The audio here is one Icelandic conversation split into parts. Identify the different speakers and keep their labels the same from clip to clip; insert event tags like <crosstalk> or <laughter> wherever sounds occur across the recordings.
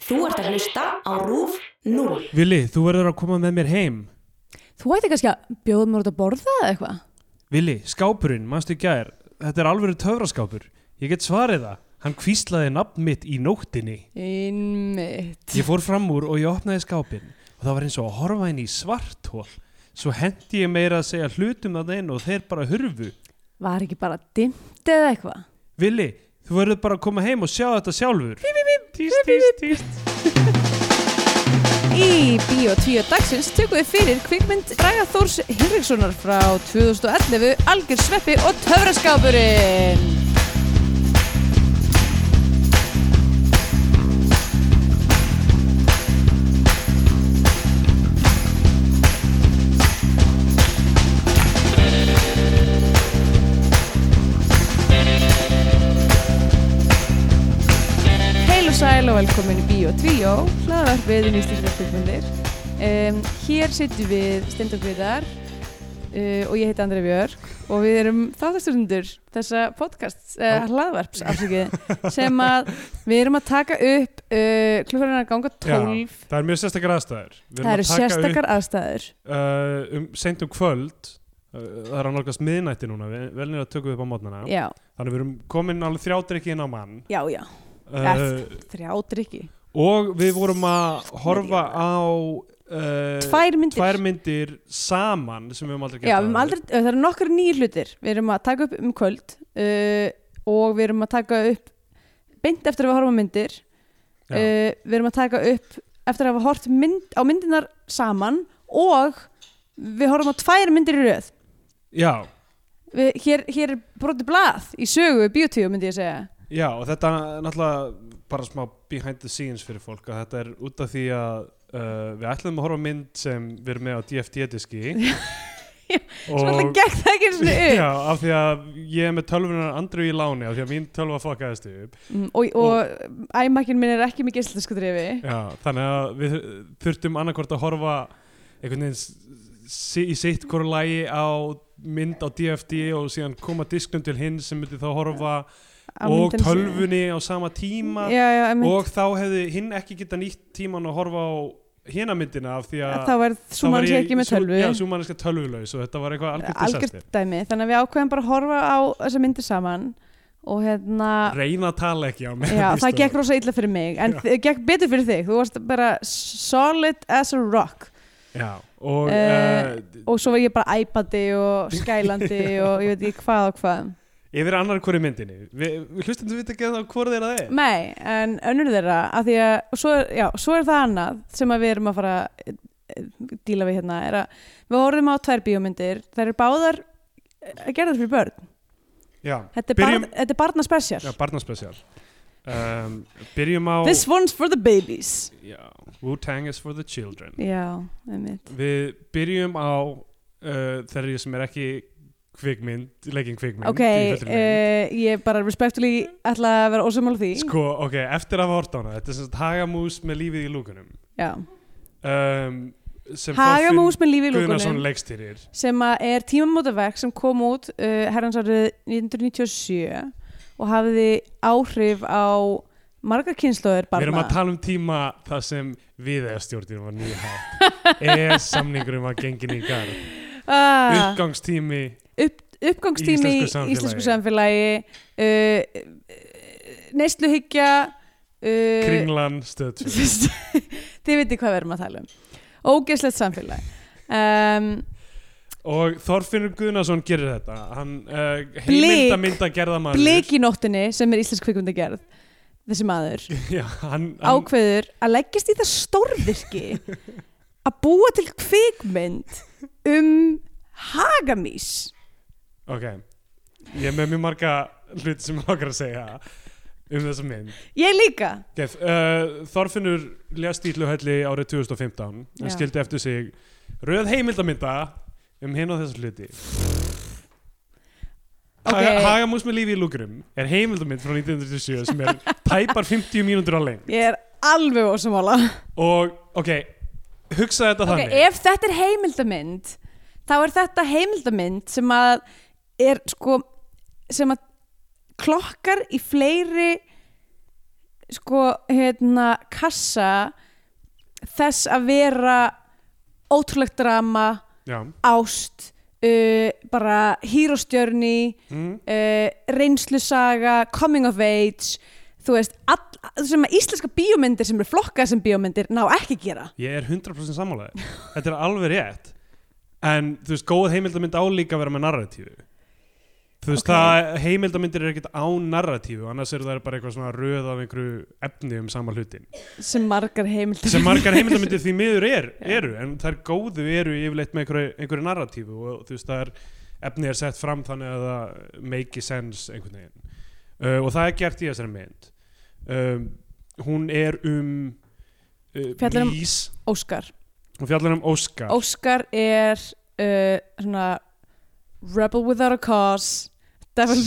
Speaker 1: Þú ert að hlusta á RÚF 0.
Speaker 2: Vili, þú verður að koma með mér heim
Speaker 3: Þú ætti kannski að bjóða mér út að borða eða eitthvað?
Speaker 2: Vili, skápurinn, manstu í gær Þetta er alveg töfraskápur Ég get svarið það Hann kvíslaði nafn mitt í nóttinni
Speaker 3: Einmitt.
Speaker 2: Ég fór fram úr og ég opnaði skápinn og það var eins og að horfa inn í svartól Svo hendi ég meira að segja hlutum að einu og þeir bara hurfu
Speaker 3: Var ekki bara dimmt eða eitthvað?
Speaker 2: Vili, þú verður bara að koma heim og sjá þetta sjálfur bíp, bíp, Tíst, tíst, tíst
Speaker 3: Í Bíó 10 dagsins tökum við fyrir kvikmynd Braga Þórs Hinrikssonar frá 2011 Algjör Sveppi og Töfraskápurinn. Heil og sæl og velkomin í Bíó 2, hlaðvarpið um íslenskar kvikmyndir. Um, hér sittum við stendabýðar uh, og ég heiti Andrei Björk og við erum þáttastundur þessa podcast, uh, hlaðvarps afsakið, sem að við erum að taka upp uh, klukkurinn að ganga 12.
Speaker 2: Það er mjög sérstakar aðstæður Við
Speaker 3: Það eru sérstakar aðstæður.
Speaker 2: upp uh, um, seint um kvöld uh, Það er að nálgast miðnætti núna við- Velnir að tökum við upp á mótnana
Speaker 3: Já,
Speaker 2: Þannig við erum komin alveg þrjádrykki inn á mann
Speaker 3: já, já.
Speaker 2: uh,
Speaker 3: Þrjá drikki.
Speaker 2: Og við vorum að horfa á uh,
Speaker 3: Tvær myndir.
Speaker 2: tvær myndir saman sem við höfum aldrei gert
Speaker 3: Já, við höfum
Speaker 2: áður.
Speaker 3: aldrei, það eru nokkur nýjir hlutir Við erum að taka upp um kvöld uh, og við erum að taka upp beint eftir að við horfum á myndir
Speaker 2: Já.
Speaker 3: uh, Við erum að taka upp eftir að hafa hort mynd, á myndinar saman og við horfum á tvær myndir í röð
Speaker 2: já,
Speaker 3: við, hér, hér er broti blað í sögu biotíu myndi ég segja
Speaker 2: já, og þetta er náttúrulega bara smá behind the scenes fyrir fólk að þetta er út af því að uh, við ætlum að horfa á mynd sem við erum með á
Speaker 3: <laughs>
Speaker 2: DFT-diski
Speaker 3: Svo alltaf
Speaker 2: <laughs>
Speaker 3: gekk það ekki svona upp
Speaker 2: Já, af því að ég er með tölvunar andru í láni af því að mín tölva fokkaðist upp
Speaker 3: Mm, og, og æmakkin minn er ekki með gæstlæsku drifi
Speaker 2: Já, þannig að við þurftum annarkvort að horfa einhvern veginn s- s- í sitt hverju lagi á mynd á DFD og síðan koma disknum til hinn sem myndi þá horfa
Speaker 3: á
Speaker 2: og
Speaker 3: myndinni sinni.
Speaker 2: tölvunni á sama tíma
Speaker 3: já, já, einmitt.
Speaker 2: og þá hefði hinn ekki geta nýtt tíman að horfa á hina myndina af því að
Speaker 3: þá var svo mann ekki með tölvu
Speaker 2: Já, svo manneska tölvulaus og þetta var eitthvað algjört
Speaker 3: algjört
Speaker 2: disastir
Speaker 3: dæmi þannig að við ákveðum bara að horfa á þessa myndir saman og hérna
Speaker 2: Reyna að tala ekki á mig
Speaker 3: já, það gekk rosa illa fyrir mig en
Speaker 2: Já.
Speaker 3: það gekk betur fyrir þig, þú varst bara solid as a rock
Speaker 2: Já, og
Speaker 3: Eh,
Speaker 2: uh,
Speaker 3: og svo var ég bara æpandi og skælandi
Speaker 2: <laughs>
Speaker 3: og ég veit ekki hvað og hvað
Speaker 2: yfir annar hverju myndinni Vi, við hlustum við ekki að hvora þeirra það er
Speaker 3: nei, en önnur þeirra af því að, og svo, er- já, svo er það annað sem að við erum að fara að eh, díla við hérna, er að við horfum á tvær bíómyndir, þær eru báðar að gera fyrir börn
Speaker 2: Já,
Speaker 3: þetta er,
Speaker 2: Byrjum-
Speaker 3: barn, þetta er barna special
Speaker 2: já barnaspecial um, Byrjum á
Speaker 3: This one's for the babies
Speaker 2: já, Wu-Tang is for the children
Speaker 3: Já, einmitt
Speaker 2: Við byrjum á uh, þeirri sem er ekki kvikmynd, leikin kvikmynd
Speaker 3: Ok,
Speaker 2: í fullri mynd.
Speaker 3: uh, ég bara respectfully ætla að vera ósumála því
Speaker 2: Sko, ok, eftir að hafa hort á hana Þetta er sem sagt hagamús með lífið í lúkunum
Speaker 3: Já.
Speaker 2: um, sem
Speaker 3: Hagamús með lífi í
Speaker 2: Guðnason
Speaker 3: lúkunum
Speaker 2: leikstýrir
Speaker 3: sem að er tímamótaverk sem kom út uh, herransárið 1997 og hafði áhrif á margar kynnslóður
Speaker 2: Við erum
Speaker 3: barna
Speaker 2: að tala um tíma það sem við eða stjórnir var nýja
Speaker 3: <laughs>
Speaker 2: eða samningurum var gengin í garð
Speaker 3: ah,
Speaker 2: uppgangstími
Speaker 3: upp, uppgangstími
Speaker 2: um Í
Speaker 3: í
Speaker 2: íslensku samfélagi.
Speaker 3: íslensku samfélagi, uh, uh, neysluhyggja uh,
Speaker 2: kringlan stöðtjum
Speaker 3: <laughs> þið viti hvað við erum að tala um ógeðslegt samfélag um,
Speaker 2: og Þorfinnur Guðnason gerir þetta hann uh,
Speaker 3: Blik.
Speaker 2: heimilda mynda gerða maður
Speaker 3: blik í nóttinni sem er íslensk kvikmynd gerð þessi maður
Speaker 2: <laughs> Já, hann, hann,
Speaker 3: ákveður að leggjast í það stórvirki að búa til kvikmynd um hagamís
Speaker 2: ok ég er með mjög marga hluti sem <laughs> ég okkar að segja um þessa mynd
Speaker 3: ég líka
Speaker 2: Gef, uh, Þorfinnur lest ílluhelli árið 2015
Speaker 3: Já.
Speaker 2: en skildi eftir sig röð heimildamynda um hinn og þessa hluti
Speaker 3: Ok.
Speaker 2: okay. Hagamús með lífi í lúkrum er heimildamind frá 1997 sem er <laughs> tæpar 50 mínútur á leng
Speaker 3: ég er alveg ósumála
Speaker 2: og ok, hugsa þetta
Speaker 3: Ok,
Speaker 2: þannig
Speaker 3: ef þetta er heimildamynd þá er þetta heimildamynd sem að er sko sem að klokkar í fleiri sko, hérna, kassa þess að vera ótrúlegt drama,
Speaker 2: já,
Speaker 3: ást uh, bara hýrostjörni
Speaker 2: mm,
Speaker 3: uh, reynslusaga, coming of age þú veist, all, sem að íslenska bíómyndir sem eru flokkað sem bíómyndir ná ekki að gera
Speaker 2: ég er 100% sammálaði þetta er alveg rétt en þú veist, góð heimildamynd á líka að vera með narratífu þú veist,
Speaker 3: Ok.
Speaker 2: það heimildamyndir er ekkert á narratífu annars eru það bara eitthvað svona röð af einhverju efni um sama hlutin
Speaker 3: sem margar heimildir
Speaker 2: sem margar heimildamindir því miður er, eru en þær góðu eru yfirleitt með einhverju, einhverju narratífu og þú veist það er efni er sett fram þannig að það make sense einhvern veginn uh, og það er gert í þessari mynd um, hún er um
Speaker 3: Fjallar
Speaker 2: uh,
Speaker 3: um-
Speaker 2: mís
Speaker 3: <laughs> Óskar,
Speaker 2: hún fjallar um Óskar
Speaker 3: Óskar er uh, svona rebel without a cause
Speaker 2: <laughs>
Speaker 3: devil,
Speaker 2: <laughs>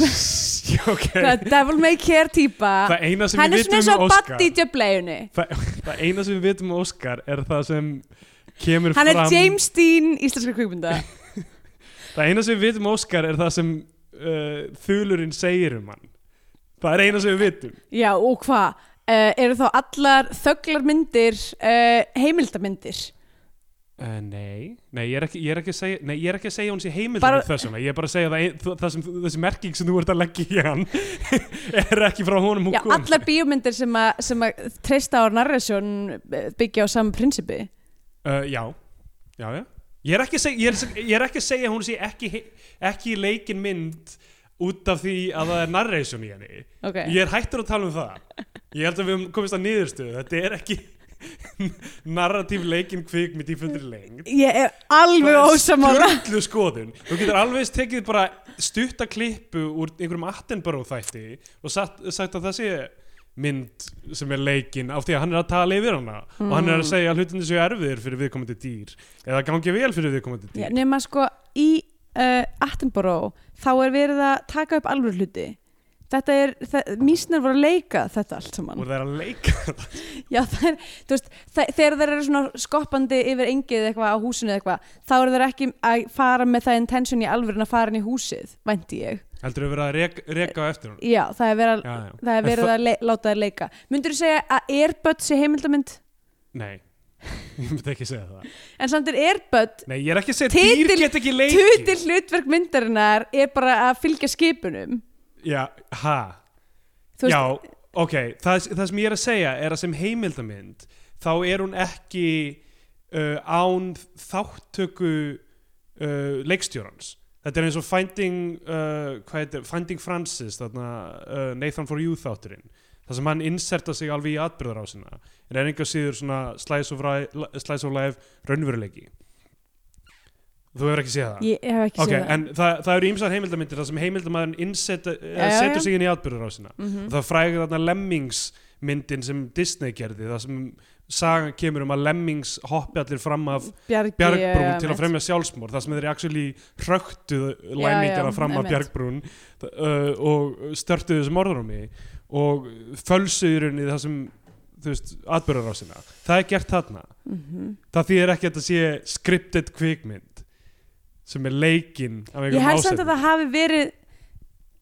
Speaker 2: Já, ok.
Speaker 3: hvað, devil may care típa
Speaker 2: það eina sem
Speaker 3: hann er
Speaker 2: við
Speaker 3: svona eins
Speaker 2: vitum
Speaker 3: og
Speaker 2: um Óskar
Speaker 3: Buddy Djöbleiunni
Speaker 2: það, <laughs> það eina sem við vitum um Óskar er það sem kemur
Speaker 3: hann er
Speaker 2: fram
Speaker 3: James Dean íslenska kvíkmynda
Speaker 2: Það eina sem við vitum um Óskar er það sem uh, þulurinn segir um hann. Það er eina sem við vitum.
Speaker 3: Já, og hvað? Uh, eru þá allar þögglar myndir uh, heimildamindir?
Speaker 2: Uh, nei, nei ég, er ekki, ég, er ekki að segja, nei, ég er ekki að segja hún sé heimildin
Speaker 3: Bara-
Speaker 2: Bara... þess vegna. Ég er bara að segja það, ein- það það sem, þessi merking sem þú ert að leggja í hann <laughs> er ekki frá honum hún
Speaker 3: Já, allar bíómyndir sem, a, sem að treysta á narration eh, byggja á sama prinsipi.
Speaker 2: Uh, já, já, já. Ég er ekki að segja, ég er, ég er ekki að segja að hún sé ekki, he- ekki leikin mynd út af því að það er narration í henni.
Speaker 3: Ok,
Speaker 2: Ég er hættur að tala um það. Ég held að við höfum komist að niðurstöðu. Þetta er ekki <laughs> narratív leikin kvikmynd í fundri lengd.
Speaker 3: ég er alveg ósamála.
Speaker 2: Sturlu skoðun. Þú getur alveg eins tekið bara stutta klippu úr einhverjum Attenborough þætti og sagt, sagt að það sé mynd sem er leikin af því að hann er að tala yfir hana og hann er
Speaker 3: Mm.
Speaker 2: að segja að hlutinu séu erfiðir fyrir viðkomandi dýr eða gangi vel fyrir viðkomandi
Speaker 3: Já,
Speaker 2: dýr.
Speaker 3: nema sko í uh, Attenborough þá er verið að taka upp alveg hluti. Þetta er, það- mísnar voru að leika þetta allt saman.
Speaker 2: Og það er að leika það.
Speaker 3: Já, það er, þú veist, þe- þegar þeir eru svona skoppandi yfir engið eitthvað á húsinu eða eitthvað, þá eru þeir ekki að fara með það intention í alvöru en að fara inn í húsið, vænti ég.
Speaker 2: Heldur að vera að reka, reka á eftir hann.
Speaker 3: Já, það er verið,
Speaker 2: Já,
Speaker 3: að-
Speaker 2: já.
Speaker 3: það er
Speaker 2: En
Speaker 3: verið
Speaker 2: það-
Speaker 3: að le, láta þeir leika. Myndur þú segja að Airbud sé heimildamynd?
Speaker 2: Nei, <laughs> ég myndi ekki segja það.
Speaker 3: En samt er Airbud,
Speaker 2: Nei, ég er ekki að segja
Speaker 3: Titill-
Speaker 2: dýr get ekki leikið.
Speaker 3: tutil hlutverk myndarinnar er bara að fylgja skipunum.
Speaker 2: Já, ha?
Speaker 3: Þú veist,
Speaker 2: Já, ok, það, það sem ég er að segja er að sem heimildamynd þá er hún ekki uh, án þáttöku uh, leikstjórans. Þetta er eins og Finding, uh, hvað heitir, Finding Francis, þarna, uh, Nathan for You þátturinn, þar sem hann inserta sig alveg í atbyrðar á sinna, en er einhver síður svona slice of, ri- slice of life raunveruleiki. Þú hefur ekki séð það?
Speaker 3: ég, ég hef ekki
Speaker 2: Ok,
Speaker 3: séð það.
Speaker 2: en það, það eru ímsar heimildamindir þar sem heimildamæðurinn innseta,
Speaker 3: Já,
Speaker 2: já,
Speaker 3: já,
Speaker 2: setur
Speaker 3: já.
Speaker 2: sig inn í atbyrðarásina
Speaker 3: Mm
Speaker 2: og það frægur þarna lemmingsmyndin sem Disney gerði þar sem sagan kemur um að lemmings hoppi allir fram af
Speaker 3: Bjargi,
Speaker 2: bjargbrún
Speaker 3: já,
Speaker 2: til að
Speaker 3: mitt.
Speaker 2: fremja sjálfsmór þar sem þeir actually hröktu
Speaker 3: já,
Speaker 2: læmingana fram af
Speaker 3: einmitt.
Speaker 2: bjargbrún uh, og störtuðu þessum orðrumi og fölsuðurinn í það sem þú veist, atbyrðarásina það er gert þarna
Speaker 3: Mhm.
Speaker 2: það þýðir ekki að þetta sé scripted kvikmynd sem er leikinn af
Speaker 3: Ég
Speaker 2: einhverjum
Speaker 3: held samt að það hafi verið,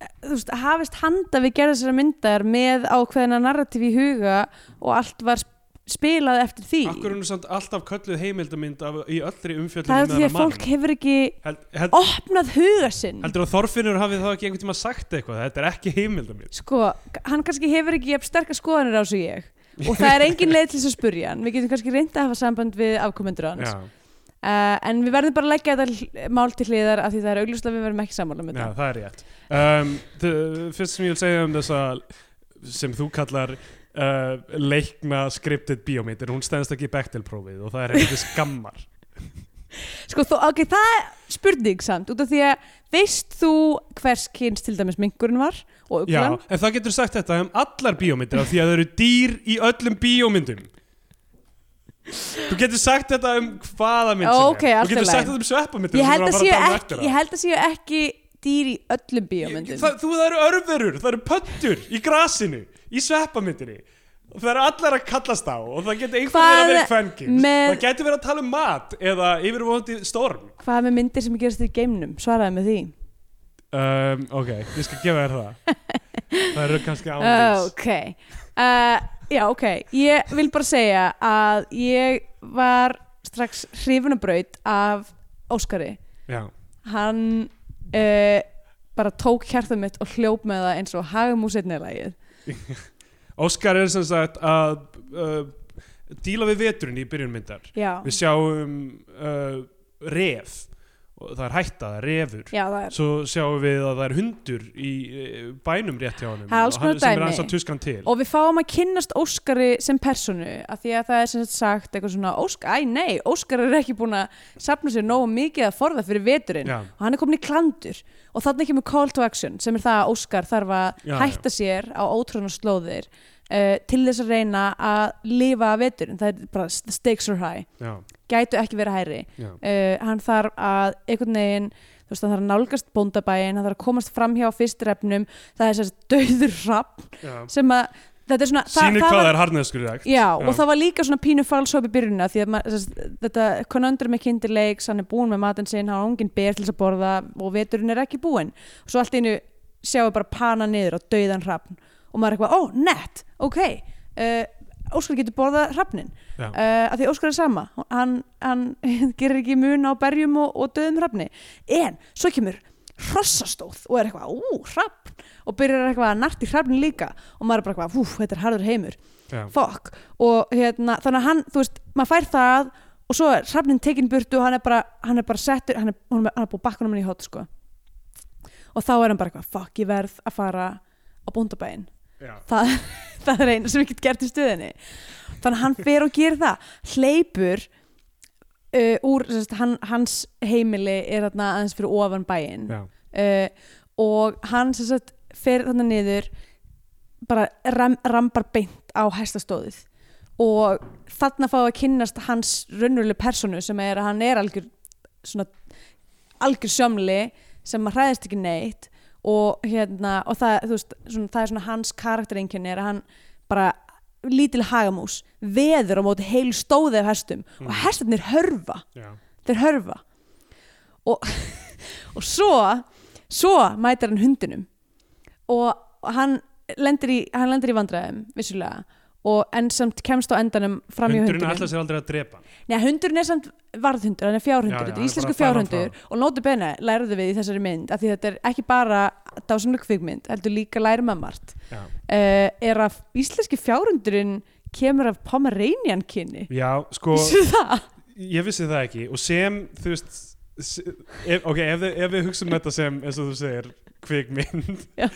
Speaker 3: eh, þú veist, hafist handa við gerða þessara myndar með ákveðina narratíf í huga og allt var sp- spilað eftir því.
Speaker 2: Akkur er nú samt alltaf kölluð heimildamynd af, í öllri um umfjöldum
Speaker 3: Það er því að fólk hefur ekki
Speaker 2: held, held,
Speaker 3: opnað huga sinn.
Speaker 2: Heldur að Þorfinnur hafið þá ekki einhvern tíma sagt eitthvað Þetta er ekki heimildamynd
Speaker 3: sko, hann kannski hefur ekki jafn sterkar skoðanir á svo ég og það er engin leið til þess að spurja hann við getum kannski reynda að hafa samband við afkomendur hans
Speaker 2: Já,
Speaker 3: uh, en við verðum bara að leggja þetta hl- mál til hliðar af því það er augljóslega við verðum ekki sammála með
Speaker 2: já,
Speaker 3: það
Speaker 2: það er rétt um, þ- Fyrst sem ég vil segja um þessa sem þú kallar uh, leikna scripted bíómynd en hún stendst ekki í Bechtel-prófið og það er hefði skammar
Speaker 3: sko, þó, ok, það er spurning samt út af því að veist þú hvers kyns til dæmis mingurinn var <laughs> og
Speaker 2: Já,
Speaker 3: uglan
Speaker 2: en það getur sagt þetta um allar bíómyndir af því að það eru dýr í öllum bíómyndum Þú getur sagt þetta um hvaða mynd sem
Speaker 3: Ókei,
Speaker 2: er
Speaker 3: allt
Speaker 2: Þú
Speaker 3: í
Speaker 2: getur sagt
Speaker 3: lagi.
Speaker 2: þetta um sveppamyndir
Speaker 3: ég held að séu ekki,
Speaker 2: um það
Speaker 3: ég held að séu ekki dýr í öllum bíómyndum
Speaker 2: það, þú, það eru örverur, það eru pöttur í grasinu, í sveppamyndinni og það eru allar að kallast á og það getur einhver verið að vera
Speaker 3: Hvað
Speaker 2: kvenkins
Speaker 3: með-
Speaker 2: það getur verið að tala um mat eða yfirvóðandi storm
Speaker 3: hvað með myndir sem gerast í geimnum svaraði með því <laughs>
Speaker 2: um, ok, ég skal gefa þér það það eru kannski
Speaker 3: Oh,
Speaker 2: ánvís
Speaker 3: ok, uh, já, ok, ég vil bara segja að ég var strax hrifunabraut af Óskari
Speaker 2: já,
Speaker 3: hann uh, bara tók hjartað mitt og hljóp með það eins og hagamúsirni lagið
Speaker 2: Óskar er sem sagt að uh, díla við veturinn í byrjun myndar
Speaker 3: já,
Speaker 2: við sjáum uh, ref og það er hætta, það er refur
Speaker 3: já, það er
Speaker 2: svo sjáum við að það er hundur í eh, bænum rétt hjá honum
Speaker 3: Það er alls
Speaker 2: og hann-
Speaker 3: konar
Speaker 2: sem
Speaker 3: dæmi.
Speaker 2: er hans að tuskan til
Speaker 3: og við fáum að kynnast Óskari sem personu af því að það er sem sagt sagt eitthvað svona Óskar, æ nei, Óskar er ekki búin að safna sér nógu mikið að forða fyrir veturinn
Speaker 2: Já.
Speaker 3: og hann er komin í klandur og þannig kemur call to action sem er það að Óskar þarf að
Speaker 2: Já,
Speaker 3: hætta sér á ótrúna slóðir uh, til þess að reyna að lifa að veturinn, það er bara the stakes are high,
Speaker 2: já,
Speaker 3: gætu ekki verið hærri
Speaker 2: já,
Speaker 3: uh, hann þarf að einhvern veginn þú veist, hann þarf að nálgast bóndabæin hann þarf að komast fram hjá fyrstrefnum það er þess að döður rapp
Speaker 2: já.
Speaker 3: sem að þetta er svona
Speaker 2: sýnir hvað það
Speaker 3: var,
Speaker 2: er harneskurægt
Speaker 3: já, og það var líka svona pínu falshóp í byrjunina því að mað, þess, þetta konundrum er kindir leiks hann er búinn með matinn sinn, hann á ungin ber til þess að borða og veturinn er ekki búinn og svo allt í einu sjáum við bara pana niður á dauðan hrafn og maður er eitthvað, ó, nett, ok uh, Óskar getur borðað hrafnin
Speaker 2: Já.
Speaker 3: uh, af því Óskar er sama hann, hann <laughs> gerir ekki mun á berjum og, og döðum hrafni en svo kemur hrossastóð og er eitthvað, ú, hrafn og byrjar eitthvað að narti hrafnin líka og maður er bara eitthvað, hú, þetta er harður heimur
Speaker 2: já,
Speaker 3: fokk og hérna, þannig að hann, þú veist, maður fær það og svo er hrafnin tekinn burtu og hann er bara, hann er bara settur, hann er, hann er, hann er búið bakkunum hann í hot sko og þá er hann bara eitthvað, fokk, ég verð að fara á bóndabæin
Speaker 2: já.
Speaker 3: <laughs> það, það er eina sem ég get gert í stöðinni þannig að hann fer og gerir það hleypur uh, úr, sérst, hann, hans heimili er þarna aðeins fyrir ofan bæinn
Speaker 2: já.
Speaker 3: uh, og hann sem sagt fer þarna niður bara ram, rambar beint á hæstastóðið og þarna fá að kynnast hans raunveruleg personu sem er að hann er algjör svona algjör sjömli sem maður hræðist ekki neitt og hérna og það, þú veist, svona, það er svona hans karaktereinkenni er að hann bara lítil hagamús, veður á móti heil stóðið af hestum og hestarnir hörfa
Speaker 2: já.
Speaker 3: þeir hörfa og, <laughs> og svo svo mætir hann hundinum og hann lendir í, hann lendir í vandræðum vissulega og enn samt kemst á endanum fram í
Speaker 2: hundurinn
Speaker 3: hundinum
Speaker 2: ætlar sér aldrei að drepa hann.
Speaker 3: Nei, hundurinn er samt varðhundur, hann er fjárhundur,
Speaker 2: Já, já,
Speaker 3: þetta
Speaker 2: hann
Speaker 3: er
Speaker 2: er
Speaker 3: íslensku
Speaker 2: bara að færa hann
Speaker 3: fjárhundur og nótu bene læruðu við í þessari mynd af því þetta er ekki bara dásamlega kvikmynd, heldur líka lærum að margt
Speaker 2: Já.
Speaker 3: uh, er að íslenski fjárhundurinn kemur af Pomeranian kynni
Speaker 2: já,
Speaker 3: <laughs>
Speaker 2: sko
Speaker 3: Vissu það?
Speaker 2: ég vissi það ekki og sem, þú veist se- ef, ok, ef, þi- ef við hugsaum þetta sem eins og þú segir, kvikmynd
Speaker 3: <laughs> Já.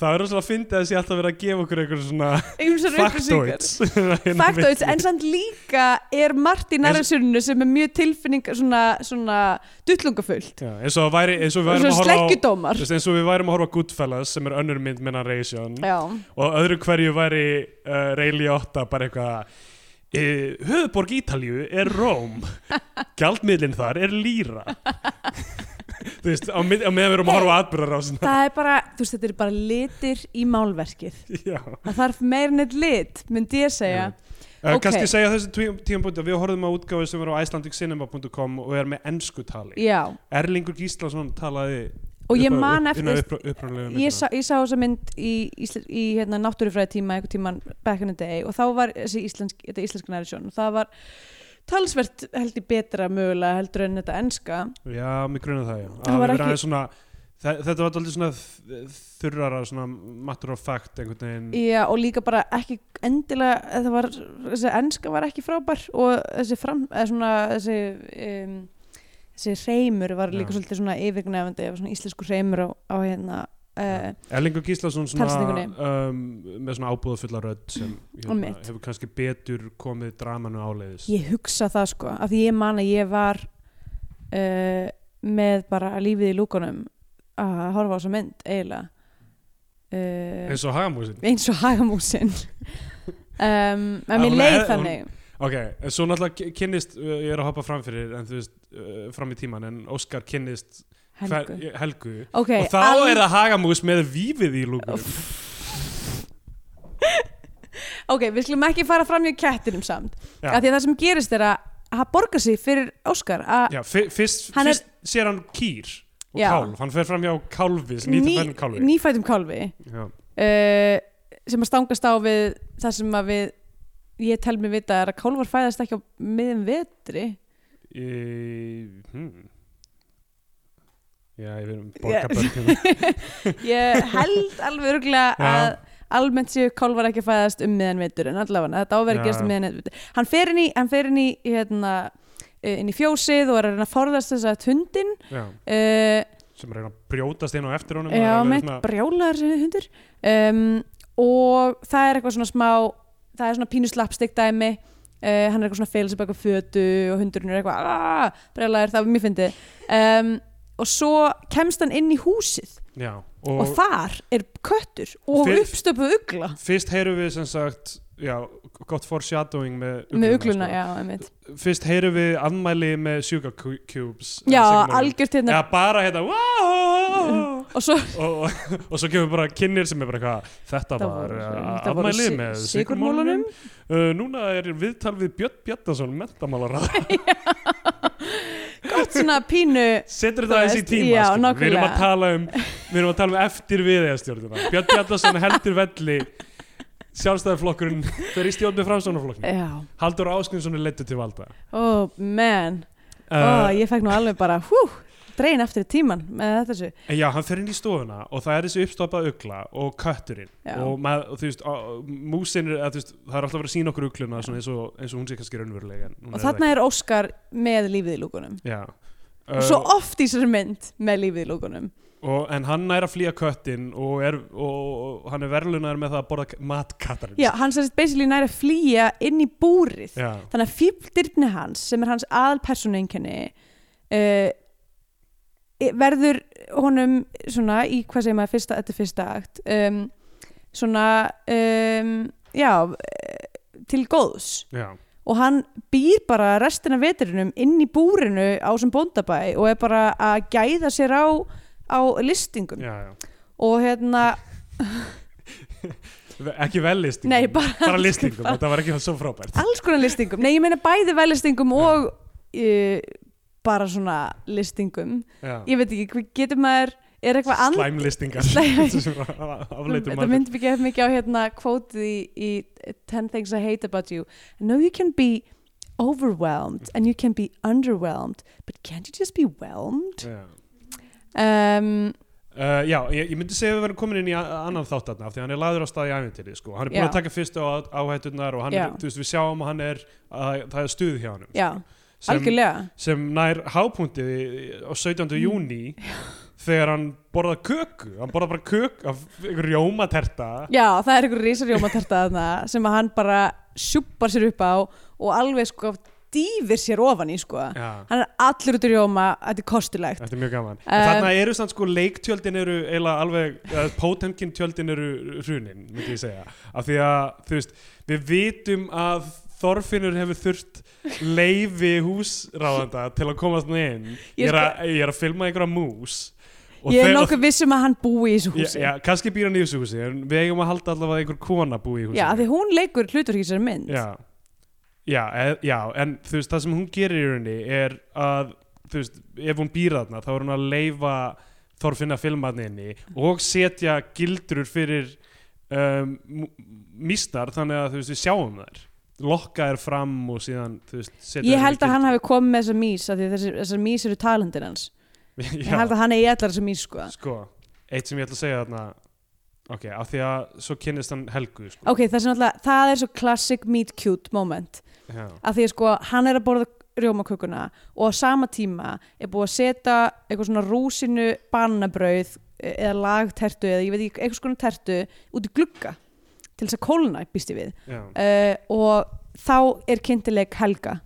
Speaker 2: það er rosalega að fyndi að þessi alltaf verið að gefa okkur einhverjum svona
Speaker 3: Ýmsar upplýsingar.
Speaker 2: factoids <laughs> Hérna
Speaker 3: Faktóids,
Speaker 2: milli.
Speaker 3: en samt líka er margt í nærðarsjóninu sem er mjög tilfinning svona, svona duttlungafullt
Speaker 2: Já, eins og það væri, eins og við
Speaker 3: og
Speaker 2: værum
Speaker 3: svona
Speaker 2: að horfa á
Speaker 3: sleggjudómar
Speaker 2: þú veist, eins og við værum að horfa á Goodfellas sem er önnur mynd með narration
Speaker 3: Já,
Speaker 2: og öðru hverju væri uh, Ray Liotta bara eitthvað uh, höfuborg Ítalju er
Speaker 3: <laughs>
Speaker 2: Róm gjaldmiðlinn þar er Lýra <laughs> þú veist, á, mið, á meðan við erum að horfa á atbyrðar á svona
Speaker 3: það er bara, þú veist, þetta er bara litir í málverkið
Speaker 2: <laughs> Já.
Speaker 3: það þarf meir en eitt lit, myndi ég segja
Speaker 2: Uh,
Speaker 3: Ok.
Speaker 2: kannski segja þessi tímapunkti að við horfum á útgáfu sem er á icelandiccinema.com og er með ennsku tali
Speaker 3: Já,
Speaker 2: Erlingur Gíslason talaði
Speaker 3: og ég
Speaker 2: upphaf-
Speaker 3: man
Speaker 2: upp-
Speaker 3: eftir
Speaker 2: innan uppr- upprunalegu
Speaker 3: ég
Speaker 2: myndina.
Speaker 3: sá, ég sá þessa mynd í, í, í hérna, náttúrufræði tíma einhvern tíman back in the day og þá var þessi íslensk, þetta íslenska nærðarsjón og það var talsvert held ég betra mögulega heldur en þetta enska
Speaker 2: Já, mig grunar það, já.
Speaker 3: Það
Speaker 2: Að við
Speaker 3: var ekki-
Speaker 2: verðum aðeins svona, þe- þetta var alltaf svona þ- þurrara, svona matter of fact einhvern veginn.
Speaker 3: Já, og líka bara ekki endilega, eða það var, þessi enska var ekki frábær og þessi fram, eða svona, þessi, um, þessi reymur var líka
Speaker 2: Já.
Speaker 3: svolítið svona yfirgnefandi, eða svona íslensku reymur á, á hérna, uh,
Speaker 2: Erlingur Gíslason svona,
Speaker 3: Talsningunni.
Speaker 2: um, með svona ábúðafulla rödd sem hérna,
Speaker 3: Einmitt.
Speaker 2: hefur kannski betur komið dramanu áleiðis.
Speaker 3: ég hugsa það sko, af því ég man að ég var uh, með bara lífið í lúkunum að horfa á þessa mynd, eiginlega. Uh,
Speaker 2: Eins og hagamúsin.
Speaker 3: eins og hagamúsin
Speaker 2: <laughs>
Speaker 3: um, en mér
Speaker 2: hún
Speaker 3: leið
Speaker 2: er- hún-
Speaker 3: þannig
Speaker 2: Ok, en svo náttúrulega ki- kynnist, uh, ég er að hoppa fram fyrir, en þú veist, uh, fram í tíman, en Óskar kynnist hver-
Speaker 3: Helgu.
Speaker 2: helgu.
Speaker 3: ok,
Speaker 2: og þá
Speaker 3: al-
Speaker 2: er það hagamús með vífið í lúkunum.
Speaker 3: Ok, við skulum ekki fara fram hjá kettinum samt
Speaker 2: Já.
Speaker 3: af því að það sem gerist er að hann borgar sig fyrir Óskar að
Speaker 2: Já, fyr- fyrst,
Speaker 3: Hann er-
Speaker 2: fyrst sér hann kýr og
Speaker 3: Já.
Speaker 2: kálf, hann fer fram hjá kálfi, nýtafæðin kálfi.
Speaker 3: nýfætum kálfi
Speaker 2: Já.
Speaker 3: uh, sem að stangast á við það sem að við ég tel mig vita er að kálvar fæðast ekki á miðum vetri
Speaker 2: e, hmm. Já, ég verðum
Speaker 3: Já.
Speaker 2: borga börnum
Speaker 3: <laughs> ég held alveg örgulega
Speaker 2: Já.
Speaker 3: að almennt séu kálvar ekki að fæðast um miðan vetur en allavega þetta áverð
Speaker 2: Já.
Speaker 3: gerast um miðan vetur hann fer inn í, hann fer inn í, hérna, eh, inn í fjósið og er að reyna að forðast þess að hundin
Speaker 2: Já,
Speaker 3: uh,
Speaker 2: sem reyna að brjótast inn á eftir honum og er
Speaker 3: Já,
Speaker 2: alveg
Speaker 3: meitt
Speaker 2: svona-
Speaker 3: brjálar hundur um, og það er eitthvað svona smá það er svona pínu slappstick dæmi uh, hann er eitthvað svona félis baka fötu og hundurinn er eitthvað brjálar, það var mjög fyndið um, og svo kemst hann inn í húsið
Speaker 2: Já,
Speaker 3: og, þar er köttur og
Speaker 2: Fyrst-
Speaker 3: uppstöpuð ugla
Speaker 2: Fyrst heyrum við sem sagt já, gott foreshadowing með ugluna,
Speaker 3: með ugluna, já, einmitt
Speaker 2: sko. Fyrst heyrum við afmæli með sugar cu- cubes
Speaker 3: já,
Speaker 2: eh, signalum.
Speaker 3: algjört hérna
Speaker 2: Já, bara hérna wow!
Speaker 3: og svo
Speaker 2: og, og, og svo kemur bara kynir sem er bara eitthvað þetta
Speaker 3: Það
Speaker 2: var
Speaker 3: voru-
Speaker 2: eh,
Speaker 3: þetta voru
Speaker 2: afmæli
Speaker 3: si-
Speaker 2: með
Speaker 3: sykurmolunum."
Speaker 2: sigurmólunum uh, núna er viðtal við Björn Bjarnason mentamálar
Speaker 3: gott svona pínu
Speaker 2: <laughs> setur
Speaker 3: Þú
Speaker 2: þetta aðeins í
Speaker 3: veist,
Speaker 2: tíma skilur.
Speaker 3: já,
Speaker 2: við erum
Speaker 3: nákvæmlega.
Speaker 2: að tala um við erum að tala um eftir viðeigastjórnuna Björn Bjarnason heldur velli sjálfstæðarflokkurinn fyrir í stjórn með framsónaflokknum
Speaker 3: já,
Speaker 2: Haldur Áskjönsson er leittu til valda
Speaker 3: oh man
Speaker 2: Uh,
Speaker 3: oh, ég fekk nú alveg bara hú, drein aftur í tíman með þetta þessu
Speaker 2: En já, hann fer inn í stofuna og það er þessi uppstoppað ugla og kötturinn
Speaker 3: Já.
Speaker 2: og, mað, og þú veist, á- músin er, að, þú veist, það er alltaf verið að sína okkur ugluna svona, eins, og, eins og hún sé kannski raunveruleg en hún
Speaker 3: og
Speaker 2: er það
Speaker 3: þarna er Óskar með lífið í lúkunum
Speaker 2: ekki. Já. Eh. Uh,
Speaker 3: og svo oft í sér mynd með lífið í lúkunum
Speaker 2: og, En hann nær að flýja köttin og, er, og, og hann er verðlunar með það að borða k- mat kattarins
Speaker 3: já, hann sérst basically næri að flýja inn í búrið
Speaker 2: Já.
Speaker 3: þannig að fífldirni hans sem er hans aðalpersónuenginni uh, e, verður honum svona í hvað segir maður fyrsta, þetta er fyrsta akt um, svona um, já eh, til góðs
Speaker 2: Já.
Speaker 3: og hann býr bara restina af veturinnum inn í búrinu á sem bóndabæ og er bara að gæða sér á, á listingum
Speaker 2: Já, já.
Speaker 3: og hérna,
Speaker 2: ekki vel listingum
Speaker 3: Nei, bara-
Speaker 2: bara listingum, þetta var ekki svo frábært
Speaker 3: alls konar listingum nei, ég meina bæði velistingum og uh, bara svona listingum
Speaker 2: Já.
Speaker 3: ég veit ekki, hvað getur maður er eitthvað and-
Speaker 2: Slæmlistingar <laughs>
Speaker 3: Slæm-
Speaker 2: Afleitum
Speaker 3: þetta myndi byggja mikið á hérna kvótið í, í 10 things I hate about you no you can be overwhelmed and you can be underwhelmed but can't you just be whelmed
Speaker 2: Já.
Speaker 3: um,
Speaker 2: Uh, já, ég, ég myndi segja að við verðum komin inn í a- annan þátt þáttarna af því hann er laður á stað í æfintyri sko. hann er búin
Speaker 3: Já.
Speaker 2: að taka fyrstu á, áhættunar og hann er,
Speaker 3: Já.
Speaker 2: þú veist, við sjáum að hann er að, það er stuð hjá hann
Speaker 3: já,
Speaker 2: sem,
Speaker 3: algjörlega Mm.
Speaker 2: sem nær hápunktið í- á 17. júni þegar hann borðar köku hann borðar bara köku af einhver rjómaterta
Speaker 3: Já, það er einhver rísarjómaterta þarna sem að hann bara sjúpar sér upp á og alveg sko dýfir sér ofan í sko.
Speaker 2: Já.
Speaker 3: Hann er allur út í rjóma, þetta er kostulegt.
Speaker 2: Þetta er mjög gaman.
Speaker 3: Um,
Speaker 2: Um, Þannig eru samt sko leiktjöldin eru eiginlega alveg, uh, Potemkin tjöldin eru hrunin, myndi ég segja. Af því að, þú veist, við vitum að Þorfinnur hefur þurft leifi húsráðanda til að komast þarna inn.
Speaker 3: Ég
Speaker 2: Ég er, að, ég er að filma einhverja mús. og
Speaker 3: Ég
Speaker 2: þau-
Speaker 3: er
Speaker 2: og-
Speaker 3: nokkuð viss um að hann búi í þessu húsi.
Speaker 2: Já, já, kannski býr hann í þessu húsi, en við eigum að halda allavega að einhver kona búi í húsi.
Speaker 3: Já, af því hún leikur hlutverk í sér mynd.
Speaker 2: Já, já, e, já en þú veist, það sem hún gerir í rauninni er að, þú veist, ef hún býr þarna þá er hún að leifa Þorfinn að filma hann inni og setja gildrur fyrir um, mísnar þannig að þú veist, við sjáum þær lokka þær fram og síðan þú veist, setja
Speaker 3: Ég held að hann
Speaker 2: þær <laughs>
Speaker 3: hafi komið með þessa mís, af því þessar, þessar mís eru talendin hans.
Speaker 2: fyrir gildrur.
Speaker 3: Ég held að hann eigi allar þessar mís sko.
Speaker 2: Já, sko, eitt sem ég ætla að segja þarna ok, af því að svo kynnist hann Helgu sko.
Speaker 3: Ok, það er, náttúrulega- það er svo classic meet cute moment.
Speaker 2: Já,
Speaker 3: að því að sko hann er að borða rjómakökuna og á sama tíma er búið að setja eitthvað svona rúsinu banabrauð eða lagtertu eða ég veit ekki eitthvað skona tertu út í glugga til þess að kólna býst ég við
Speaker 2: já,
Speaker 3: uh, og þá er kynntileg Helga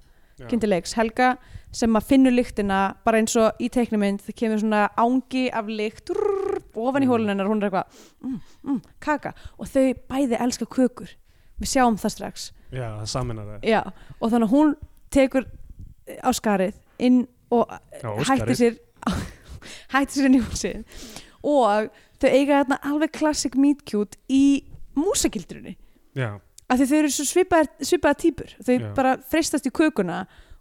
Speaker 2: já.
Speaker 3: kynntilegs Helga sem að finnur lyktina bara eins og í teiknumind það kemur svona ángi af lykt rrr, ofan í
Speaker 2: Mm.
Speaker 3: hóluninnar, hún er eitthvað mm, mm, kaka og þau bæði elska kökur við sjáum það strax
Speaker 2: já, það saminar það
Speaker 3: Já, og þannig að hún tekur á skarið inn og
Speaker 2: Já,
Speaker 3: hættir
Speaker 2: Óskari.
Speaker 3: sér <laughs> hættir sér inn í húsið og þau eiga þarna alveg classic meet cute í músagildrunni
Speaker 2: já,
Speaker 3: af því þau eru svo svipaðar, svipaðar típur þau
Speaker 2: Já.
Speaker 3: bara freistast í kökuna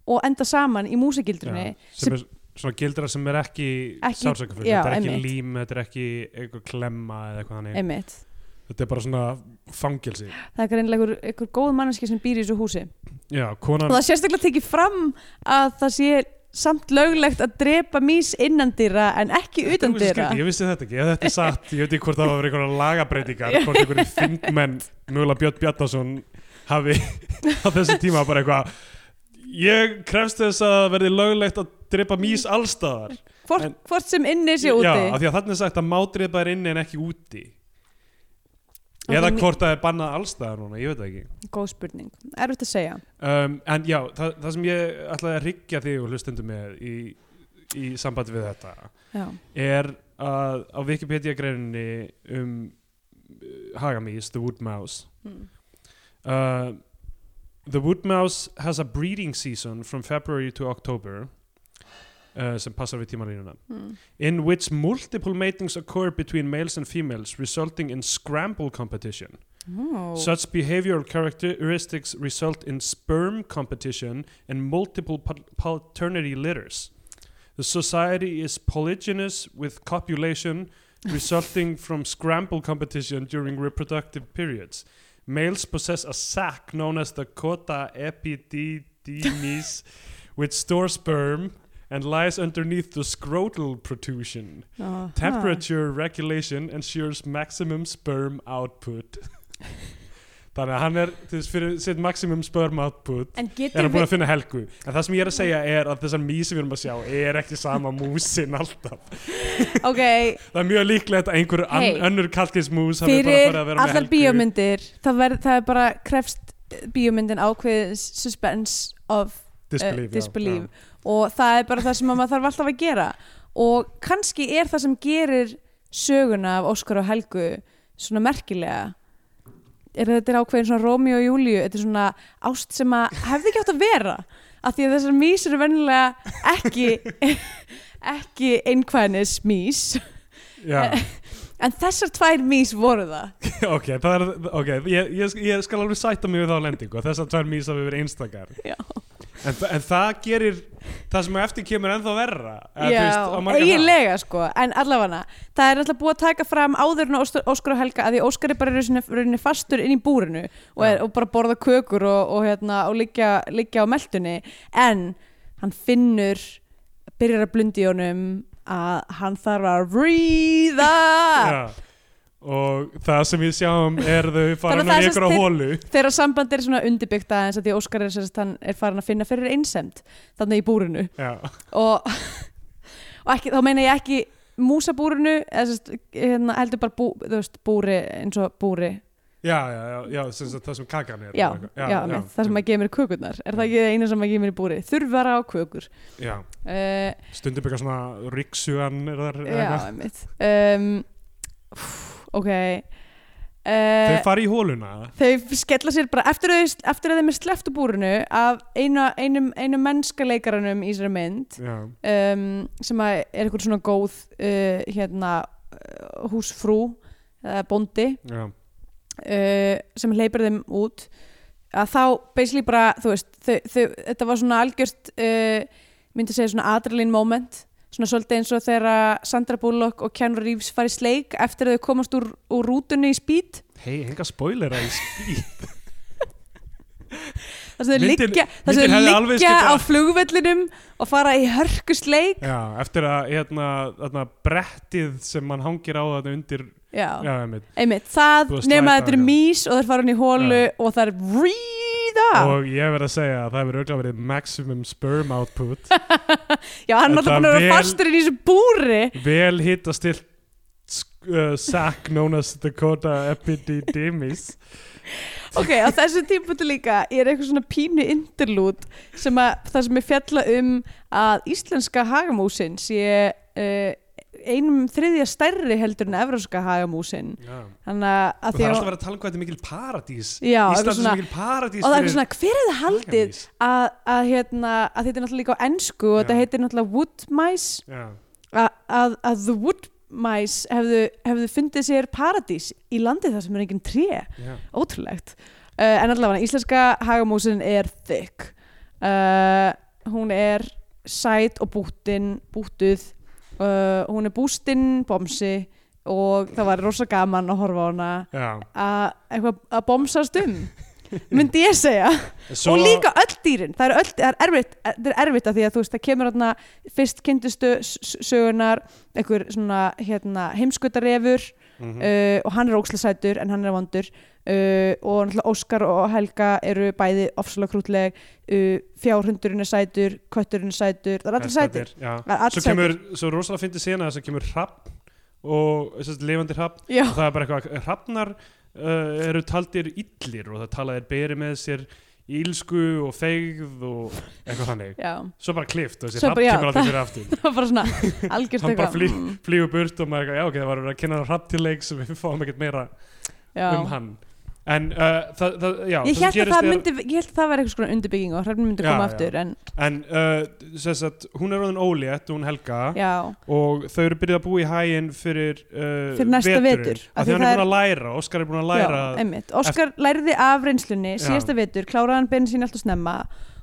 Speaker 3: og enda saman í
Speaker 2: já,
Speaker 3: músagildrunni
Speaker 2: sem er svona gildra sem er ekki,
Speaker 3: Ekki-
Speaker 2: ekki sálsökafullt,
Speaker 3: já,
Speaker 2: þetta er ekki
Speaker 3: einmitt.
Speaker 2: lím þetta er ekki eitthvað klemma eða eitthvað þannig
Speaker 3: einmitt
Speaker 2: þetta er bara svona fangelsi
Speaker 3: það er greinlega einhver, einhver góð manneski sem býr í þessu húsi
Speaker 2: já,
Speaker 3: og
Speaker 2: konan,
Speaker 3: það er sérstaklega tekið fram að það sé samt löglegt að drepa mís innandýra en ekki utandýra
Speaker 2: Ég vissi þetta ekki, ef þetta er satt, ég veit ekki hvort það var einhverja lagabreitingar, hvort einhverju þingmenn, mögulega Björn Bjarnason hafi <laughs> á þessum tíma bara eitthvað ég krefst þess að verði löglegt að drepa mís allstaðar
Speaker 3: hvort,
Speaker 2: en-
Speaker 3: hvort sem inni sé úti
Speaker 2: Já, af því að þannig er sagt að má drepa þær inni en ekki úti
Speaker 3: Og
Speaker 2: eða
Speaker 3: það er mi-
Speaker 2: hvort það er bannað allstaðar núna, ég veit það ekki
Speaker 3: góð spurning, erfitt að segja
Speaker 2: um, en já, það, það sem ég ætlaði að riggja þig og hlustendum með í, í sambandi við þetta
Speaker 3: já,
Speaker 2: er að á Wikipedia greininni um uh, Hagamís, The Wood Mouse
Speaker 3: Mm.
Speaker 2: uh, The Wood Mouse has a breeding season from February to October uh, sem passar við tímalínuna
Speaker 3: Mm.
Speaker 2: in which multiple matings occur between males and females resulting in scramble competition
Speaker 3: Ó.
Speaker 2: Such behavioral characteristics result in sperm competition and multiple pat- paternity litters. The society is polygynous with copulation resulting <laughs> from scramble competition during reproductive periods. Males possess a sac known as the cota epididymis, <laughs> which stores sperm and lies underneath the scrotal protrusion.
Speaker 3: Aha.
Speaker 2: Temperature regulation ensures maximum sperm output <laughs> Þannig að hann er þú veist, fyrir sitt maximum sperm output
Speaker 3: en
Speaker 2: er
Speaker 3: getur
Speaker 2: hann búin
Speaker 3: við
Speaker 2: að finna helgu en það sem ég er að segja er að þessar mýs sem við erum að sjá er ekki sama músin alltaf
Speaker 3: ok,
Speaker 2: <laughs> það er mjög líklegt að einhver an,
Speaker 3: Hey.
Speaker 2: önnur kalkinsmús hafi bara
Speaker 3: fyrir
Speaker 2: farið að vera með
Speaker 3: allar
Speaker 2: helgu
Speaker 3: bíómyndir það, verð, það er bara krefst bíómyndin ákveðið suspense of
Speaker 2: disbelief,
Speaker 3: uh, disbelief. og það er bara það sem að maður þarf alltaf að gera og kannski er það sem gerir söguna af Óskar og Helgu svona merkilega er að þetta er ákveðin svona Rómi og Júliu þetta er svona ást sem að hefði ekki átt að vera af því að þessar mís eru vennilega ekki <laughs> ekki einkvæðnis mís
Speaker 2: Já, já.
Speaker 3: en þessar tvær mís voru það
Speaker 2: <laughs> ok, það er, ok ég, ég, ég skal alveg sætta mig við þá lendingu og þessar tvær mýs hafi verið einstakar
Speaker 3: já,
Speaker 2: en, þa- en það gerir það sem á eftir kemur ennþá verra eða, þú veist, á margan hátt.
Speaker 3: eiginlega sko en allavega, það er alltaf búið að taka fram áður en Óskar, Óskar og Helga að því Óskar er bara í rauninni- rauninni fastur inn í búrinu og, er,
Speaker 2: Já.
Speaker 3: og bara borða kökur og, og, hérna, og liggja, liggja á meldunni en hann finnur byrjar að blundi í honum að hann þarf að breatha
Speaker 2: Já. og það sem við sjáum er þau
Speaker 3: Þannig
Speaker 2: fara
Speaker 3: að
Speaker 2: hann
Speaker 3: það
Speaker 2: í
Speaker 3: er sem
Speaker 2: ykkur á
Speaker 3: sagt-
Speaker 2: hólu
Speaker 3: þeirra samband er svona undirbyggt aðeins að því Óskar er, sérst, hann er farin að finna fyrir einsemd þannig í búrinu
Speaker 2: já,
Speaker 3: og, <laughs> og ekki, þá meina ég ekki músabúrinu eða sest, hérna, heldur bara bú, þú veist, búri eins og búri
Speaker 2: já, já, já, já sem sagt, það sem kakan er
Speaker 3: já,
Speaker 2: eða eitthvað.
Speaker 3: já, já, það sem að gefa mér kökurnar er það ekki það eina sem að gefa mér í búri þurfara á kökur
Speaker 2: já.
Speaker 3: uh,
Speaker 2: stundum eitthvað svona ríksugan er þar,
Speaker 3: já,
Speaker 2: eitthvað.
Speaker 3: einmitt um, úff, ok uh,
Speaker 2: þau fara í hóluna
Speaker 3: þau skella sér bara eftir að, þau- eftir að þeim er sleppt úr búrinu af einu, einum, einum mennska leikaranum í þessari mynd
Speaker 2: já,
Speaker 3: um, sem að er einhvern svona góð uh, hérna uh, húsfrú eða bóndi
Speaker 2: já,
Speaker 3: uh, sem hleypir þeim út að þá basically bara þú veist, þau, þau, þetta var svona algjört uh, myndi segja svona adrenaline moment svona svolítið eins og þegar Sandra Bullock og Keanu Reeves fari í sleik eftir að þau komast úr, úr rútunni í speed
Speaker 2: hei, enga spoilera í spýt
Speaker 3: þar sem þau
Speaker 2: Myndin-
Speaker 3: liggja, þar
Speaker 2: myndin
Speaker 3: sem
Speaker 2: hefði
Speaker 3: þau
Speaker 2: alveg
Speaker 3: liggja á
Speaker 2: getað-
Speaker 3: flugvellinum og fara í hörku sleik
Speaker 2: já, eftir að hérna, hérna, brettið sem mann hangir á þarna undir
Speaker 3: já,
Speaker 2: já, einmitt.
Speaker 3: einmitt, það
Speaker 2: Þú veist,
Speaker 3: nema
Speaker 2: slæta,
Speaker 3: þetta er
Speaker 2: já.
Speaker 3: mís og þeir fara hann í hólu
Speaker 2: Já.
Speaker 3: og það er ríða
Speaker 2: og ég verð að segja að það hefur auðvitað verið maximum sperm output
Speaker 3: <laughs> já, hann er
Speaker 2: Þetta
Speaker 3: alltaf búin að vera
Speaker 2: vel-
Speaker 3: fastur inn í þessu búri
Speaker 2: vel hittastilt uh, sack known as Dakota Epididymis
Speaker 3: Ok, á þessu tímpunktu líka er eitthvað svona pínu interlút sem að það sem er fjalla um að íslenska hagamúsin sé uh, einum þriðja stærri heldur en evróska hagamúsin
Speaker 2: Já.
Speaker 3: þannig að-
Speaker 2: og
Speaker 3: að
Speaker 2: það
Speaker 3: því
Speaker 2: er
Speaker 3: að
Speaker 2: alltaf verið að tala um hvað þetta er mikil paradís
Speaker 3: Já, eitthvað
Speaker 2: Ísland er svo
Speaker 3: svona-
Speaker 2: mikil paradís
Speaker 3: og það er
Speaker 2: fyrir
Speaker 3: eitthvað svona hver hefði haldið
Speaker 2: hagamýs.
Speaker 3: að, að, hérna, að þetta er náttúrulega líka á ensku og
Speaker 2: Já.
Speaker 3: þetta heitir náttúrulega wood mice
Speaker 2: Já.
Speaker 3: að, að, að the wood mice hefðu, hefðu fundið sér paradís í landi þar sem er engin tré
Speaker 2: Já.
Speaker 3: ótrúlegt uh, en allavega íslenska hagamúsin er thick uh, hún er sæt og búttin búttuð uh, hún er bústinn, bomsi og það var rosa gaman að horfa á hana
Speaker 2: Já.
Speaker 3: að eitthvað að bomsast um myndi ég segja
Speaker 2: Svo,
Speaker 3: og líka öll dýrin, það er, öll, það er erfitt það er erfitt að því að þú veist, það kemur hérna fyrst kynntustu sögunar einhver svona hérna heimskutarefur
Speaker 2: Mhm.
Speaker 3: uh, og hann er ógslasætur en hann er vondur uh, og náttúrulega Óskar og Helga eru bæði ofsalega krútleg uh, fjárhundurinn er sætur, kötturinn er sætur það er allir sætir,
Speaker 2: Hestarnir, já.
Speaker 3: það er
Speaker 2: Svo
Speaker 3: allir sætir
Speaker 2: kemur, svo rosalega fyndi sena þess að kemur hrappn og þess að lifandi hrappn
Speaker 3: já,
Speaker 2: og það er bara eitthvað, hrappnar uh, eru taldir illir og það tala þeir beri með sér ílsku og feigð og eitthvað þannig
Speaker 3: já, <laughs>
Speaker 2: svo bara klift og þessi
Speaker 3: Svo
Speaker 2: hrapp
Speaker 3: bara, já,
Speaker 2: kemur aldrei
Speaker 3: það-
Speaker 2: fyrir aftur
Speaker 3: það var bara
Speaker 2: <laughs>
Speaker 3: svona algjörst
Speaker 2: Hann bara
Speaker 3: eitthvað
Speaker 2: flý-
Speaker 3: mm,
Speaker 2: flýgur burt og maður er eitthvað, já ok, það var verið að kynna hrapp til leik sem við fáum ekkert meira
Speaker 3: já.
Speaker 2: um hann en uh, það, það, já
Speaker 3: ég
Speaker 2: sem
Speaker 3: held að
Speaker 2: gerist
Speaker 3: það
Speaker 2: er-
Speaker 3: myndi, ég held að það var eitthvað svona undirbygging og hrefnum myndi
Speaker 2: Já,
Speaker 3: koma
Speaker 2: já.
Speaker 3: aftur en
Speaker 2: en uh, þess að hún er orðin ólétt, hún Helga
Speaker 3: já,
Speaker 2: og þau eru byrjuð að búa í hæginn fyrir, uh,
Speaker 3: Fyrir næsta
Speaker 2: veturinn.
Speaker 3: vetur, af
Speaker 2: af
Speaker 3: því
Speaker 2: því hann
Speaker 3: það
Speaker 2: er búin að læra, Óskar er búin að læra
Speaker 3: já einmitt, Óskar læriði af reynslunni
Speaker 2: Já.
Speaker 3: síðasta vetur, kláraði hann beinu sín alltaf snemma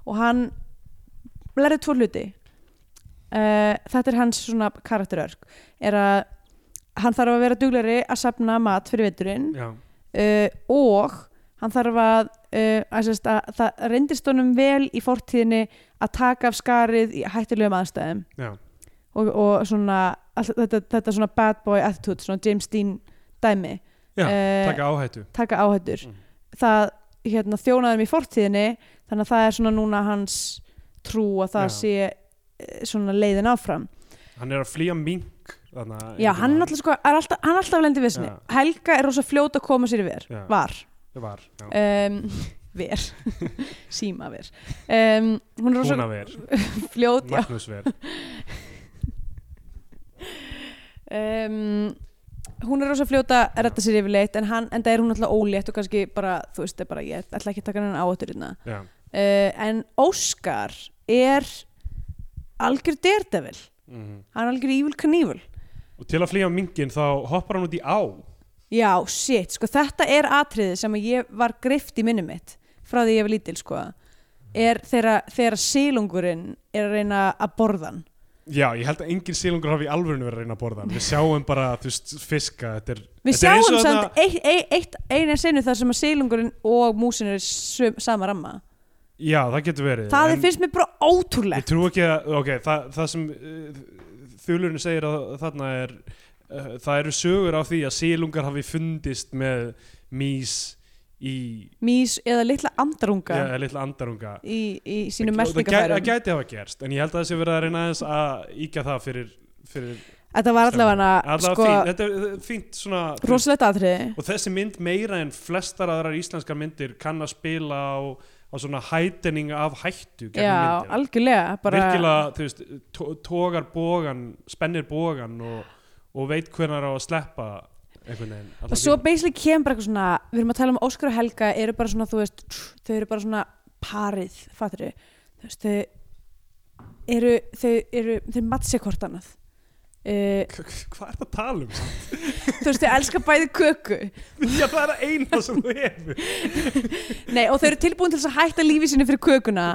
Speaker 3: og hann læriði tvo hluti uh, þetta er hans svona karakterörk er að hann þarf að vera duglari að safna mat fyrir veturinn
Speaker 2: já,
Speaker 3: uh, og hann þarf að, uh, að, sérst, að það reyndist honum vel í fortíðinni að taka af skarið í hættulegum aðstæðum
Speaker 2: já,
Speaker 3: og, og svona all, þetta, þetta svona bad boy attitude svona James Dean dæmi
Speaker 2: já
Speaker 3: Eh,
Speaker 2: taka áhættu
Speaker 3: taka áhættur
Speaker 2: Mhm.
Speaker 3: það hérna, þjónaðum í fortíðinni þannig að það er svona núna hans trú að það
Speaker 2: Já.
Speaker 3: sé eh, svona leiðin áfram
Speaker 2: hann er að flýja mink þarna,
Speaker 3: já, hann er alltaf, sko, er alltaf, hann er alltaf lendi vissinni
Speaker 2: Já.
Speaker 3: Helga er rosa fljót að koma sér í ver
Speaker 2: Já.
Speaker 3: var,
Speaker 2: var, já,
Speaker 3: um, <laughs> ver síma ver um, hún er rosa
Speaker 2: húnaver,
Speaker 3: fljót já,
Speaker 2: Magnúsver
Speaker 3: um, hún er rosa fljóta að redda sér yfirleitt en, hann, en það er hún alltaf ólétt og kannski bara, þú veist, er bara, ég ætla ekki að taka hennan áhættur hérna
Speaker 2: já,
Speaker 3: uh, en Óskar er algjör daredevil
Speaker 2: mhm.
Speaker 3: hann er algjör evil kníful
Speaker 2: og til að flýja minkin þá hoppar hann út í á
Speaker 3: já, shit, sko þetta er atriði sem að ég var grift í minni mitt frá því ég var lítil, sko er þegar, þegar silungurinn er að reyna að borða hann
Speaker 2: já, ég held að engin sílungur hafi í alvörinu verið að reyna að borða hann við sjáum bara, þú veist, fiska þetta er,
Speaker 3: við
Speaker 2: þetta er eins
Speaker 3: sjáum
Speaker 2: og
Speaker 3: samt
Speaker 2: þarna-
Speaker 3: eitt, eitt, eitt, eina senu þar sem að silungurinn og músin eru sum, sama ramma
Speaker 2: já, það getur verið
Speaker 3: það er
Speaker 2: en
Speaker 3: finnst mér bara
Speaker 2: ég
Speaker 3: ótrúlegt
Speaker 2: trú ekki að, ok, það, það sem uh, þulurinn segir að þarna er uh, það eru sögur á því að sílungar hafi fundist með mís í,
Speaker 3: mís eða litla andarunga
Speaker 2: já, litla andarunga
Speaker 3: í, í sínum
Speaker 2: Og það gæ-
Speaker 3: meltingafærum
Speaker 2: það gæti hafa gerst, en ég held að það sé verið að reyna aðeins að íkja það fyrir, fyrir
Speaker 3: þetta var allavega
Speaker 2: allavega
Speaker 3: sko,
Speaker 2: fínt, þetta er eh, fínt svona
Speaker 3: rosalegt atriði
Speaker 2: og þessi mynd meira en flestar aðrar íslenskar myndir kann að spila á, á svona hætening af hættu gegnum
Speaker 3: Já,
Speaker 2: myndina.
Speaker 3: algjörlega bara,
Speaker 2: virkilega, þú veist, tó- tógar bógan spennir bógan og, og veit hvernar á að sleppa einhvern veginn
Speaker 3: Og
Speaker 2: allan
Speaker 3: svo
Speaker 2: tímann.
Speaker 3: basically kemur bara eitthvað svona Við erum að tala um Óskar og Helga eru bara svona, þú veist tr- Þau eru bara svona parið Fattur þau, veist, þau eru, þau eru Þau matse hvort annað Uh,
Speaker 2: Hva- <laughs> hvað er það að tala um? <laughs>
Speaker 3: þú veist, þau elska bæði köku
Speaker 2: Já, það er að eina sem þú hefur
Speaker 3: Nei, og þau eru tilbúin til þess að hætta lífi sinni fyrir kökuna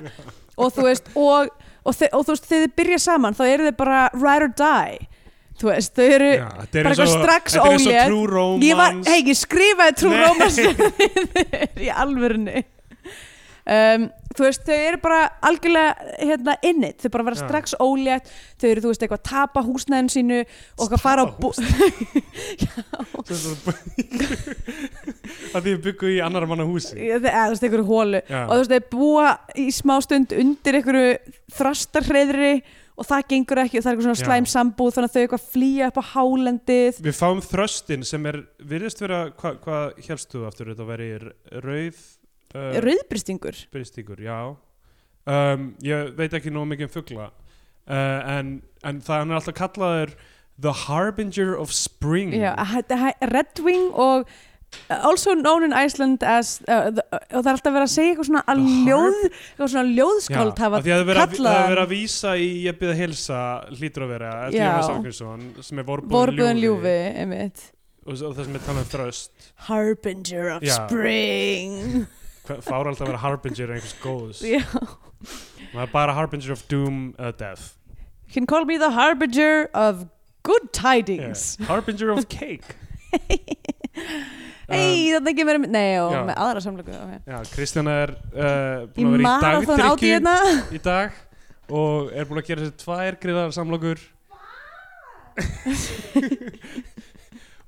Speaker 3: og þú veist og, og, þau, og þú veist, þegar þau byrja saman þá eru þau bara ride or die þú veist, þau eru
Speaker 2: Já, þetta er eins
Speaker 3: bara
Speaker 2: og-
Speaker 3: eitthvað strax
Speaker 2: þetta er eins og
Speaker 3: ólétt.
Speaker 2: true
Speaker 3: ég var,
Speaker 2: romance
Speaker 3: hei, ég skrifaði trú
Speaker 2: Nei.
Speaker 3: rómast <laughs> í alvörunni um, þú veist, þau eru bara algjörlega hérna innit, þau bara vera
Speaker 2: Já.
Speaker 3: strax ólétt þau eru, þú veist, eitthvað að tapa húsnæðin sínu og eitthvað að fara á
Speaker 2: Tapa
Speaker 3: bú
Speaker 2: Sem sagt, <laughs> að því við byggum í annar manna húsi
Speaker 3: <laughs> eða þú veist, einhverju hólu
Speaker 2: Já.
Speaker 3: og þú veist, þau búa í smá stund undir einhverju þrastarhreðri og það gengur ekki og það er eitthvað svona
Speaker 2: Já.
Speaker 3: slæm sambúð þannig að þau eitthvað flýja upp á hálendið
Speaker 2: við fáum þröstin sem er virðist vera, hva- hvað hva helstu þú aftur þetta veri rauð uh,
Speaker 3: rauðbristingur
Speaker 2: bristingur, já um, ég veit ekki nóg mikið um fugla uh, en, en það hann er alltaf kallaður The Harbinger of Spring
Speaker 3: Já, hæ- hæ- Red Wing og uh, also known in Iceland as uh, the, og það er alltaf verið að segja eitthvað svona að
Speaker 2: The harp?
Speaker 3: ljóð, eitthvað svona ljóðskáld hafa
Speaker 2: af því að það er verið að- það
Speaker 3: kallað
Speaker 2: er verið
Speaker 3: hann.
Speaker 2: að vísa í ég byrði að hilsa hlýtur að vera, eftir
Speaker 3: Já.
Speaker 2: Jónas Ákjörsson sem er
Speaker 3: vorbúðin
Speaker 2: vorbúðin
Speaker 3: ljúfi, einmitt
Speaker 2: og og það sem er talað um þröst
Speaker 3: Harbinger of
Speaker 2: Já.
Speaker 3: Spring
Speaker 2: Hva- fára alltaf að vera Harbinger einhvers góðs
Speaker 3: Já.
Speaker 2: maður er bara Harbinger of Doom eða Death
Speaker 3: You can call me the harbinger of Good
Speaker 2: Yeah.
Speaker 3: tidings
Speaker 2: Harbinger of
Speaker 3: <laughs>
Speaker 2: cake
Speaker 3: Ei, þarna kemur um, nei, og
Speaker 2: já.
Speaker 3: með aðra samlöku okay.
Speaker 2: Já, Kristjana er uh,
Speaker 3: Í
Speaker 2: búin að vera í
Speaker 3: marathon áti
Speaker 2: dagdrykju
Speaker 3: hérna
Speaker 2: í dag og er búin að gera þessi tvær griðar
Speaker 3: <laughs>
Speaker 2: samlokur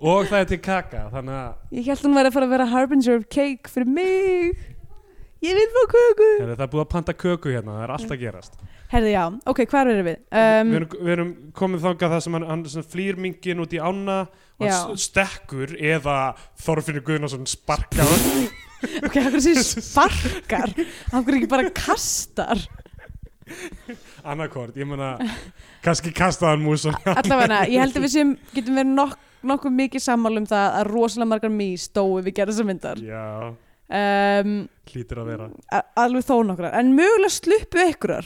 Speaker 2: og það er til kaka þannig að
Speaker 3: Ég held hún væri að fara að vera harbinger of cake fyrir mig Ég vil fá köku
Speaker 2: heyrðu, það er búið að panta köku hérna, það er allt að gerast
Speaker 3: Herði, já, ok, hvar erum við? Um,
Speaker 2: við, erum, við erum komið þangað það sem hann, hann svona flýr mingin út í ána og hann
Speaker 3: Já.
Speaker 2: s- stekkur eða Þorfinnur Guðnason sparkar hann.
Speaker 3: ok, af hverju sér sparkar Af hverju ekki bara kastar
Speaker 2: annarkort, ég meina kannski kastaðan músan
Speaker 3: Allavega, ég held að við sem getum verið nokk nokkuð mikið sammála um það að rosalega margar mís dói við gerða þessar myndar
Speaker 2: já,
Speaker 3: um,
Speaker 2: hlýtur að vera
Speaker 3: a- alveg þó nokkrar en mögulega sluppu ykkurar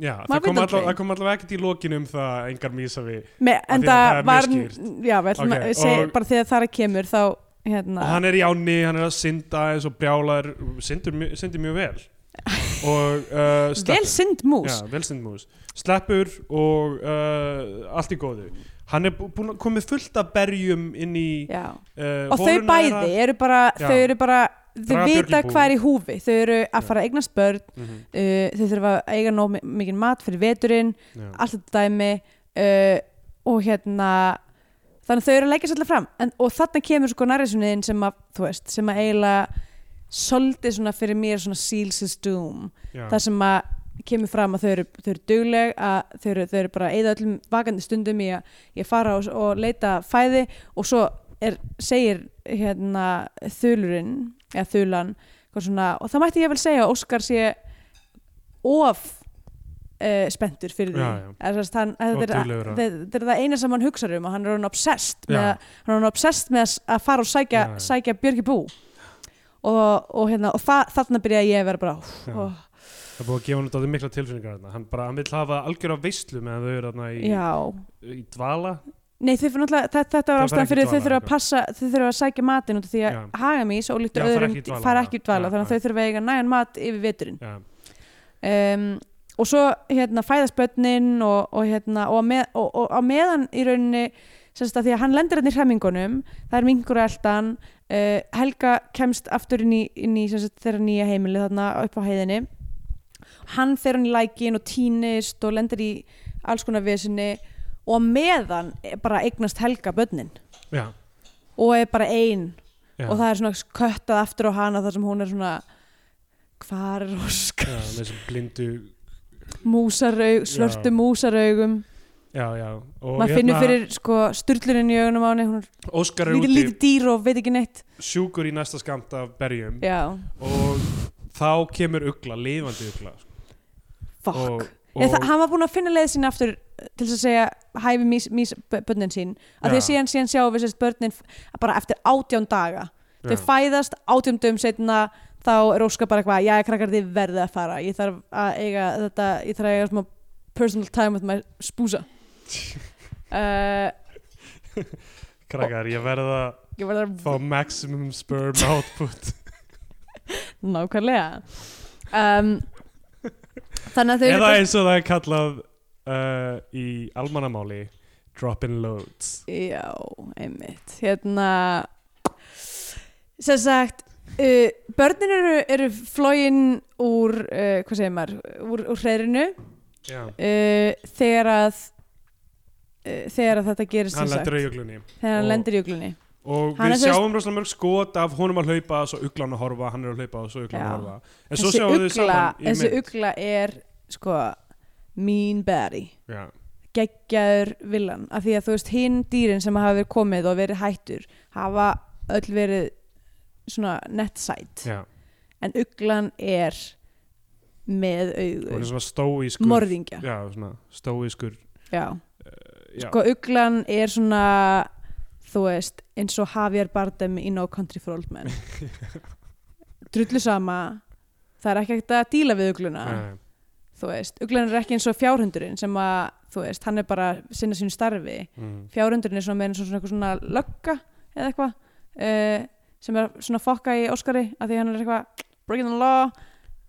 Speaker 2: Já, það
Speaker 3: Maður
Speaker 2: kom,
Speaker 3: veit
Speaker 2: allavega,
Speaker 3: aldrei.
Speaker 2: það kom allavega ekkert í lokinu um það að engar mísa við
Speaker 3: Me,
Speaker 2: Af
Speaker 3: en
Speaker 2: því að það
Speaker 3: það
Speaker 2: er
Speaker 3: var
Speaker 2: mjög skýrt.
Speaker 3: já, við ætlum
Speaker 2: Ok,
Speaker 3: að segja
Speaker 2: og-
Speaker 3: bara þegar það kemur þá hérna,
Speaker 2: og hann er í áni, hann er að synda eins og brjálar, syndur, mjö- syndir mjög vel
Speaker 3: <laughs>
Speaker 2: og uh,
Speaker 3: vel
Speaker 2: sleppur
Speaker 3: synd mús
Speaker 2: Já, vel synd mús sleppur og uh, allt í góðu hann er bú- búinn að komið fullt af berjum inn í
Speaker 3: já.
Speaker 2: uh,
Speaker 3: og þau bæði eru bara,
Speaker 2: Já.
Speaker 3: þau eru bara þau
Speaker 2: Draga
Speaker 3: vita
Speaker 2: björn í
Speaker 3: hvað er í húfi þau eru
Speaker 2: Já.
Speaker 3: að fara að eignast börn
Speaker 2: mm -hmm,
Speaker 3: uh, þau þurfa að eiga nóg mi- mikinn mat fyrir veturinn
Speaker 2: já.
Speaker 3: allt þetta dæmi uh, og hérna þannig að þau eru að leggja svolítið fram en, og þarna kemur sko nærrisunniðin sem að þú veist, sem að eiginlega svolítið svona fyrir mér svona seals his doom
Speaker 2: Já.
Speaker 3: þar sem að kemur fram að þau eru, þau eru dugleg að þau eru, þau eru bara að eyða öllum vakandi stundum í að, í að fara og, og leita fæði og svo er, segir hérna þulurinn eða þulan eitthvað svona, og það mætti ég vel segja að Óskar sé of uh, spenntur fyrir því
Speaker 2: Já, já.
Speaker 3: Eða sem sagt, hann, þetta,
Speaker 2: Og
Speaker 3: er,
Speaker 2: duglegur að-
Speaker 3: þetta, er- þetta er það eina sem hann hugsar um og hann er hann obsessed með,
Speaker 2: Já.
Speaker 3: að- hann er orðinn obsessed með að, s- að fara og sækja,
Speaker 2: Já, já.
Speaker 3: sækja Björki Bú og, og, hérna, og þa þarna byrja ég að vera bara óh,
Speaker 2: Já.
Speaker 3: óh,
Speaker 2: það er búið að gefa hann þetta mikla tilfinningar þarna. hann bara, hann vil hafa algjör á veislu meðan þau eru þarna í,
Speaker 3: Já,
Speaker 2: í dvala
Speaker 3: nei þau fyrir náttúrulega þetta, þetta
Speaker 2: Það
Speaker 3: var
Speaker 2: fara
Speaker 3: ástæðan
Speaker 2: ekki í
Speaker 3: fyrir að þau
Speaker 2: dvala,
Speaker 3: þurfa að
Speaker 2: eitthvað.
Speaker 3: passa þau þurfa að sækja matinn út af því að
Speaker 2: Já.
Speaker 3: hagamís og líkt
Speaker 2: Já, fara
Speaker 3: öðrum
Speaker 2: ekki í dvala,
Speaker 3: fara ekki í
Speaker 2: já.
Speaker 3: dvala
Speaker 2: Já,
Speaker 3: þannig að
Speaker 2: já.
Speaker 3: þau þurfa að eiga nægan mat yfir veturinn
Speaker 2: já,
Speaker 3: um, og svo hérna fæðast börnin og, og hérna og, á með, og, og á meðan í rauninni semst að því að hann lendir hérna í hremmingunum það er mingur eldan uh, Helga kemst aftur inn í, inn í semst, þeirra nýja heimili þarna upp á heiðinni hann fer hann í lækin og týnist og lendir í alls konar vesinni og á meðan eh, bara eignast Helga börnin
Speaker 2: já,
Speaker 3: og er bara ein
Speaker 2: já.
Speaker 3: og það er svona köttað aftur á hana þar sem hún er svona hvar er Óskar
Speaker 2: já, með þessum blindu
Speaker 3: músaraug, svörtu
Speaker 2: Já.
Speaker 3: músaraugum
Speaker 2: já, já, og hérna-
Speaker 3: maður finnur fyrir sko sturlunin í augunum á henni hún er
Speaker 2: Óskar er
Speaker 3: lítið,
Speaker 2: úti
Speaker 3: lítið dýr og veit ekki neitt
Speaker 2: sjúkur í næsta skamt af berjum
Speaker 3: já,
Speaker 2: og þá kemur ugla, lifandi ugla sko.
Speaker 3: fuck
Speaker 2: og, og,
Speaker 3: Eða, það, hann var búinn að finna leið sín aftur eh, til þess að segja hæfi mís, mís bö- börnin sín að því að
Speaker 2: Já.
Speaker 3: síðan, síðan sjáum við sérst börnin f- bara eftir átján daga
Speaker 2: Já.
Speaker 3: þau fæðast átján dögum setna þá er Óskar bara eitthvað, já, krakkar þið verðið að fara ég þarf að eiga þetta ég þarf að eiga smá personal time with my
Speaker 2: <laughs>
Speaker 3: spúsa uh,
Speaker 2: krakkar, ég verða að
Speaker 3: ég verður að
Speaker 2: fá maximum
Speaker 3: <laughs>
Speaker 2: sperm output
Speaker 3: Nákvæmlega um, Þannig að þau eru
Speaker 2: eða
Speaker 3: bara-
Speaker 2: eins og það er kallað uh, í almannamáli drop in loads
Speaker 3: Já, einmitt Hérna Sem sagt uh, Börnin eru, eru flóin úr uh, Hvað segir maður? Úr, úr hreirinu
Speaker 2: já.
Speaker 3: uh, Þegar að uh, Þegar að þetta gerist sem
Speaker 2: hann
Speaker 3: sagt,
Speaker 2: lendur í uglunni
Speaker 3: Þegar hann
Speaker 2: og-
Speaker 3: lendir í uglunni
Speaker 2: og
Speaker 3: Hann er
Speaker 2: við
Speaker 3: sem sagt-
Speaker 2: sjáum rosalega mörg skot af honum að hlaupa svo uglan að horfa, hann er að hlaupa og svo uglan
Speaker 3: Já.
Speaker 2: að horfa en svo
Speaker 3: Þessi
Speaker 2: sjáum við
Speaker 3: ugla,
Speaker 2: saman í
Speaker 3: þessi
Speaker 2: mynd
Speaker 3: ugla er Sko Mean baddie
Speaker 2: já,
Speaker 3: geggjaður villan af því að þú veist hinn dýrin sem hafa verið komið og verið hættur hafa öll verið svona nettsæt
Speaker 2: já.
Speaker 3: en uglan er með
Speaker 2: og hann
Speaker 3: augu
Speaker 2: er svona stóískur
Speaker 3: morðingja
Speaker 2: já, svona stóískur
Speaker 3: já.
Speaker 2: já,
Speaker 3: Sko, uglan er svona þú veist eins og Javier Bardem í No Country for Old
Speaker 2: <laughs>
Speaker 3: Men drullu sama það er ekki hægt að díla við ugluna
Speaker 2: Nei.
Speaker 3: þú veist, uglan er ekki eins og fjárhundurinn sem að, þú veist, hann er bara að sinna sínu starfi
Speaker 2: mm.
Speaker 3: fjárhundurinn er svona með eins og svona, eitthvað svona lögga eða eitthvað uh, sem er svona að fokka í Óskari af því hann er eitthvað breaking the law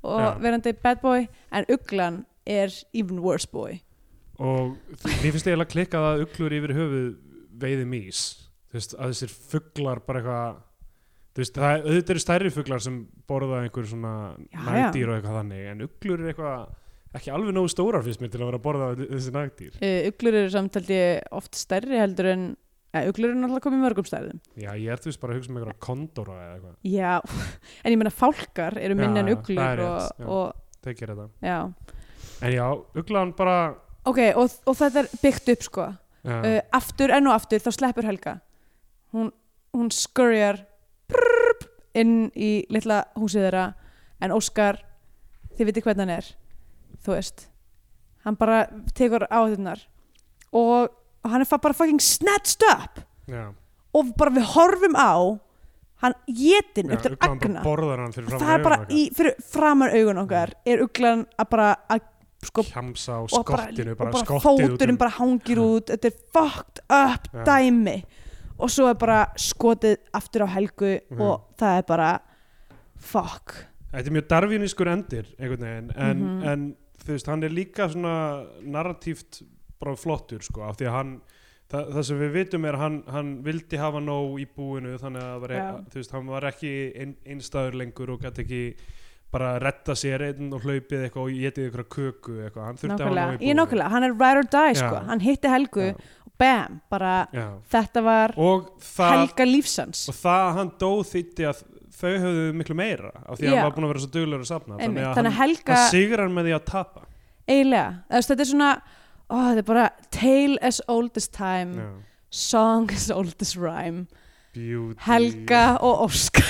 Speaker 3: og
Speaker 2: Já.
Speaker 3: verandi bad boy en uglan er even worse boy
Speaker 2: og mér finnst eiginlega klikkað að uglur yfir höfuð veiði mís þú veist, að þessir fuglar bara eitthvað þú veist, það, auðvitað eru stærri fuglar sem borða einhver svona
Speaker 3: Já,
Speaker 2: nagdýr og eitthvað þannig, en uglur eru eitthvað ekki alveg nógu stórar fyrst mér til að vera að borða þessi nagdýr
Speaker 3: Uh, uglur eru samtaldi oft stærri heldur en uh, uglur eru náttúrulega komið mörgum stærðum
Speaker 2: Já, ég er þú veist bara að hugsa um einhverja kondóra eða eitthvað,
Speaker 3: já, <laughs> en ég meina fálkar eru minni
Speaker 2: Já,
Speaker 3: en
Speaker 2: já, það er
Speaker 3: uglur
Speaker 2: rétt,
Speaker 3: og,
Speaker 2: já.
Speaker 3: og,
Speaker 2: þeir gera þetta
Speaker 3: já.
Speaker 2: En já, uglan bara
Speaker 3: ok, og, og þetta er byggt upp sko
Speaker 2: uh,
Speaker 3: uh, aftur, enn og aftur, þá sleppur Helga hún, hún skurjar prrrp, inn í litla húsið þeirra en Óskar, þið viti hvernig hann er þú veist hann bara tekur á þennar og hann er fa- bara fucking snatched up
Speaker 2: Já,
Speaker 3: og bara við horfum á hann
Speaker 2: já
Speaker 3: getinn upp til
Speaker 2: uglan bara
Speaker 3: agna
Speaker 2: borðar hann fyrir fram
Speaker 3: það er bara í, fyrir framar augun okkar er uglan að bara að sko
Speaker 2: Hjamsa á
Speaker 3: og bara,
Speaker 2: skottinu, bara,
Speaker 3: og bara
Speaker 2: skottið út
Speaker 3: fóturinn
Speaker 2: um-
Speaker 3: bara hangir út þetta er fucked up
Speaker 2: Já.
Speaker 3: dæmi og svo er bara skotið aftur á helgu
Speaker 2: Mhm.
Speaker 3: og það er bara fuck
Speaker 2: Þetta er mjög darvinískur endir einhvern veginn, en,
Speaker 3: Mhm.
Speaker 2: en þú veist, hann er líka svona narratíft bara flottur, sko, af því að hann það, það sem við vitum er að hann, hann vildi hafa nóg í búinu, þannig að það var, e-
Speaker 3: Já.
Speaker 2: þú veist, hann var ekki ein, einstæður lengur og gæti ekki bara retta sér einn og hlaupið eitthvað og getið eitthvað köku eitthvað, hann þurfti að hafa
Speaker 3: nákvæmlega,
Speaker 2: nóg í
Speaker 3: ég
Speaker 2: búinu
Speaker 3: nákvæmlega, hann er ride or die
Speaker 2: Já.
Speaker 3: sko, hann hitti helgu
Speaker 2: Já.
Speaker 3: og bam, bara
Speaker 2: Já.
Speaker 3: þetta var
Speaker 2: og það
Speaker 3: helga lífsans
Speaker 2: og það að hann dó þýtti að þau höfðu miklu meira af því að
Speaker 3: Já.
Speaker 2: hann var búin að vera svo duglur að safna
Speaker 3: Einmitt,
Speaker 2: að
Speaker 3: þannig að
Speaker 2: hann,
Speaker 3: helga
Speaker 2: hann sigrar með því að tapa
Speaker 3: eiginlega, Þú veist, þetta er svona ó, þetta er bara tale as old as time
Speaker 2: Já.
Speaker 3: song as old as rhyme
Speaker 2: Beauty Mm.
Speaker 3: Helga og Óskar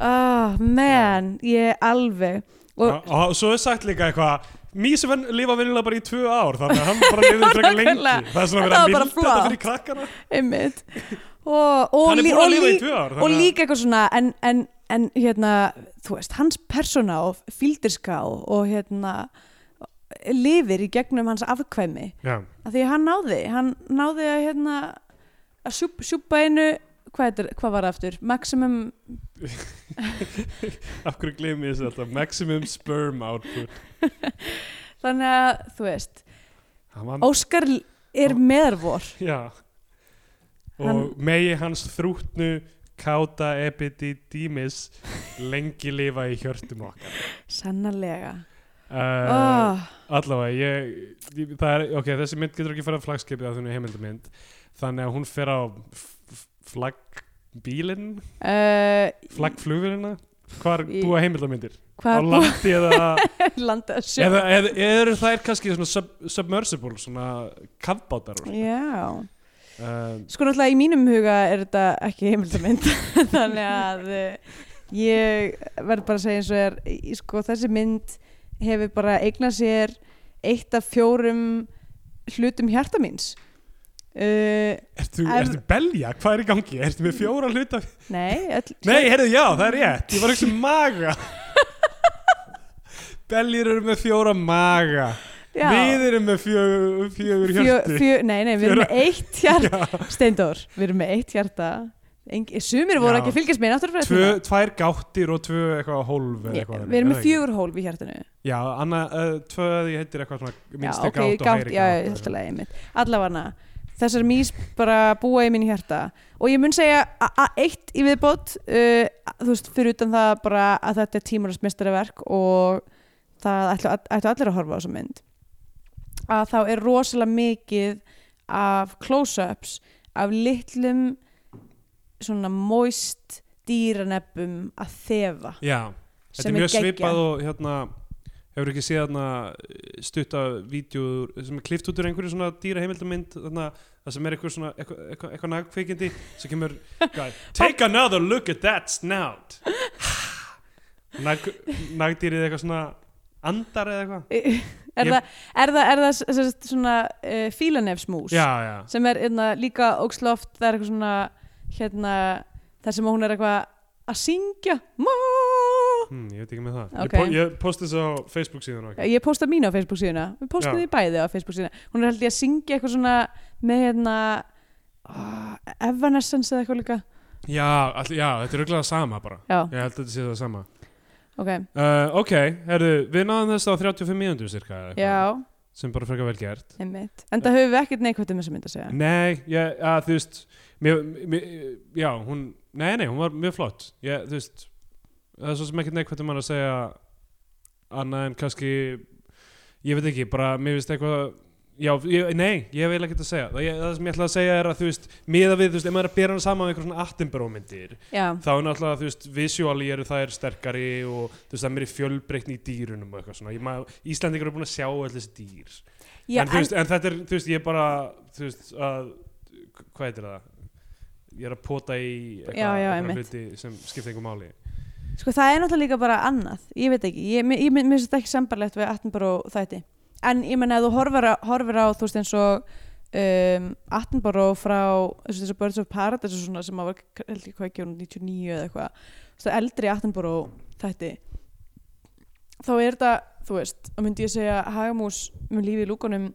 Speaker 3: Oh man, ég alveg
Speaker 2: og,
Speaker 3: og
Speaker 2: og Ah, svo er sagt líka eitthvað Mísi ven, lifa venjulega bara í tvö ár þannig að hann bara lifið frekar lengi
Speaker 3: <laughs> Nákvæmlega.
Speaker 2: það er svona verið að
Speaker 3: Þetta var
Speaker 2: mynda
Speaker 3: bara
Speaker 2: þetta
Speaker 3: flott.
Speaker 2: fyrir krakkana
Speaker 3: einmitt og, og,
Speaker 2: hann er
Speaker 3: lí-
Speaker 2: búin
Speaker 3: og,
Speaker 2: að lifa í
Speaker 3: lí-
Speaker 2: tvö ár
Speaker 3: og líka eitthvað svona en, en, en hérna, þú veist, hans persóna og fíldirska og, og hérna lifir í gegnum hans afkvæmi
Speaker 2: já,
Speaker 3: af því að hann náði, hann náði að hérna að sjúp, sjúpa einu hvað, þetta er, hvað var það aftur? Maximum
Speaker 2: af hverju glimið þessu alltaf maximum sperm output
Speaker 3: þannig að, þú veist
Speaker 2: hann var,
Speaker 3: Óskar er meðarvor
Speaker 2: já og
Speaker 3: Hann-
Speaker 2: megi hans þrútnu káta epididímis lengi lifa í hjörtum okkar
Speaker 3: Sannarlega
Speaker 2: uh,
Speaker 3: oh,
Speaker 2: allavega ég, ég- það er, ok, þessi mynd getur ekki farið að flagskipið að hún er heimildamynd þannig að hún fer á f- f- flaggbílinn
Speaker 3: uh,
Speaker 2: flaggflugvilina hvar
Speaker 3: Í-
Speaker 2: búa heimildamyndir á
Speaker 3: Hvað er
Speaker 2: landi
Speaker 3: <laughs>
Speaker 2: eða,
Speaker 3: búið landað sjó?
Speaker 2: eða, eða, eða eru þær kannski svona sub, submersible svona kafbátar
Speaker 3: Já
Speaker 2: uh,
Speaker 3: Sko náttúrulega í mínum huga er þetta ekki heimildamynd <laughs> Þannig að uh, ég verð bara að segja eins og er í- sko, þessi mynd hefur bara eignað sér eitt af fjórum hlutum hjarta míns uh,
Speaker 2: ertu,
Speaker 3: Em-
Speaker 2: ertu belja? Hvað er í gangi? Ertu með fjóra hluta?
Speaker 3: Nei, öll,
Speaker 2: Nei, heyrðu, já, það er rétt ég var ekki
Speaker 3: <laughs>
Speaker 2: maga beljir eru með fjóra maga
Speaker 3: já,
Speaker 2: við erum með fjögur, fjögur hjörtu
Speaker 3: fjö, Nei, nei, við erum
Speaker 2: Fjöra-
Speaker 3: með eitt hjarta Steindór, við erum með eitt hjarta Eng, Sumir
Speaker 2: Já.
Speaker 3: voru ekki að fylgjast með
Speaker 2: tvö,
Speaker 3: náttúrulega
Speaker 2: tvær gáttir og tvö eitthvað hólf eða
Speaker 3: Ég-
Speaker 2: eitthvað
Speaker 3: Við erum
Speaker 2: er það
Speaker 3: með
Speaker 2: ekki?
Speaker 3: fjögur hólf í hjartanu
Speaker 2: já, anna, uh, tvö því heitir eitthvað svona minnst
Speaker 3: ok,
Speaker 2: ekki átt og
Speaker 3: gátt-
Speaker 2: hægri
Speaker 3: já,
Speaker 2: gátt
Speaker 3: allt í lagi, einmitt. Allavega þessar mís bara búa í minn hjarta og ég mun segja a- a- eitt í viðbót uh, þú veist, fyrir utan það bara að þetta er tímarasmestaraverk og það ætlu, ætlu allir að horfa á þessa mynd að þá er rosalega mikið af close-ups af litlum svona moist dýranebbum að þefa
Speaker 2: já, þetta
Speaker 3: sem
Speaker 2: er
Speaker 3: er
Speaker 2: mjög svipað
Speaker 3: geggjað.
Speaker 2: og hérna hefur ekki séð hérna stutta vídjúður sem er klift út úr einhverju svona dýra heimildamynd þarna, það sem er eitthvað svona eitthvað, eitthvað, eitthvað nagkveikindi sem kemur guy, take another look at that
Speaker 3: <laughs>
Speaker 2: snout Nag, nagdýrið eitthvað svona andar eða eitthvað
Speaker 3: er,
Speaker 2: Ég-
Speaker 3: það, er það er það s- sem sagt svona uh, fílanefsmús
Speaker 2: já, já,
Speaker 3: sem er einna, líka ógsloft það er eitthvað svona hérna, þar sem hún er eitthvað að syngja Má!
Speaker 2: hm, ég veit ekki með það
Speaker 3: Ok.
Speaker 2: ég, po ég posti þessu á Facebook síðan okay.
Speaker 3: ég posta mínu á Facebook síðuna við postum
Speaker 2: Já.
Speaker 3: því bæði á Facebook síðuna hún er held ég að syngja eitthvað svona með hérna oh, Evanescence eða eitthvað líka
Speaker 2: já, all, já, þetta er auðvitað sama bara
Speaker 3: já,
Speaker 2: ég held að þetta sé það sama
Speaker 3: ok,
Speaker 2: Uh, ok, herru, við náðum þess á 35 mínútur cirka eða eitthvað,
Speaker 3: já,
Speaker 2: sem bara frekar vel gert
Speaker 3: einmitt en það höfum við ekkert neikvæmt um þessa mynd að segja
Speaker 2: Nei, ég, að, þú veist mér, mér, já, hún nei, nei, hún var mjög flott ég, þú veist, það er svo sem ekkert neikvæmt um hann að segja annað en kannski ég veit ekki, bara mér finnst eitthvað Já, ég, nei, ég vil ekkert að segja það, ég, það sem ég ætla að segja er að þú veist miða við, þú veist, ef maður er að bera hann saman við einhver svona Attenborough myndir
Speaker 3: já,
Speaker 2: þá er náttúrulega, þú veist, visuáli eru þær sterkari og þú veist, það er meiri fjölbreytni í dýrunum og eitthvað svona, Ég ma- Íslendingar eru búin að sjá öll þessi dýr
Speaker 3: já
Speaker 2: en, þú veist, en þetta er, þú veist, ég bara þú veist, að, hvað heitir það ég er að pota í
Speaker 3: Já, já,
Speaker 2: eitthvað
Speaker 3: einmitt.
Speaker 2: hluti sem skipta einhver máli
Speaker 3: Sko það er náttúrulega líka bara annað, ég veit ekki, ég, ég, ég mér finnst þetta ekki sambarlegt við Attenborough þætti. En ég menna að þú horfir á, horfir á þú veist eins og um, Attenborough frá þessu þessu Birds of Paradise og svona sem að var, k- held ekki hvað ekki, 99 eða eitthvað, þú veist eldri Attenborough þætti, þá er þetta, þú veist, og myndi ég segja að Hagamús með lífi í lúkunum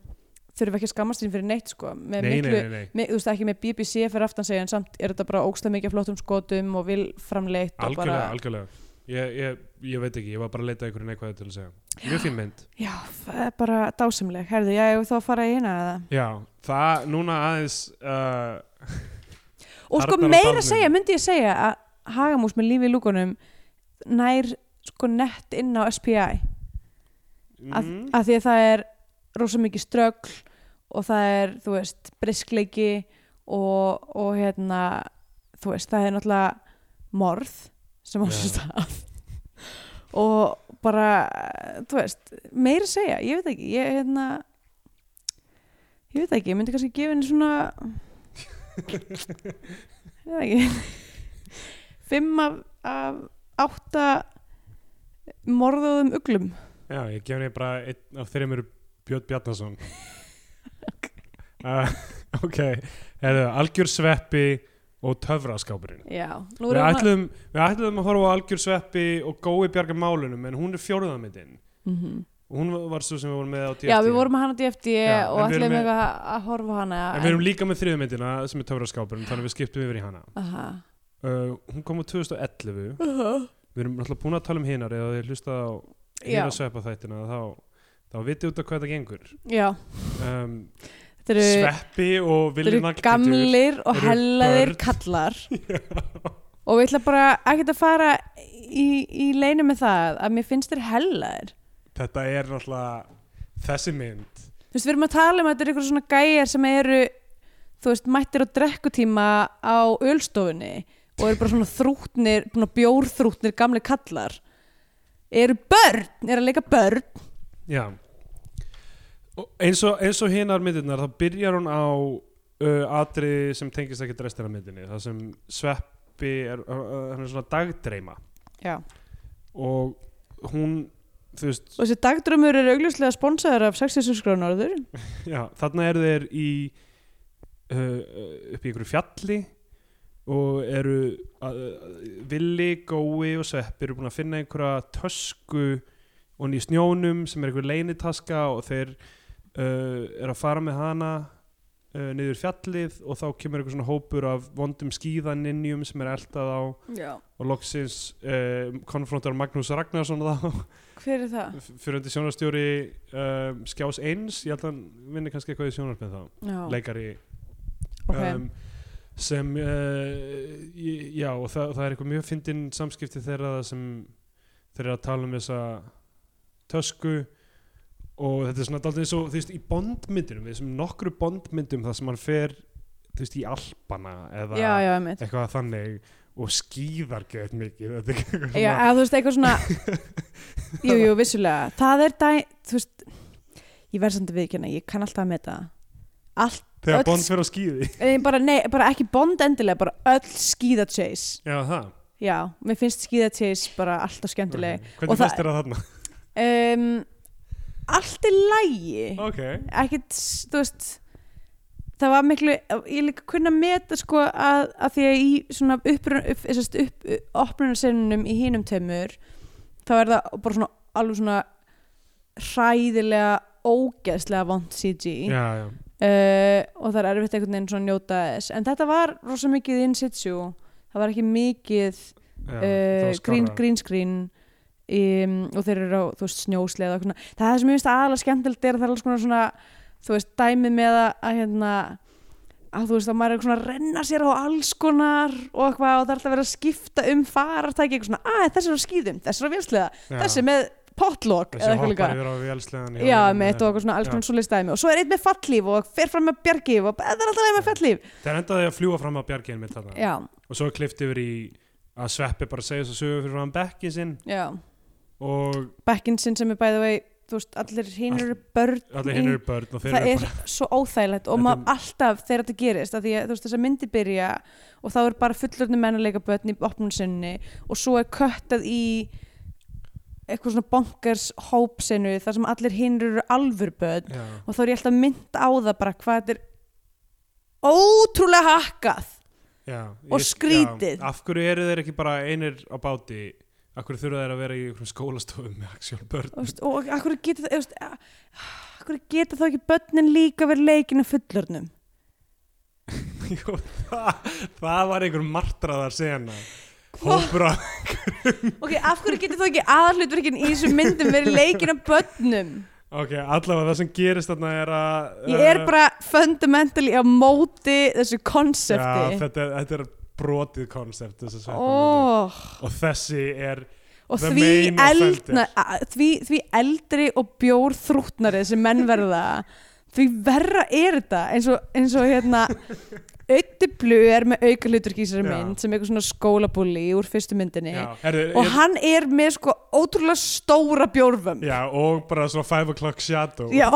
Speaker 3: þurfi ekki að skammast sín fyrir neitt sko, með
Speaker 2: nei, nei,
Speaker 3: miklu,
Speaker 2: nei, nei,
Speaker 3: Með, þú veist ekki með BBC fyrir aftan segja en samt er þetta bara ógstlega mikið af flottum skotum og vil framleitt og
Speaker 2: algjörlega,
Speaker 3: bara
Speaker 2: algjörlega ég, ég, ég veit ekki, ég var bara að leita að einhverju neikvæðu til að segja mjög fín mynd
Speaker 3: Já, það er bara dásamleg. Herðu, já, ég þá að fara í hérna eða?
Speaker 2: Já, það, núna aðeins uh,
Speaker 3: Og
Speaker 2: Arnar
Speaker 3: sko
Speaker 2: og
Speaker 3: meira
Speaker 2: Baldvin.
Speaker 3: að segja, myndi ég segja að Hagamús með lífi í lúkunum nær sko nett inn á SPI af,
Speaker 2: mm,
Speaker 3: af því að það er rosa mikið ströggl og það er, þú veist, briskleiki og, og hérna þú veist, það er náttúrulega morð sem á
Speaker 2: Já.
Speaker 3: sér stað og bara, þú veist, meira að segja ég veit ekki, ég hérna ég veit ekki, ég myndi kannski gefa henni svona ég veit ekki fimm af, af átta morðuðum uglum
Speaker 2: Já, ég gef henni bara einn af þeirrim eru Björn
Speaker 3: <laughs>
Speaker 2: Bjarnason uh, <laughs> Ok Herðu, algjör sveppi og töfraskápurinn
Speaker 3: já, nú
Speaker 2: Við
Speaker 3: erum við
Speaker 2: ætluðum, við ætluðum að horfa á algjör sveppi og gói bjarga málunum en hún er fjóruðamindin
Speaker 3: mm -hmm.
Speaker 2: og hún var svo sem við vorum með á DFT
Speaker 3: já, við vorum að hana DFD
Speaker 2: Já, en við erum
Speaker 3: og ætlum
Speaker 2: með-
Speaker 3: eitthvað að- að horfa á hana
Speaker 2: En við erum líka með þriðmyndina sem er töfraskápurinn þannig að við skiptum yfir í hana
Speaker 3: Aha.
Speaker 2: uh, Hún kom á 2011 Við erum náttúrulega búin að tala um hinar eða þið hlustað á
Speaker 3: Uh-huh. Já.
Speaker 2: hina sveppa þættina þá, þá vitið út af hvað það gengur
Speaker 3: já,
Speaker 2: um,
Speaker 3: þetta eru,
Speaker 2: Sveppi og
Speaker 3: þetta
Speaker 2: Villi
Speaker 3: eru gamlir og
Speaker 2: eru
Speaker 3: hellaðir
Speaker 2: börn. <laughs>
Speaker 3: kallar og við ætla bara ekkert að fara í, í leinu með það að mér finnst þér hellaðir
Speaker 2: Þetta er náttúrulega þessi mynd
Speaker 3: þú veist, við erum að tala um að þetta eru eitthvað svona gæjar sem eru, þú veist, mættir á drekkutíma á ölstofunni og eru bara svona þrútnir, svona bjórþrútnir gamli kallar eru börn, eru að leika börn
Speaker 2: Já Og eins og, eins og hinar myndirnar þá byrjar hún á uh, atri sem tengist ekki restina af myndinni það sem Sveppi er, uh, uh, hann er svona dagdreima
Speaker 3: Já.
Speaker 2: og hún þú veist,
Speaker 3: og þessi dagdrömmur eru augljóslega sponsaður af 66 grónar orður
Speaker 2: já, þarna eru þeir í uh, uh, upp í einhverju fjalli og eru að, að, Villi, Gói og Svepp eru búin að finna einhverja tösku og í snjónum sem er einhver leinitaska og þeir uh, eru að fara með hana uh, niður fjallið og þá kemur einhver svona hópur af vondum skíðaninjum sem er eldað á
Speaker 3: Já.
Speaker 2: og loksins uh, konfrontar Magnús Ragnarsson þá
Speaker 3: Hver er það?
Speaker 2: fyrirhundi sjónarstjóri um, skjás eins, ég held að hann vinni kannski eitthvað í sjónarstjóri þá,
Speaker 3: Já,
Speaker 2: leikari Um,
Speaker 3: ok
Speaker 2: sem uh, í- já, og það, það er eitthvað mjög fyndin samskipti þeirra þar sem þeir eru að tala um þessa tösku og þetta er svona daldið eins og þú veist í bondmyndunum, þessum nokkru bondmyndum þar sem hann fer, þú veist, í Alpana eða
Speaker 3: Já, já, einmitt
Speaker 2: eitthvað þannig og skýðar gett mikið þetta er eitthvað svona-
Speaker 3: Já, eða þú veist eitthvað svona
Speaker 2: <laughs>
Speaker 3: Jú, jú, vissulega Það er dæ, þú veist Ég verð samt að viðkjöna, ég kann alltaf að meta það. Allt, öll
Speaker 2: þegar bond fer á skýði
Speaker 3: eh, bara, nei, bara ekki bond endilega Bara öll skíða chase
Speaker 2: já, það
Speaker 3: Já, mér finnst skíða chase bara alltaf skemmtileg
Speaker 2: Ok,
Speaker 3: Og
Speaker 2: Hvernig
Speaker 3: það-
Speaker 2: fyrst er það þarna?
Speaker 3: um, Allt er lægi
Speaker 2: Ok,
Speaker 3: ekkert, s- þú veist það var miklu, ég líka kunna meta sko að, að því að í svona upprun, upp, þessast upp, upprunarsennunum í hinum tömur þá er það bara svona alveg svona hræðilega ógeðslega vond CG
Speaker 2: já, já
Speaker 3: uh, og það er erfitt einhvern veginn svona að njóta þess en þetta var rosa mikið in situ það var ekki mikið
Speaker 2: Já, það
Speaker 3: uh,
Speaker 2: var skárra.
Speaker 3: green, green screen um, og þeir eru á þú veist, snjósleða og eitthvað svona. það er sem ég finnst aðalega skemmtilegt er að það er alls konar svona þú veist, dæmið með að, að hérna að þú veist að maður er svona að renna sér á alls konar og eitthvað og það er alltaf verið að skipta um farartæki eitthvað svona, að þessi er á skýðum, þessi er á vélslega þessi er með potlok
Speaker 2: þessi hoppar yfir á vélsleðan
Speaker 3: já, með þetta og eitthvað svona alls
Speaker 2: Já.
Speaker 3: konar svoleiðis dæmi og svo er einn með fallíf og fer fram með bjargíf og bara, það er alltaf leið með fallíf
Speaker 2: þeir endaði að fljúa fram að bjargin mitt þarna
Speaker 3: já,
Speaker 2: og svo er klippt yfir í að sveppi bara segja þess að sögu fyrir hann bekkin sinn
Speaker 3: já,
Speaker 2: og
Speaker 3: bekkinsinn sem er by the way þú veist, allir hinn eru börn
Speaker 2: allir
Speaker 3: í-
Speaker 2: hinn eru börn og þeir
Speaker 3: það
Speaker 2: eru
Speaker 3: er svo óþægilegt og
Speaker 2: Þetta
Speaker 3: maður alltaf þegar þetta gerist að því að þú veist þess að myndi byrja og þá er bara fullorðni menn að leika börn í opnum sinni og svo er köttað í eitthvað svona bonkers hópsinu þar sem allir hinn eru alvur börn
Speaker 2: bara,
Speaker 3: og þá er ég alltaf mynd á það bara hvað þetta er ótrúlega hakkað
Speaker 2: já, já,
Speaker 3: Og
Speaker 2: ég-
Speaker 3: skrítið.
Speaker 2: já, af hverju eru þeir ekki bara einir á báti af hverju þurfa þeir að vera í einhverjum skólastofum með aksjón börn
Speaker 3: og, veist, og akkur geta það veist, akkur geta þá ekki börnin líka verið leikin af fullorðnum
Speaker 2: <laughs> Jú, það, það var einhver martraðar sena
Speaker 3: Hva?
Speaker 2: hópur að
Speaker 3: ok, af hverju geta þá ekki aðhlutverkin í þessum myndum verið leikin af börnum
Speaker 2: ok, allavega það sem gerist þarna er að
Speaker 3: Ég er
Speaker 2: eh,
Speaker 3: bara fundamentally á móti þessu
Speaker 2: já,
Speaker 3: konsepti
Speaker 2: þetta, þetta er brotið konsept og
Speaker 3: oh,
Speaker 2: þessi er
Speaker 3: og
Speaker 2: The
Speaker 3: því,
Speaker 2: main
Speaker 3: eldna,
Speaker 2: offender.
Speaker 3: a- því, því eldri og bjór þrútnari sem menn verða því verra er þetta eins og, eins og hérna Ötti Blu er með auka hluturk í þessari
Speaker 2: Já.
Speaker 3: mynd sem eitthvað svona skólabulli úr fyrstu myndinni
Speaker 2: já, herri,
Speaker 3: og
Speaker 2: ég,
Speaker 3: hann er með sko ótrúlega stóra bjórvömm
Speaker 2: já, og bara svona 5 o'clock shadow
Speaker 3: Já,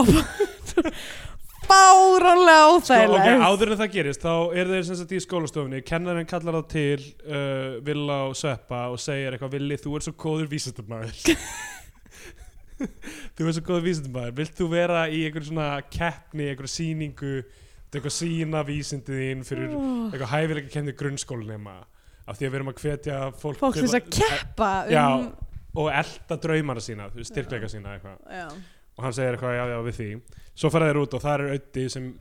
Speaker 3: fáránlega
Speaker 2: Sko, ok,
Speaker 3: óþægilegt
Speaker 2: áður en það gerist þá er þeir sem sagt í skólastofunni kennarinn kallar það til uh, Villa og Sveppa og segir eitthvað Villi, þú ert svo góður vísindamæður <laughs> þú ert svo góður vísindamæður vilt þú vera í einhver svona keppni, einhver sýningu þetta er eitthvað sína vísindið þín fyrir eitthvað hæfilega kemni grunnskólinema af því að við erum að hvetja fólk,
Speaker 3: fólk til þess að keppa
Speaker 2: Já.
Speaker 3: um,
Speaker 2: og elda draumana sína, þú veist, styrkleika sína eitthvað
Speaker 3: já.
Speaker 2: og hann segir eitthvað já já við því svo fara þeir út og það er Öddi sem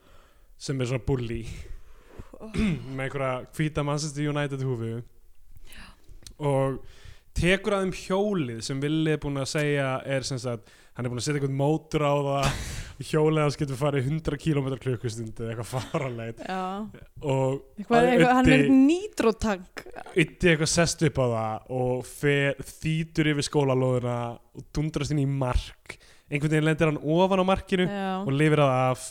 Speaker 2: sem er svona bully <clears throat> með einhverja hvíta Manchester United húfu og tekur að þeim hjólið sem Villi er búin að segja er sem sagt hann er búin að setja eitthvað mótur á það hjólið hans getur farið 100 km klukkustund eða eitthvað faralegt
Speaker 3: Já.
Speaker 2: og
Speaker 3: Eitthvað,
Speaker 2: að
Speaker 3: eitthvað, hann er
Speaker 2: Öddi-
Speaker 3: nýtrótank
Speaker 2: Ytti eitthvað sest upp á það og fer, þýtur yfir skólalóðuna og dundrast inn í mark einhvern veginn lendir hann ofan á markinu
Speaker 3: Já.
Speaker 2: og lifir það af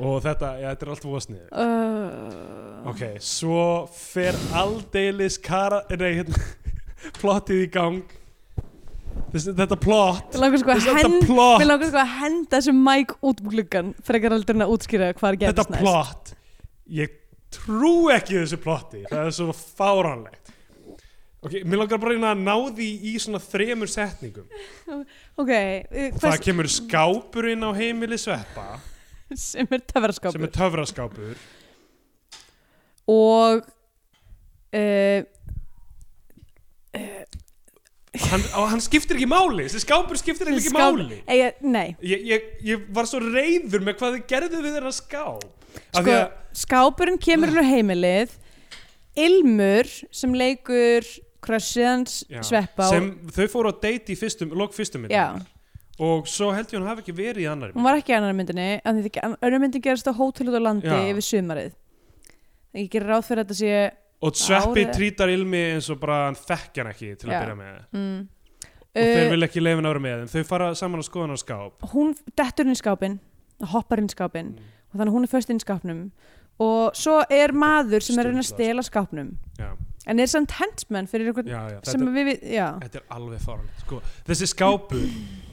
Speaker 2: og þetta, já, þetta er allt vosnið
Speaker 3: Uh,
Speaker 2: ok, svo fer aldeilis kara, nei, hérna <laughs> plottið í gang Þess, þetta plott
Speaker 3: Mér langar sko að
Speaker 2: Þetta
Speaker 3: henda
Speaker 2: plott.
Speaker 3: Mér langar sko að henda þessu mæk út um gluggan frekar aldrei en að útskýra hvað er
Speaker 2: þetta
Speaker 3: gerðist næst
Speaker 2: plott ég trú ekki þessu plotti það er svo fáránlegt ok, mér langar bara að reyna að ná því í svona þremur setningum
Speaker 3: Ok, uh,
Speaker 2: Það
Speaker 3: hvers,
Speaker 2: kemur skápur inn á heimili sveppa
Speaker 3: sem er töfraskápur
Speaker 2: sem er töfraskápur
Speaker 3: og uh,
Speaker 2: hann, og hann skiptir ekki máli, þessi skápur skiptir eiginlega ekki máli
Speaker 3: eiga, Nei,
Speaker 2: ég, ég, ég var svo reyður með hvað þið gerðu við þeirra skáp af
Speaker 3: sko,
Speaker 2: því að
Speaker 3: skápurinn kemur inn á heimilið Ilmur sem leikur Krössiðans
Speaker 2: Já,
Speaker 3: sveppa og-
Speaker 2: sem þau fóru að date í fyrstum, lok fyrstum minni
Speaker 3: Já.
Speaker 2: og svo held ég hún hafi ekki verið í annari
Speaker 3: hún var ekki í annar myndinni en því annar myndin gerast á hótel út á landi
Speaker 2: Já.
Speaker 3: yfir sumarið ég gerir ráð fyrir að þetta sé
Speaker 2: og sveppi
Speaker 3: árið-
Speaker 2: trítar ilmi eins og bara hann þekkja hann ekki til að
Speaker 3: Já.
Speaker 2: byrja með
Speaker 3: mm,
Speaker 2: og þeir
Speaker 3: uh,
Speaker 2: vilja ekki leifin ára með þeim þau fara saman á skoðan á skáp
Speaker 3: hún dettur inn í skápin hoppar inn í skápin
Speaker 2: Mm.
Speaker 3: og þannig að hún er först inn í skápnum og svo er maður sem er að reyna að
Speaker 2: Stundar.
Speaker 3: stela skápnum
Speaker 2: já,
Speaker 3: en er samt hentsmenn fyrir einhvern
Speaker 2: já, já,
Speaker 3: sem við, við, já,
Speaker 2: Þetta er alveg fáránlegt sko. Þessi skápur,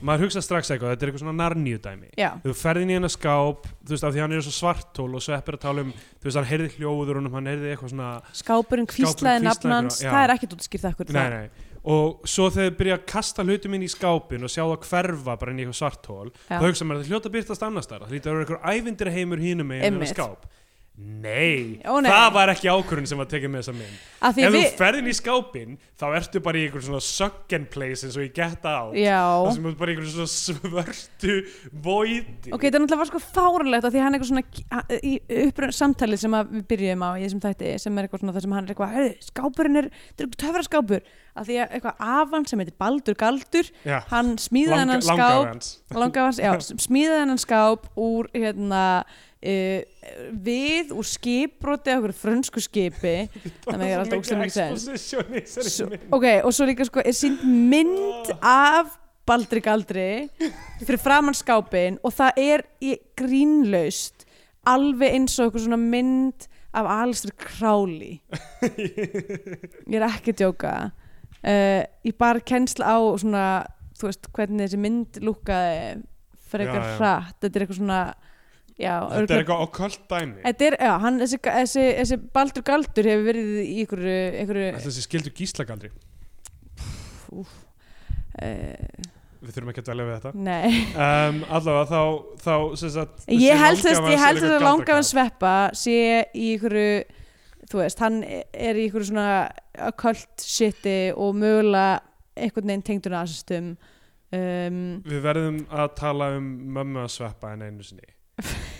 Speaker 2: maður hugsa strax eitthvað Þetta er eitthvað svona narníu dæmi
Speaker 3: já,
Speaker 2: Þú ferð inn í hennar skáp, þú veist, af því hann er svo svartól og sveppir að tala um, þú veist, hann heyrði hljóður honum, hann heyrði eitthvað svona
Speaker 3: skápurinn
Speaker 2: hvíslaði
Speaker 3: kvíslaði nafn hans
Speaker 2: eitthvað, já.
Speaker 3: það er ekkert útskýrt ekkur
Speaker 2: nei, nei. og svo þegar þau byrja að kasta hlutum inn í skápin og sjá það hverfa bara inn í eitthvað svartól, þá
Speaker 3: Já.
Speaker 2: hugsa maður að það hljóta byrtast annars þar, það hlýta að vera eitthvað ævindir heimur hínum með
Speaker 3: Einmitt.
Speaker 2: skáp Nei,
Speaker 3: Ó, nei.
Speaker 2: það var ekki ákvörðun sem var tekið með þessa mynd
Speaker 3: Af því
Speaker 2: Ef
Speaker 3: við,
Speaker 2: þú ferðin í skápinn, þá ertu bara í einhver svona suck and place eins og ég geta á Það
Speaker 3: já,
Speaker 2: sem er bara einhver svona svörtu voidi
Speaker 3: ok, þetta náttúrulega var sko fáralegt af því hann er eitthvað svona ha- í upprönd samtalið sem að við byrjum á í þessum þætti sem er eitthvað svona það sem hann er eitthvað, heyrðu, skápurinn er, þetta er eitthvað töfra skápur af því að eitthvað afan sem heitir Baldur Galdur
Speaker 2: Já,
Speaker 3: hann smíðaði
Speaker 2: langa,
Speaker 3: hennan
Speaker 2: langar
Speaker 3: skáp
Speaker 2: hans <laughs>
Speaker 3: langafans, já, smíðaði hennan skáp úr hérna uh, við úr skipbroti af okkur frönsku skipi
Speaker 2: <laughs>
Speaker 3: Þannig að ég er alltaf ógeðslega mikið sens.
Speaker 2: exposition í
Speaker 3: S-
Speaker 2: þessari mynd Ah.
Speaker 3: ok, og svo líka sko er sínd mynd af Baldri Galdri fyrir framann skápin og það er í grínlaust alveg eins og eitthvað svona mynd af Alistair
Speaker 2: <laughs>
Speaker 3: Crowley ég er ekki að djóka uh, ég bara kennsla á svona, þú veist, hvernig þessi mynd lúkaði frekar
Speaker 2: Já, já.
Speaker 3: hratt þetta er eitthvað svona já,
Speaker 2: Þetta er eitthvað okkult dæmi
Speaker 3: Þetta er, já, hann, þessi, þessi, þessi Baldur Galdur hefur verið í einhverju, einhverju
Speaker 2: Þetta sé skildu gíslagaldri
Speaker 3: uh,
Speaker 2: Við þurfum ekki að dvelja við þetta
Speaker 3: nei
Speaker 2: um, Allavega þá, þá sem sagt, þessi
Speaker 3: ég held þess
Speaker 2: langafi
Speaker 3: ég
Speaker 2: hans er
Speaker 3: held þess
Speaker 2: eitthvað
Speaker 3: að langafann
Speaker 2: galdrakarl.
Speaker 3: sveppa sé í einhverju þú veist, hann er í einhverju svona occult shiti og mögulega einhvern veginn tengdur nasistum um,
Speaker 2: Við verðum að tala um mömmu að sveppa en einu
Speaker 3: <laughs>
Speaker 2: sinni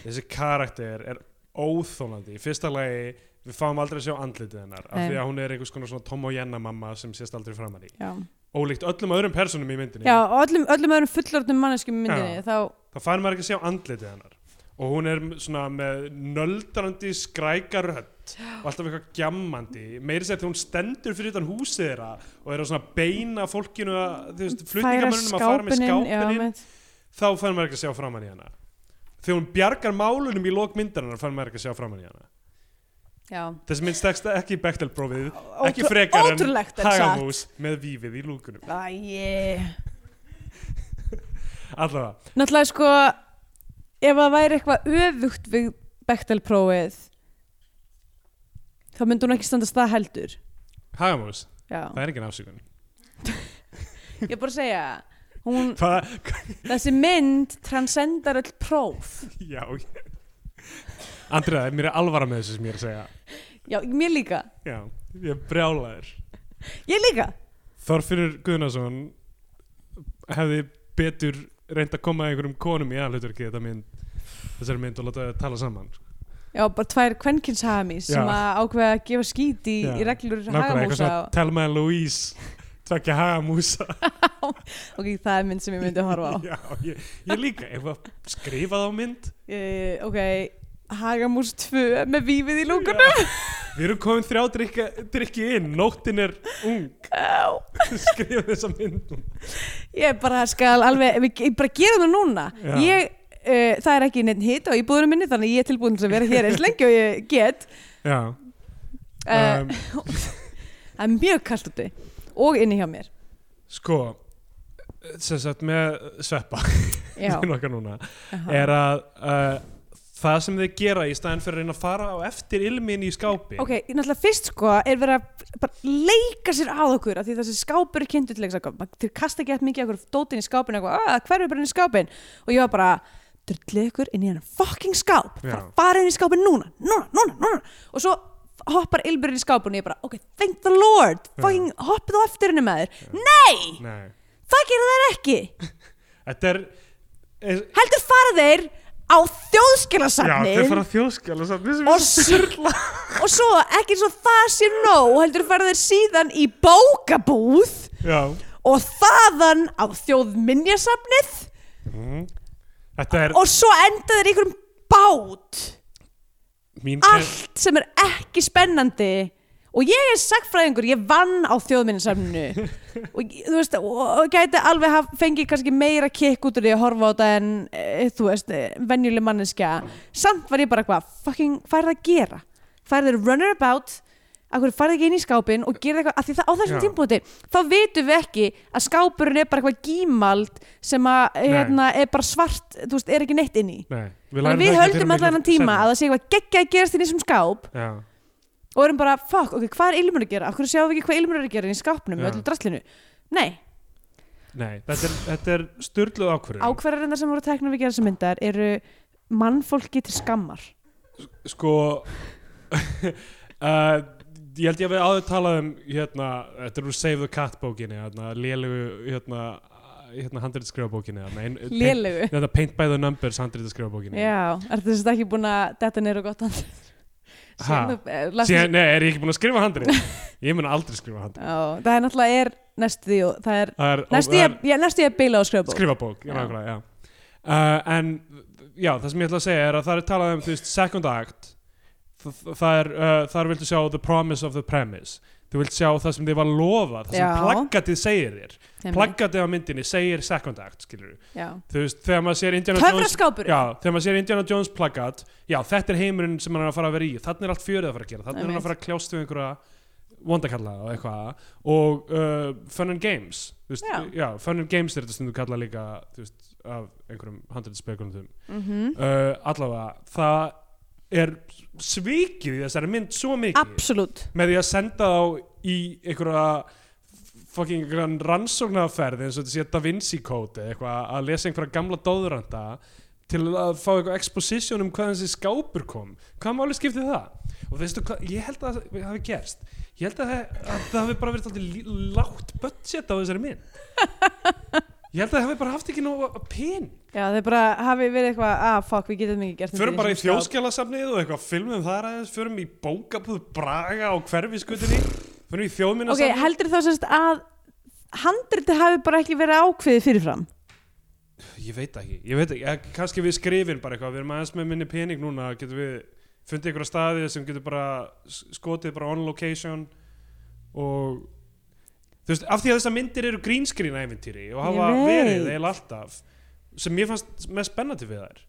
Speaker 2: Þessi karakter er óþólandi Í fyrsta lagi við fáum aldrei að sjá andlitið hennar af
Speaker 3: Nei.
Speaker 2: því að hún er einhvers konar svona Tom og Jenna mamma sem sést aldrei framan í
Speaker 3: já.
Speaker 2: Ólíkt öllum öðrum personum í myndinni
Speaker 3: já, og öllum, öllum öðrum fullorðnum manneskjum í myndinni
Speaker 2: Já.
Speaker 3: þá,
Speaker 2: þá fær maður ekki að sjá andlitið hennar og hún er m- svona með nöldrandi skrækarödd og alltaf eitthvað gjammandi meiri sér þegar hún stendur fyrir utan húsið þeirra og er að svona beina fólkinu að, þú veist, flutningamönnum að fara með
Speaker 3: já,
Speaker 2: skápinin
Speaker 3: með,
Speaker 2: þá fær maður ekki að sjá framann í hana þegar hún bjargar málunum í lok myndarinnar fær maður ekki að sjá framann í hana
Speaker 3: já.
Speaker 2: þessi mynd stekst ekki í Bechtel-prófið ekki
Speaker 3: Ótrú-
Speaker 2: frekar
Speaker 3: ótrúlegt
Speaker 2: en
Speaker 3: en satt.
Speaker 2: hagamús með vífið í lúkunum
Speaker 3: Æ, yeah.
Speaker 2: allavega,
Speaker 3: náttúrulega sko ef það væri eitthvað öfugt við Bechtel-prófið þá myndi hún ekki standast það heldur
Speaker 2: hagamús,
Speaker 3: já.
Speaker 2: það er engin afsökun
Speaker 3: ég er bara að segja hún,
Speaker 2: hvað,
Speaker 3: þessi mynd transcendar öll próf
Speaker 2: já Andriða, mér er alvara með þessu sem ég er að segja
Speaker 3: já, mér líka,
Speaker 2: já, ég er brjálaður
Speaker 3: ég líka
Speaker 2: Þorfinnur Guðnason hefði betur reynd að koma einhverjum konum í aðhlutverki þetta mynd þessari mynd og láta þau tala saman sko.
Speaker 3: já, bara tvær kvenkinshamis
Speaker 2: Já.
Speaker 3: sem að ákveða að gefa skít í,
Speaker 2: Já.
Speaker 3: í reglur
Speaker 2: Nákvæmlega, eitthvað
Speaker 3: hagamúsa
Speaker 2: svona Telma and Louise tvekja hagamúsa
Speaker 3: ok, það er mynd sem ég myndi að horfa á
Speaker 2: <laughs> Já, ég, ég líka, eitthvað skrifað á mynd
Speaker 3: uh, ok, hagamús 2 með vífið í lúkunum
Speaker 2: Við erum komin þrjá drykki, drykki inn Nóttin er ung <laughs>
Speaker 3: já.
Speaker 2: Skrifa þessa mynd núna.
Speaker 3: ég bara skal alveg ég ég bara gera það núna
Speaker 2: Já.
Speaker 3: ég, uh, það er ekki neitt hitt á íbúðunum minni þannig að ég er tilbúin til að vera hér eins lengi og ég get
Speaker 2: Já,
Speaker 3: uh,
Speaker 2: um,
Speaker 3: <laughs> það er mjög kalt úti og inni hjá mér
Speaker 2: sko sem sagt með sveppa <laughs>
Speaker 3: já,
Speaker 2: sem er okkar núna,
Speaker 3: aha.
Speaker 2: er að uh, það sem þið gera í staðin fyrir að reyna að fara á eftir ilmin í skápi
Speaker 3: ok, ég náttúrulega fyrst sko er verið að bara leika sér að okkur af því þessi skápur er kynntu til leiksakum til kasta ekki eftir mikið okkur dótin í skápin og hverju er bara inn í skápin og ég var bara drullið ykkur inn í hennar fucking skáp
Speaker 2: Já.
Speaker 3: bara farið inn í skápin núna, núna, núna, núna og svo hoppar Ilbur inn í skápin og ég bara, ok, thank the lord fucking hoppið á eftir henni með þér nei,
Speaker 2: Nei,
Speaker 3: það gera þær ekki
Speaker 2: þetta er er-
Speaker 3: heldur fara þeir á
Speaker 2: Já,
Speaker 3: þjóðskilasafnið
Speaker 2: þau fara að þjóðskjála safni
Speaker 3: og surla og svo ekki eins og það sé nóg heldur fara þeir síðan í bókabúð
Speaker 2: Já
Speaker 3: og þaðan á þjóðminjasafnið
Speaker 2: Þetta er
Speaker 3: og svo enda þeir í einhverjum bát
Speaker 2: mín
Speaker 3: allt sem er ekki spennandi og ég er sagfræðingur, ég vann á þjóðminjasafninu og ég- þú veist, og og gæti alveg haf, fengið kannski meira kikk út úr því að horfa á þetta en e, þú veist, e, venjuleg manneskja samt var ég bara hvað, fucking hvað er það að gera? Hvað er þeir runner about að hverju farið ekki inn í skápin og gerði eitthvað, að því það á þessum
Speaker 2: Já.
Speaker 3: tímpúti þá vitum við ekki að skápurinn er bara eitthvað gímald sem að, hérna, er bara svart, þú veist, er ekki neitt inn í
Speaker 2: Nei,
Speaker 3: Þannig að við höldum allan hann tíma að það sé eitthvað geggja að gerast inn í þessum skáp
Speaker 2: Já,
Speaker 3: og erum bara, fuck, ok, hvað er ilmur að gera? Akkur sjáum við ekki hvað ilmur er að gera inn í skápnum
Speaker 2: Já.
Speaker 3: með öllu drastlinu? Nei,
Speaker 2: nei, þetta er, þetta er styrluð ákvörðun
Speaker 3: ákvarðarinnar sem voru teknar við gera þessar myndar eru mannfólki til skammar
Speaker 2: sko <laughs> uh, ég held ég að við áður talað um hérna, þetta er úr Save the Cat bókinni hérna, lélugu hérna, hérna handritaskrifa bókinni hérna, ein- paint,
Speaker 3: Lélegu.
Speaker 2: hérna, paint by the Numbers handritaskrifa bókinni
Speaker 3: Já, er þetta ekki búin að þetta neyru gott andri?
Speaker 2: Ha?
Speaker 3: eh,
Speaker 2: Síðan, nei, er ég ekki búin að skrifa
Speaker 3: <laughs>
Speaker 2: handrit ég mun aldrei skrifa handrit
Speaker 3: Já, það er náttúrulega er næstu því og það er
Speaker 2: það er,
Speaker 3: næstu
Speaker 2: það
Speaker 3: því
Speaker 2: er
Speaker 3: að- já, næstu því að bila á skröfbók.
Speaker 2: skrifa bók já.
Speaker 3: Já.
Speaker 2: Nákvæmlega, já. Uh, en já, það sem ég ætla að segja er að það er talað um þú veist, second act Þ- þ- það er, uh, þar viltu sjá the promise of the premise þú vilt sjá það sem þið var lofað það sem
Speaker 3: Já.
Speaker 2: plaggatið segir þér
Speaker 3: Einmitt.
Speaker 2: plaggatið á myndinni segir second act skilur
Speaker 3: Já.
Speaker 2: þú veist, þegar maður sér Indiana Jones
Speaker 3: Töfraskápur.
Speaker 2: já, þegar maður sér Indiana Jones plaggat já, þetta er heimurinn sem hann er að fara að vera í þannig er allt fjörið að fara að gera, þannig er hann
Speaker 3: Einmitt.
Speaker 2: að fara að kljást við einhverja vondakalla og eitthvað og uh, Fun and Games þú veist,
Speaker 3: Já.
Speaker 2: já, Fun and Games er þetta sem þú kalla líka þú veist, af einhverjum handreitisspekulundum
Speaker 3: Mhm.
Speaker 2: uh, allavega, það er svikið í þessari mynd svo mikið
Speaker 3: Absolutt.
Speaker 2: með því að senda þá í einhverja fucking einhverjan rannsóknarferð eins og þetta sé Da Vinci Code eða eitthvað að lesa einhverja gamla dóðranda til að fá eitthvað exposition um hvaðan þessi skápur kom hvað máli skipti það og veistu hvað, ég held að það hafi gerst ég held að það, að það hafi bara verið alltaf lí- lágt budget á þessari mynd ég held að það hafi bara haft ekki nóg pen
Speaker 3: Já, þeir bara hafi verið eitthvað, ah, fuck, við getum ekki gert þetta
Speaker 2: förum bara í
Speaker 3: þessum skáp."
Speaker 2: þjóðskjálasafnið og eitthvað filmum þar aðeins, förum í bókabúð Braga og hverfiskutinni förum í þjóðminna
Speaker 3: Ok, heldur þá sérst að handriti hafi bara ekki verið ákveðið fyrirfram?
Speaker 2: Ég veit það ekki, ég veit ekki, eh, kannski við skrifin bara eitthvað, við erum aðeins með minni pening núna, getum við fundið einhverja staði sem getur bara s- skotið bara on location og þú veist, af því að þessar myndir eru grínskrín æfintýri og hafa
Speaker 3: Ég veit.
Speaker 2: verið eða alltaf sem mér fannst mest spennandi við þær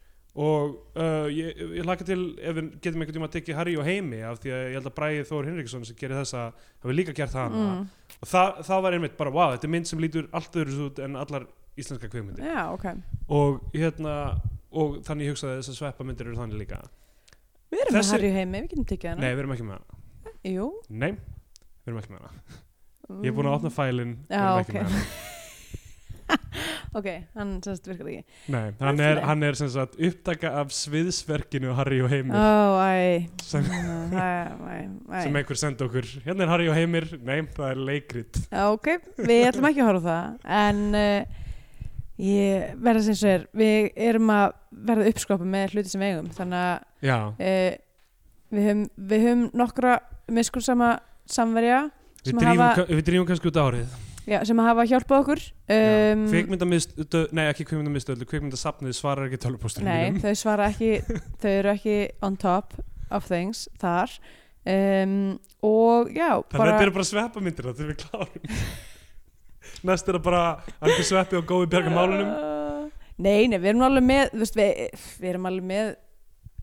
Speaker 2: og uh, ég, ég laka til ef við getum einhvern tíma að tekja Harry og Heimi af því að ég held að Bræði Þór Hinriksson sem gerir þessa, hafi líka gert það
Speaker 3: Mm.
Speaker 2: og það, það var einmitt bara, wow, þetta er mynd sem lítur allt öðru út en allar íslenska kveikmyndir
Speaker 3: Já, ok.
Speaker 2: og hérna og þannig ég hugsaði að þessar sveppamyndir eru þannig líka
Speaker 3: Við erum
Speaker 2: Þessi-
Speaker 3: með Harry heimi, við getum tekið hana.
Speaker 2: nei, við erum ekki með hana
Speaker 3: Jú.
Speaker 2: nei, við erum ekki með hana ég er búin að opna fælin við
Speaker 3: Mm. Já,
Speaker 2: erum ekki
Speaker 3: ok.
Speaker 2: með hana.
Speaker 3: <laughs> Ok, hann sérst virkar ekki.
Speaker 2: nei, hann, er, hann er sem sagt upptaka af sviðsverkinu Harry og Heimir
Speaker 3: Ó, æ.
Speaker 2: sem,
Speaker 3: Æ, æ,
Speaker 2: sem
Speaker 3: æ.
Speaker 2: einhver sendi okkur hérna er Harry og Heimir, nei, það er leikrit
Speaker 3: Já, Ok, við ætlum ekki að horfa á það, en... Uh, Ég verða sem svo er, við erum að verða uppskropa með hluti sem við eigum, þannig að
Speaker 2: já,
Speaker 3: Eh, við höfum, við höfum nokkra miskursama samverja
Speaker 2: við
Speaker 3: Sem
Speaker 2: drýjum,
Speaker 3: hafa-
Speaker 2: hafa... við drýjum kannski út árið
Speaker 3: já, sem hafa hjálpað okkur
Speaker 2: um,
Speaker 3: um,
Speaker 2: kvikmyndamistu, nei ekki kvikmyndamistu kvikmyndasafnið svarar ekki tölupóstunum
Speaker 3: nei, <laughs>
Speaker 2: mínum
Speaker 3: þau svara ekki þau eru ekki on top of things þar um, og já
Speaker 2: Þannig að þetta eru bara sveppamindir þetta er við klárum <laughs> Næst er það bara að ekki sveppi og gói bjarga málunum
Speaker 3: Uh, nei, nei, við erum alveg með þú veist, við, við erum alveg með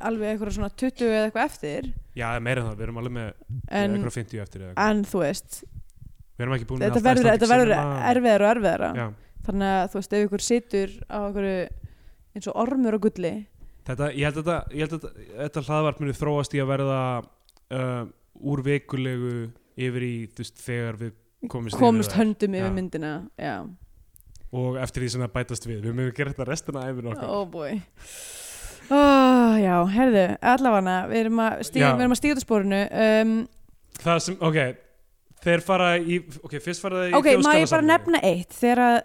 Speaker 3: alveg eitthvað svona 20 eða eitthvað eftir
Speaker 2: Já, meira en það, við erum alveg með
Speaker 3: en,
Speaker 2: eitthvað 50 eftir eða eitthvað.
Speaker 3: en þú veist
Speaker 2: Við erum ekki búin
Speaker 3: þetta verður, þetta verður erfiðar og erfiðara
Speaker 2: Já,
Speaker 3: þannig að þú veist, ef ykkur situr á okkur eins og ormur og gulli
Speaker 2: þetta, ég held að þetta- ég held að þetta- þetta hlaðvarp muni þróast í að verða uh, úr vekulegu yfir í þú veist, þegar við komist,
Speaker 3: komist
Speaker 2: yfir
Speaker 3: höndum yfir
Speaker 2: Já.
Speaker 3: myndina já,
Speaker 2: það og eftir því sem það bætast við. Við munum gera þetta restina af æfinu okkar.
Speaker 3: oh boy oh, já, herðu, allavega við erum að stíga,
Speaker 2: Já.
Speaker 3: við erum að stíga út af spórinu um,
Speaker 2: Það sem, ok, þeir fara í, ok, fyrst fara það í
Speaker 3: ok, má ég bara
Speaker 2: Þjóðskjalasafnið.
Speaker 3: nefna eitt þegar að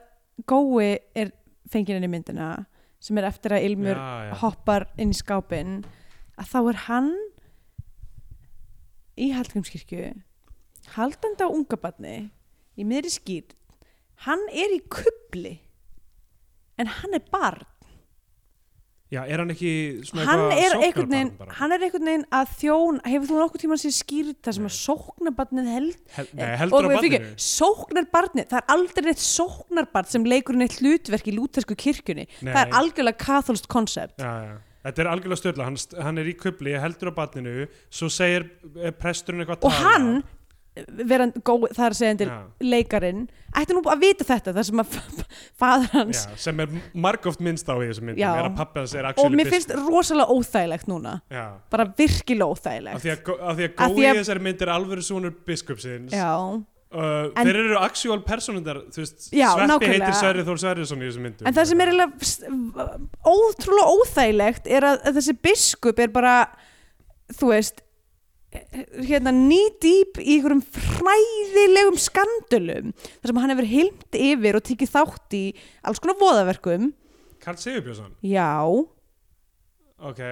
Speaker 3: gói er fenginn inn í myndina sem er eftir að Ilmur
Speaker 2: Já, já.
Speaker 3: hoppar inn í skápinn að þá er hann í Hallgrímskirkju haldandi á unga barni í miðri skýr hann er í kubli en hann er barn
Speaker 2: Já, er hann ekki svona
Speaker 3: hann er
Speaker 2: sóknarbarn
Speaker 3: einhvern veginn
Speaker 2: bara?
Speaker 3: hann er einhvern veginn að þjón hefur þú nokkuð tíma sér skýrt það sem
Speaker 2: Nei.
Speaker 3: að sóknarbarnið held
Speaker 2: Hel, nei, heldur á
Speaker 3: og við fyrir
Speaker 2: barninu.
Speaker 3: ekki, sóknarbarnið, það er aldrei neitt sóknarbarn sem leikur neitt hlutverk í lútersku kirkjunni
Speaker 2: Nei.
Speaker 3: það er algjörlega katholst konsept
Speaker 2: Já, já. Þetta er algjörlega störla, hann, st- hann er í kubli, heldur á barninu, svo segir eh, presturinn eitthvað
Speaker 3: og hann verand, gó, það er segjandi
Speaker 2: Já.
Speaker 3: leikarin ætti nú að vita þetta þar sem að <laughs> fadur hans
Speaker 2: já, sem er margóft minnst á í þessum myndum,
Speaker 3: Já.
Speaker 2: er að pappi hans er
Speaker 3: og
Speaker 2: actually
Speaker 3: mér finnst rosalega óþægilegt núna
Speaker 2: Já,
Speaker 3: bara virkilega
Speaker 2: af
Speaker 3: óþægilegt
Speaker 2: því að, gó- af því að
Speaker 3: Af
Speaker 2: gói
Speaker 3: því að-
Speaker 2: í þessari mynd er alvöru sonur biskupsins.
Speaker 3: já
Speaker 2: Uh,
Speaker 3: En-
Speaker 2: þeir eru actual personundar, þú veist,
Speaker 3: Já,
Speaker 2: Sveppi
Speaker 3: nákvæmlega.
Speaker 2: heitir Sverri Þór Sverrisson í þessum myndum.
Speaker 3: En það sem er eiginlega s- ótrúlega óþægilegt er að, að þessi biskup er bara þú veist hérna nýdýp í einhverjum fræðilegum skandölum þar sem hann hefur hilmt yfir og tekið þátt í alls konar voðaverkum
Speaker 2: Karl Sigurbjörnsson,
Speaker 3: já,
Speaker 2: ok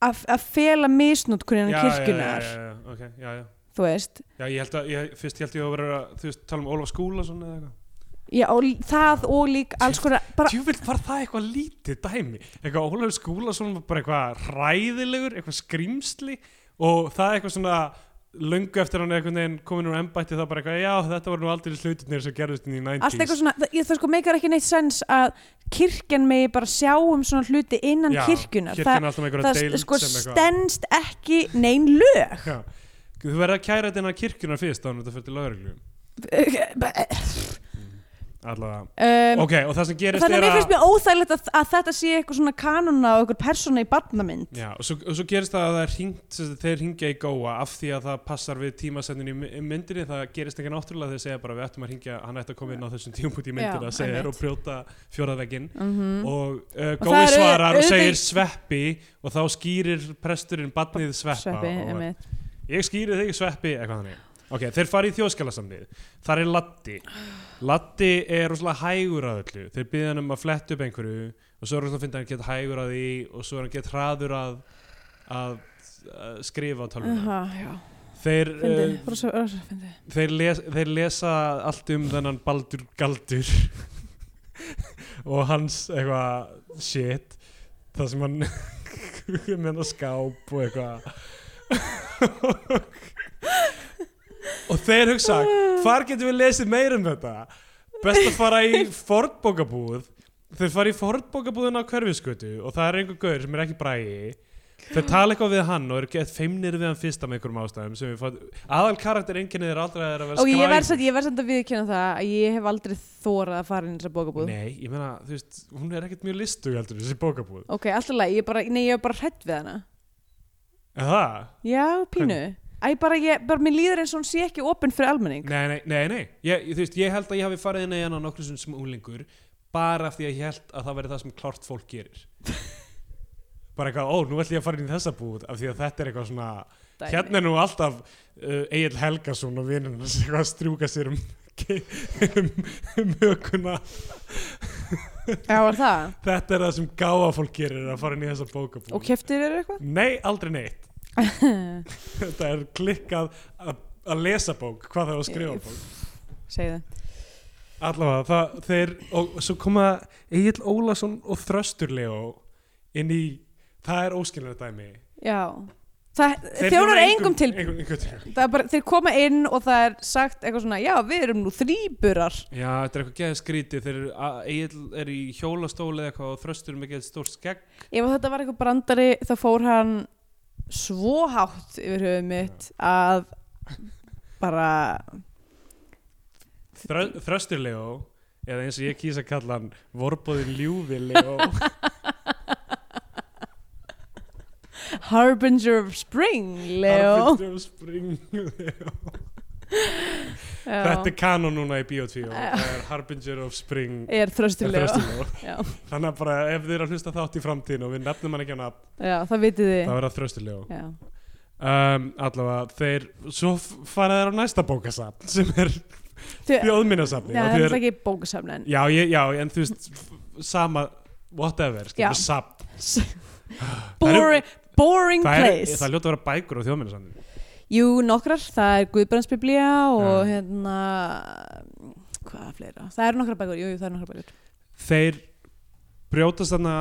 Speaker 3: að, að fela misnótkunina
Speaker 2: Já, já,
Speaker 3: kirkjunar
Speaker 2: já, já, já, ok, já, já
Speaker 3: þú veist,
Speaker 2: Já, ég held að, ég, fyrst ég held ég að vera, þú veist, tala um Ólaf Skúlason eða eitthvað.
Speaker 3: já, og lí- það og lík alls konar, bara
Speaker 2: Tjúfild var það eitthvað lítið dæmi. Eitthvað Ólaf Skúlason var bara eitthvað ræðilegur, eitthvað skrýmsli og það er eitthvað svona löngu eftir hann er einhvern veginn komin úr embætti þá bara eitthvað, já, þetta var nú aldrei slutinir sem gerðist inn í 90s.
Speaker 3: allt eitthvað svona, það, ég- það sko meikar ekki neitt sens að kirkjan megi bara sjá um svona hluti innan
Speaker 2: Já,
Speaker 3: kirkjunar
Speaker 2: kirkjan er alltaf með
Speaker 3: það,
Speaker 2: einhverja
Speaker 3: það
Speaker 2: deild
Speaker 3: sko
Speaker 2: sem eitthvað.
Speaker 3: stendst ekki nein lög
Speaker 2: Já. Þú verður að kæra þetta innan kirkjunar fyrst ánum þetta fyrir til lögreglum. Allavega.
Speaker 3: um,
Speaker 2: ok, og það sem gerist
Speaker 3: Þannig að
Speaker 2: er
Speaker 3: mér
Speaker 2: að...
Speaker 3: finnst mér óþægilegt að, að þetta sé eitthvað svona kanuna og eitthvað persóna í barnamynd.
Speaker 2: Já, og svo, og svo gerist það að það er hringt, þeir hringja í góa af því að það passar við tímasendin í my- í myndinni, það gerist ekki náttúrulega þeir segja bara við ættum að hringja, hann ætti að koma inn á þessum tímpúti í myndinni
Speaker 3: Já,
Speaker 2: að segja þér
Speaker 3: einmitt.
Speaker 2: og brjóta fjóraðveggin
Speaker 3: Mm -hmm.
Speaker 2: og uh,
Speaker 3: það
Speaker 2: gói
Speaker 3: er
Speaker 2: svarar og
Speaker 3: auðvitað-
Speaker 2: segir sveppi og þá skýrir presturinn barnið sveppa og
Speaker 3: einmitt.
Speaker 2: ég skýri þig sveppi, eitthvað þannig ok, þeir fara í þjóðskjálasamnið þar er Latti Latti er rosalega hægur að öllu þeir byrja hann um að fletta upp einhverju og svo er hann að finna hann gett hægur að því og svo er hann gett hraður að, að, að skrifa á tölvuna
Speaker 3: Aha, já,
Speaker 2: þeir,
Speaker 3: fyndið,
Speaker 2: eh,
Speaker 3: rosa, rosa fyndið.
Speaker 2: þeir, les, þeir lesa allt um þennan Baldur Galdur og hans eitthvað shit það sem hann <laughs> með hann skáp og eitthvað <laughs> og þeir hugsa hvar getum við lesið meira um þetta best að fara í fornbókabúð þeir fara í fornbókabúðuna á hverfiskötu og það er einhver gaur sem er ekki bræði þeir tala eitthvað við hann og eru gett feimnir við hann fyrsta með einhverjum ástæðum sem við fatt, aðal karakter enginnið er aldrei að þeir að vera
Speaker 3: Og ég verð
Speaker 2: skræfur.
Speaker 3: samt- ég verð samt að viðkjöna það að ég hef aldrei þórað að fara inn í þessa bókabúð.
Speaker 2: Nei, ég meina, þú veist, hún er ekkert mjög listug heldur þessi bókabúð.
Speaker 3: Ok, alltaf leið, ég er bara, nei, ég er bara hrætt við hana.
Speaker 2: Er það?
Speaker 3: Já, pínu. Æ, bara, ég, bara, mér líður eins og hún sé ekki opinn fyrir almenning.
Speaker 2: Nei, nei, nei, nei. Ég, ég- þú veist, ég held að ég hafi farið inn í hana nokkru sem úlingur bara af því að ég held að það verði það sem klárt fólk gerir. bara eitthvað, ó, nú ætlum ég að fara inn í þessa búð af því að þetta er eitthvað svona,
Speaker 3: Dæmi.
Speaker 2: hérna er nú alltaf uh, Egil Helgason og vinninn hans eitthvað að strjúka sér um, um, um hökuna.
Speaker 3: Já, var það?
Speaker 2: Þetta er það sem gáða fólk gerir að fara inn í þessa bókabúð.
Speaker 3: Og keftir eru eitthvað?
Speaker 2: Nei, aldrei neitt. Þetta er klikkað að að lesa bók, hvað það er að skrifa bók.
Speaker 3: Segðu það.
Speaker 2: Allavega, það, þeir, og svo koma Egil Ólason og Þröstur Leo inn í, það er óskilnað dæmi.
Speaker 3: Já. Það
Speaker 2: Þeir
Speaker 3: þjónar
Speaker 2: þjóna
Speaker 3: engum til
Speaker 2: engum- engum tilbúið.
Speaker 3: það er bara, þeir koma inn og það er sagt eitthvað svona, já við erum nú þrýburar
Speaker 2: Já, þetta er eitthvað geðið skrítið, þeir eru, að- Egill er í hjólastóli eða eitthvað og Þröstur er með geðið stórt skegg.
Speaker 3: ef að þetta var eitthvað brandari þá fór hann svo hátt yfir höfuð mitt að bara
Speaker 2: Þrö, Þröstur Leo, eða eins og ég kýsa að kalla hann, vorbóðin ljúfi
Speaker 3: <laughs>
Speaker 2: Leo.
Speaker 3: Harbinger of Spring Leo
Speaker 2: Arnbjörn Spring Leo.
Speaker 3: Já.
Speaker 2: Þetta er kanon núna í Bíotvíó, það er Harbinger of Spring
Speaker 3: er þröstur
Speaker 2: er
Speaker 3: Leo
Speaker 2: Þröstur Leo.
Speaker 3: já.
Speaker 2: Þannig að bara ef þið eru að hlusta þátt í framtíðin og við nefnum hann ekki hann að
Speaker 3: já, það vitið þið
Speaker 2: það verða þröstilega
Speaker 3: já.
Speaker 2: um, allavega þeir, svo f- fara þeir á næsta bókasafn <laughs> sem er
Speaker 3: Þau, já,
Speaker 2: þjóðminnasafni
Speaker 3: það er ekki bókasafn en
Speaker 2: já, ég, já, en þú veist f- sama, whatever,
Speaker 3: Já.
Speaker 2: skilur safn
Speaker 3: boring, boring
Speaker 2: það, er,
Speaker 3: place
Speaker 2: það ljóta að vera bækur á þjóðminnasafni
Speaker 3: Jú, nokkrar, það er Guðbrandsbiblía og
Speaker 2: Já.
Speaker 3: hérna hvað fleira, það eru nokkrar bækur jú, jú, það eru nokkrar bækur
Speaker 2: þeir brjótast þarna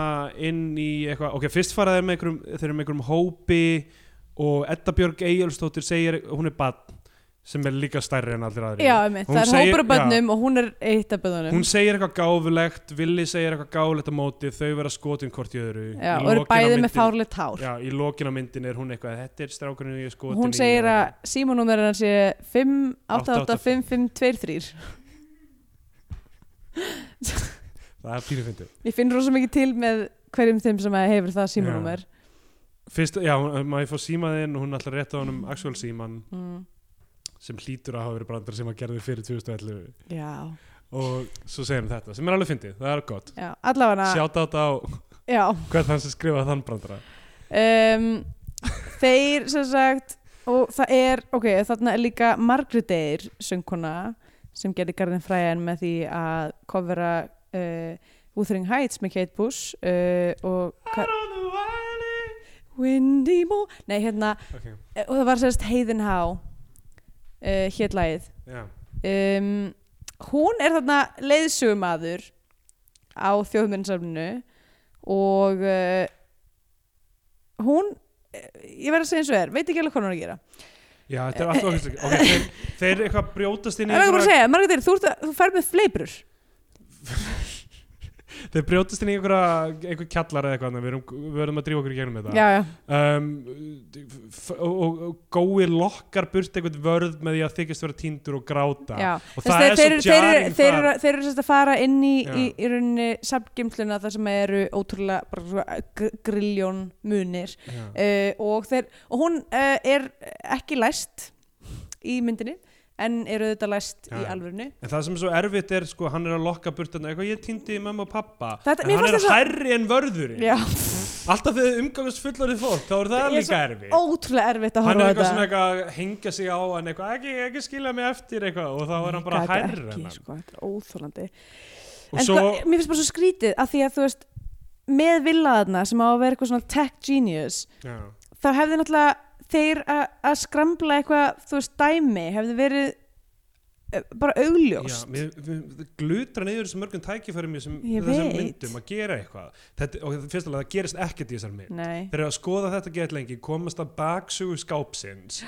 Speaker 2: inn í eitthvað, ok, fyrst fara þeir með einhverjum, þeir eru með einhverjum hópi og Edda Björg Eyjölsdóttir segir, hún er badn sem er líka stærri en allir aðri
Speaker 3: Já, einmitt,
Speaker 2: Hún
Speaker 3: það er
Speaker 2: segir-
Speaker 3: hópur af bönnum og hún er eitt af bönnum
Speaker 2: hún segir eitthvað gáfulegt Willi segir eitthvað gáfulegt á móti þau vera skotin hvort í öðru Í
Speaker 3: og eru
Speaker 2: lokin á
Speaker 3: bæði með
Speaker 2: myndinni-
Speaker 3: fárlegt hár
Speaker 2: já, í lokin á myndin er hún eitthvað þetta er strákurinn ég er skotin
Speaker 3: hún
Speaker 2: í",
Speaker 3: segir
Speaker 2: eða
Speaker 3: að símanúmer hennar sé 5885523
Speaker 2: eitthvað. það er pínu fyndið
Speaker 3: ég finn rosa mikið til með hverjum þeim sem að hefur það símanúmer
Speaker 2: fyrst, já, hún- maður fór símaðinn og hún ætlar rétt á honum Axel Síman
Speaker 3: mm.
Speaker 2: sem hlýtur að hafa verið brandar sem að gerði fyrir 2011
Speaker 3: já,
Speaker 2: og svo segir hún þetta sem er alveg fyndið, það er gott
Speaker 3: já, allavega
Speaker 2: sjátt á þetta á
Speaker 3: já,
Speaker 2: hvern þann sem skrifaði þann brandara
Speaker 3: um, þeir sem sagt og það er, ok, þarna er líka Margrét Eyr söngkona sem gerði Garðin Fræjan með því að kofra uh, Wuthering Heights með Kate Bush uh, og hva- Windy Mo nei, hérna,
Speaker 2: Ok,
Speaker 3: eh, og það var sérst Heiðin Há uh, hér eh, lagið
Speaker 2: já,
Speaker 3: um, hún er þarna leiðsögumadur á þjóðmyndinsafninu og uh, hún eh, ég verð að segja eins og er, veit ekki alveg hvað hún er að gera
Speaker 2: já, þetta er alltaf okkur Ok, þeir, þeir eitthvað brjótast inn í
Speaker 3: en það er bara að
Speaker 2: einhverja-
Speaker 3: segja, Margrét, Eir, þú, ert að- þú fær með fleipur
Speaker 2: Þeir brjótast inn í einhverja einhver kjallar eða eitthvað annað, við erum, við erum að drífa okkur í gegnum þetta
Speaker 3: já, já,
Speaker 2: um, f- og, og, og gói lokkar burt einhvern vörð með því að þykist vera tindur og gráta
Speaker 3: já.
Speaker 2: og
Speaker 3: Þess,
Speaker 2: það
Speaker 3: þeir,
Speaker 2: er svo
Speaker 3: þeir, þeir,
Speaker 2: jarring
Speaker 3: þeir,
Speaker 2: þar
Speaker 3: eru- þeir eru sérst að fara inn í,
Speaker 2: Já.
Speaker 3: í, í rauninni samgimtluna þar sem eru ótrúlega bara svona gr- grilljón munir
Speaker 2: Já.
Speaker 3: uh, og, þeir, og hún uh, er ekki læst í myndinni en eru þetta læst
Speaker 2: Já,
Speaker 3: í
Speaker 2: já.
Speaker 3: alvörinu
Speaker 2: En það sem er svo erfitt er, sko, hann er að lokka burt þarna, eitthvað, ég týndi mamma og pappa
Speaker 3: Þetta-
Speaker 2: en
Speaker 3: mér
Speaker 2: hann
Speaker 3: fannst
Speaker 2: er
Speaker 3: það svo-
Speaker 2: hærri en vörðurinn
Speaker 3: Já,
Speaker 2: Alltaf þegar þið umgangast fullorðið fólk, þá er það
Speaker 3: Ég er
Speaker 2: líka erfitt
Speaker 3: <laughs> ótrúlega erfitt að
Speaker 2: Hann
Speaker 3: horfa
Speaker 2: er
Speaker 3: á
Speaker 2: eitthvað
Speaker 3: þetta
Speaker 2: svona eitthvað að hengja sig á hann eitthvað, ekki, ekki skilja mig eftir eitthvað og þá er hann bara
Speaker 3: Ég gat
Speaker 2: hærri en
Speaker 3: ekki,
Speaker 2: hann
Speaker 3: sko, þetta er óþólandi
Speaker 2: Og
Speaker 3: en
Speaker 2: svo,
Speaker 3: sko, mér finnst bara svo skrítið að því að þú veist með villaðarna sem á að vera eitthvað svona tech genius
Speaker 2: já,
Speaker 3: þá hefði náttúrulega þeir a- að skrambla eitthvað, þú veist, dæmi hefði verið eh, bara
Speaker 2: já
Speaker 3: augljóst
Speaker 2: mér, mér, glutra niður þessum mörgum tækifærum í þessum,
Speaker 3: Ég
Speaker 2: þessum
Speaker 3: veit.
Speaker 2: myndum að gera eitthvað þetta, og þetta- fyrst alveg það gerist ekkert í þessar mynd
Speaker 3: Nei,
Speaker 2: þeir eru að skoða þetta gett lengi komast að baksugu skápsins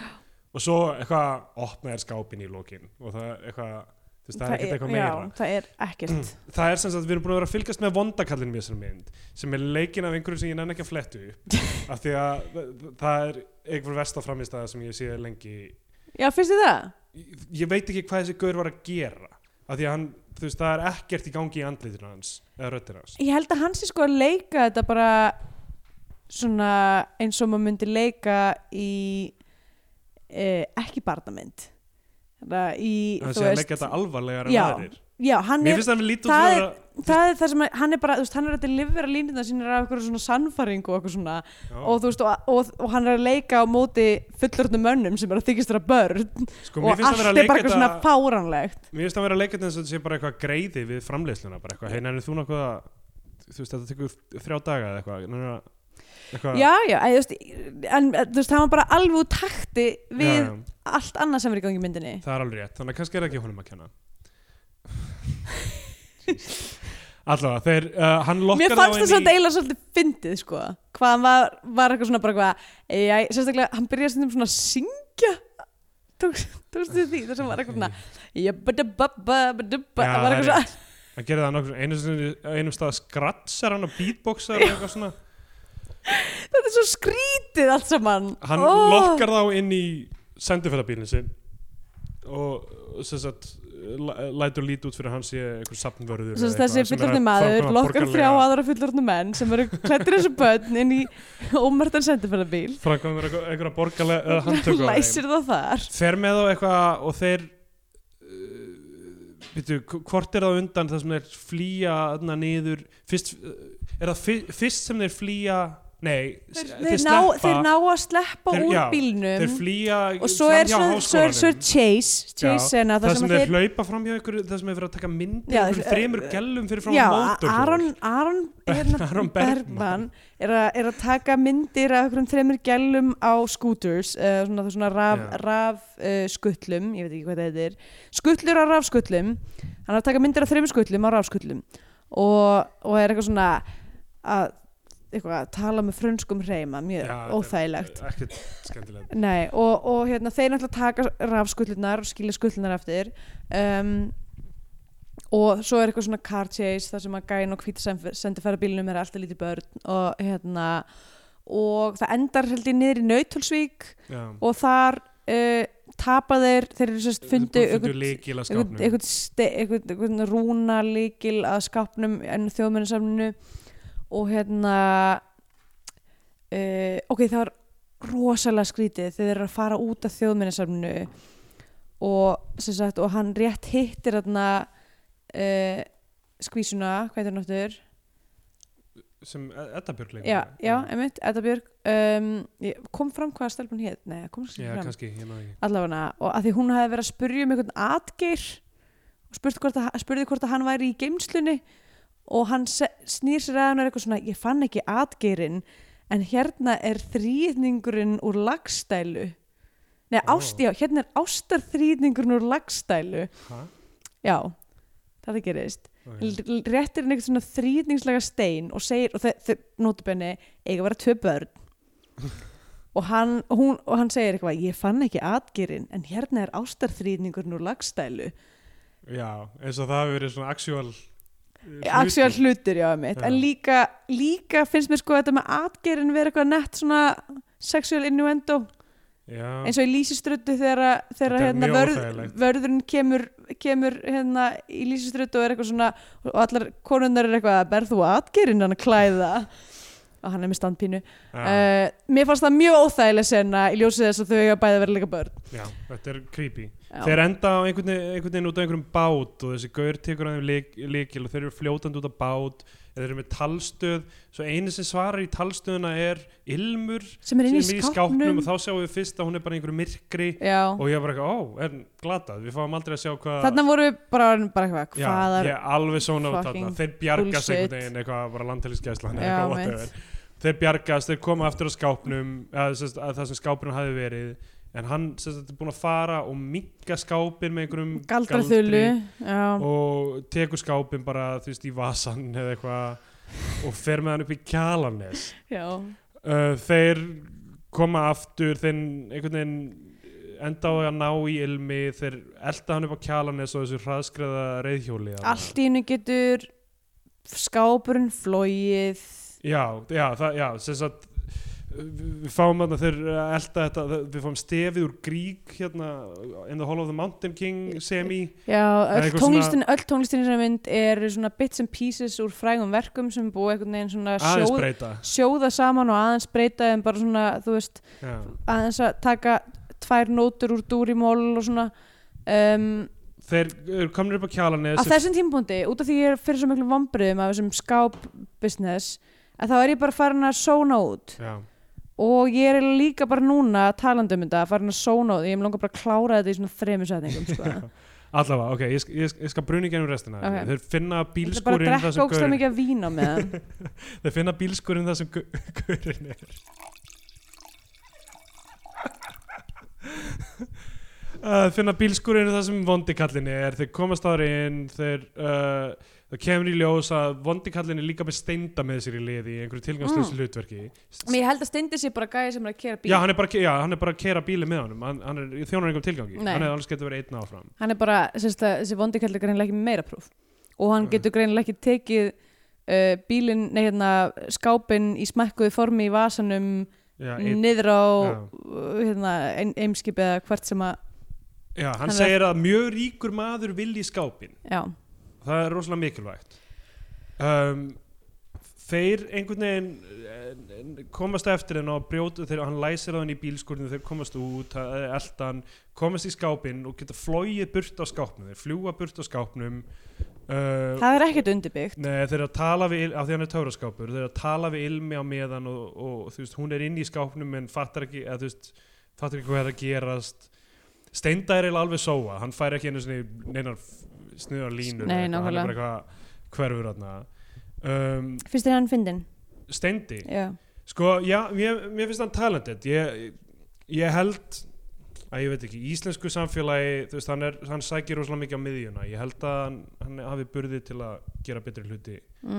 Speaker 2: og svo eitthvað opna er skápin í lokin og það er eitthvað þú veist, það er ekkert eitthvað meira
Speaker 3: já, það er ekkert
Speaker 2: <clears throat> það er sem sagt, við erum búin að vera að fylgjast með vondakallin í þessari mynd, sem er leikin af einhverju sem ég nenni ekki að flettu upp
Speaker 3: <laughs>
Speaker 2: af því að þa- það er einhver versta framistæða sem ég sé lengi
Speaker 3: Já, finnst þið það?
Speaker 2: ég, ég veit ekki hvað þessi gaur var að gera af því að hann, þú veist, það er ekkert í gangi í andlitinu hans, eða röttir hans
Speaker 3: Ég held að hann sé sko að leika þetta bara svona eins og maður myndi leika í eh, ekki barnamynd Það í,
Speaker 2: hann
Speaker 3: þú
Speaker 2: sé að
Speaker 3: veist-
Speaker 2: leggja þetta alvarlegar en
Speaker 3: Já,
Speaker 2: aðrir
Speaker 3: Já, hann
Speaker 2: mér
Speaker 3: er,
Speaker 2: finnst að við lítum
Speaker 3: það
Speaker 2: að
Speaker 3: það er það sem að- hann er bara, þú veist, hann er að delivera línirna sínir af eitthvað svona sannfæringu og eitthvað svona
Speaker 2: Já.
Speaker 3: og þú veist, og, og, og hann er að leika á móti fullorðnum mönnum sem er að þykist þeirra börn
Speaker 2: sko, mér
Speaker 3: og
Speaker 2: finnst að
Speaker 3: allt
Speaker 2: vera að
Speaker 3: er bara
Speaker 2: leika
Speaker 3: eitthvað svona
Speaker 2: þetta
Speaker 3: fáranlegt
Speaker 2: mér finnst að vera að leika þetta eins og þetta sé bara eitthvað greiði við framleiðsluna bara eitthvað, hei, nærið þú nokkuð að þú veist, þetta tekur þrjá daga eða eitthvað nennirðu að- eitthvað
Speaker 3: Já, já, eða, þú veist, en eh, þú veist, hann var bara alveg úr takti við
Speaker 2: Já, já,
Speaker 3: allt annað sem er í gangi í myndinni
Speaker 2: það er alveg rétt, þannig að kannski er það ekki honum að
Speaker 3: <laughs>
Speaker 2: kenna allavega, þeir uh, hann lokkar
Speaker 3: Mér fannst
Speaker 2: þá
Speaker 3: það samt
Speaker 2: inn í
Speaker 3: eiginlega svolítið fyndið sko hvað hann var, var eitthvað svona bara hvað já, sérstaklega hann byrjaði stundum svona að syngja tókst tókst þið því þar sem var eitthvað svona já, badababba, badabba
Speaker 2: Já, það
Speaker 3: það var
Speaker 2: er
Speaker 3: eitthvað svona
Speaker 2: hann gerir það nokkuð, einu sinni, einum stað skratsar hann og beatboxar og eitthvað svona
Speaker 3: þetta er svo skrítið allt saman
Speaker 2: hann
Speaker 3: Ó.
Speaker 2: lokkar þá inn í sendifæðabílinn sinn og og sem sagt læ- lætur lít út fyrir að hann sé einhver safnvörður eða
Speaker 3: Svo þess þessi
Speaker 2: eitthvað sem er að
Speaker 3: fullorðni maður
Speaker 2: framkvæma
Speaker 3: lokkar þrjá
Speaker 2: borgaralega-
Speaker 3: aðra fullorðni menn sem eru klættir þessu börn inn í ómertan sendifæðabíl
Speaker 2: framkvæmur einhver- einhverja borgarlega eða handtöku á þeim.
Speaker 3: læsir það þar
Speaker 2: fer með þá eitthvað og þeir Býtu, hvort er það undan það sem þeir flýja þarna niður fyrst, uh, er það fyr, fyrst sem þeir flýja nei, s-
Speaker 3: þeir, þeir, ná, þeir ná að sleppa
Speaker 2: Þeir-
Speaker 3: úr
Speaker 2: já,
Speaker 3: bílnum
Speaker 2: þeir flýja
Speaker 3: og svo er
Speaker 2: framhjá
Speaker 3: svo, svo, er svo
Speaker 2: háskólanum.
Speaker 3: chase chase
Speaker 2: Já,
Speaker 3: sena,
Speaker 2: það, sem, þeir hlaupa framhjá ykkur það sem er verið að taka myndir
Speaker 3: Já,
Speaker 2: ykkur
Speaker 3: þeir-
Speaker 2: þremur gellum fyrir frá
Speaker 3: já,
Speaker 2: mótor
Speaker 3: Aron, Aron, hérna,
Speaker 2: <laughs> Aron Bergman.
Speaker 3: Bergman er, a, er að taka myndir af okkur þreymur gælum á scooters uh, svona, svona raf,
Speaker 2: Já.
Speaker 3: raf uh, skutlum, ég veit ekki hvað það heitir skutlur á rafskutlum hann er að taka myndir af þreymur skutlum á rafskutlum og, og er eitthvað svona að, eitthvað, að tala með frönskum hreima, mjög óþægilegt
Speaker 2: ekkert skemmtilegt
Speaker 3: Nei, og, og hérna, þeir náttúrulega taka rafskullunar og skilja skullunar eftir um, og svo er eitthvað svona car chase þar sem að gæn og hvita sendifæra bílnum er alltaf lítið börn og hérna og það endar held ég niður í Nauthulsvík
Speaker 2: já.
Speaker 3: og þar uh, tapa þeir, þeir eru sérst fundu
Speaker 2: fundu líkil að skápnum
Speaker 3: eitthvað, ste- eitthvað, eitthvað rúna líkil að skápnum en þjóðmennisamninu og hérna uh, ok, það var rosalega skrítið þegar þeir eru að fara út af þjóðmennisamninu og sem sagt og hann rétt eh, hittir þarna uh, skvísuna, hvað heitir hann áttur?
Speaker 2: sem E- Edda Björg leikur
Speaker 3: já, já, einmitt, Edda Björg um, ég- kom fram hvað stelpun hétt nei, það kom ekki
Speaker 2: já,
Speaker 3: fram
Speaker 2: kannski, ég maður ekki
Speaker 3: allavega, og að því hún hefði verið að spurja um einhvern atgeir og spurði hvort að, spurði hvort að hann væri í geimslunni og hann se- snýr sér að hann er eitthvað svona, ég fann ekki atgeirinn en hérna er þrýðningurinn úr lagstælu nei,
Speaker 2: Ó.
Speaker 3: ást, já, hérna er ástarþrýðningurinn úr lagstælu
Speaker 2: ha?
Speaker 3: já, það gerist
Speaker 2: Ok.
Speaker 3: L- l- réttir henni eitthvað svona þrýtningslega stein og segir, og þau nótabenni eiga að vera tvö börn og hann, hún, og hann segir eitthvað ég fann ekki atgerinn en hérna er ástarþrýtningurinn úr lagstælu
Speaker 2: já, eins og það hafi verið svona actual eh,
Speaker 3: aksjóal
Speaker 2: hlutur.
Speaker 3: hlutur já mitt,
Speaker 2: Já.
Speaker 3: en líka, líka finnst mér sko þetta með atgerinn vera eitthvað nett svona sexual innuendo
Speaker 2: já,
Speaker 3: eins og í lýsiströtu þegar, að- þegar
Speaker 2: Þetta er
Speaker 3: hérna,
Speaker 2: mjög
Speaker 3: vörð,
Speaker 2: óþægilegt.
Speaker 3: vörðurinn kemur, kemur hérna, í lýsiströtu og er eitthvað svona og allar konunnar er eitthvað að berð þú atgerinn hann að klæða og hann er með standpínu
Speaker 2: já,
Speaker 3: uh, mér fannst það mjög óþægileg sena í ljósið þess að þau eiga bæði að vera líka börn
Speaker 2: já, þetta er creepy
Speaker 3: Já.
Speaker 2: þeir enda á einhvern veginn, einhvern veginn út á einhverjum bát og þessi gaur tekur að þeim lyk- lykil og þeir eru fljótandi út á bát eða þeir eru með talstöð svo eini sem svarar í talstöðuna er ilmur
Speaker 3: sem er inn í
Speaker 2: sem
Speaker 3: skápnum
Speaker 2: og þá sjáum við fyrst að hún er bara í einhverju myrkri
Speaker 3: já,
Speaker 2: og ég var ekki, ó, er glatað við fáum aldrei að sjá hvað
Speaker 3: þarna voru við bara, bara eitthvað
Speaker 2: Já,
Speaker 3: hvaðar
Speaker 2: ég er alveg svona út þarna
Speaker 3: fucking
Speaker 2: þeir bjargast
Speaker 3: bullshit.
Speaker 2: einhvern veginn eitthvað bara landtælisgæslan
Speaker 3: Já,
Speaker 2: eitthvað whatever. þeir bjargast, þeir koma aftur á skápnum eða sem sagt, að það sem skápnum hafi verið en hann sem þetta er búin að fara og minka skápin með einhverjum
Speaker 3: galdraþulu
Speaker 2: galdri
Speaker 3: já,
Speaker 2: og tekur skápin bara þú veist í vasan eða eitthvað og fer með hann upp í kjalanes
Speaker 3: já,
Speaker 2: uh, þeir koma aftur þeir einhvern veginn enda á að ná í ilmi þeir elda hann upp á kjalanes og þessu hraðskreða reyðhjóli þarna.
Speaker 3: allt í hennu getur skápurinn flóið
Speaker 2: Já, já, það, já, sem sagt við við fáum þarna þeir uh, elda þetta, þe- við fáum stefið úr grík hérna, in the hall of the mountain king semi,
Speaker 3: Já,
Speaker 2: er
Speaker 3: öll
Speaker 2: eitthvað
Speaker 3: tónlistin, öll tónlistin í þessari mynd eru svona bits and pieces úr frægum verkum sem er búið einhvern veginn svona
Speaker 2: aðeins
Speaker 3: sjóð,
Speaker 2: breyta
Speaker 3: sjóða saman og aðeins breyta en bara svona, þú veist,
Speaker 2: já,
Speaker 3: aðeins að taka tvær nótur úr dúrimól og svona um,
Speaker 2: þeir eru komnir upp á kjalanes
Speaker 3: á þessum tímpúndi, út af því ég er fyrir svo miklu vombriðum af þessum skápbusiness að þá er ég bara farin að sóna út
Speaker 2: já,
Speaker 3: og ég er eiginlega líka bara núna talandi um þetta, farin að sóna út ég er langar bara að klára þetta í svona þremur setningum sko.
Speaker 2: <laughs> allavega, ok, ég, sk- ég, sk- ég skal bruni gennum restina,
Speaker 3: Ok.
Speaker 2: okay. þeir finna
Speaker 3: ég ætla bara að
Speaker 2: bílskurinn þar
Speaker 3: drekka
Speaker 2: sem
Speaker 3: ógsta
Speaker 2: gaurinn
Speaker 3: mikið að vína með það
Speaker 2: þeir finna bílskurinn þar sem <laughs> gau- gaurinn er <laughs> Uh, finna bílskurinn þar sem vondikallin er þeir komast ára inn þeir, uh, það kemur í ljós að vondikallin er líka með steinda með sér í liði í einhverju tilgangslösu hlutverki
Speaker 3: Mér held að Steindi sé bara gæði sem er að kera Mm. bíl
Speaker 2: já hann, er bara, já, hann er bara að kera bíli með honum hann, hann er þjónar einhverjum tilgangi
Speaker 3: Nei.
Speaker 2: hann er alls getur verið einn áfram
Speaker 3: Hann er bara, sérst að þessi vondi kallar greinilega ekki með meira próf og hann
Speaker 2: Mm.
Speaker 3: getur greinilega ekki tekið uh, bílinn, nei hérna skápinn í smekkuðu formi í vasanum
Speaker 2: já, einn,
Speaker 3: niður á
Speaker 2: Já.
Speaker 3: uh, hérna, ein, eimskip eða hvert sem að
Speaker 2: já, hann,
Speaker 3: hann er-
Speaker 2: segir að mjög ríkur maður vilji skápin
Speaker 3: Já,
Speaker 2: það er rosalega mikilvægt um, þeir einhvern veginn eh, eh, komast eftir henn og brjóta þeir, hann læsir á henn í bílskurinu þeir komast út, það er eldan komast í skápinn og geta flóið burt á skápnum þeir fljúa burt á skápnum uh,
Speaker 3: það er ekkert undirbyggt
Speaker 2: Nei, þeir eru að tala við, Il- af því hann er töfraskápur þeir eru að tala við Ilmi á meðan og, og þú veist, hún er inn í skápnum en fattar ekki, eða þú veist, fattar ekki hvað er að gerast Steinda er eiginlega alveg sóa hann fær ekki einu sinni neinar snuðar línur
Speaker 3: Nei,
Speaker 2: eða eitthvað, hann
Speaker 3: nákvæmlega.
Speaker 2: er bara eitthvað hverfur hann um,
Speaker 3: Finnst þér hann fyndin?
Speaker 2: Steindi,
Speaker 3: Já,
Speaker 2: sko, já, mér, mér finnst hann talented ég, ég held að ég veit ekki, í íslensku samfélagi þú veist, hann, er, hann sækir rosalega mikið á miðjuna ég held að hann, hann hafi burði til að gera betri hluti
Speaker 3: mm.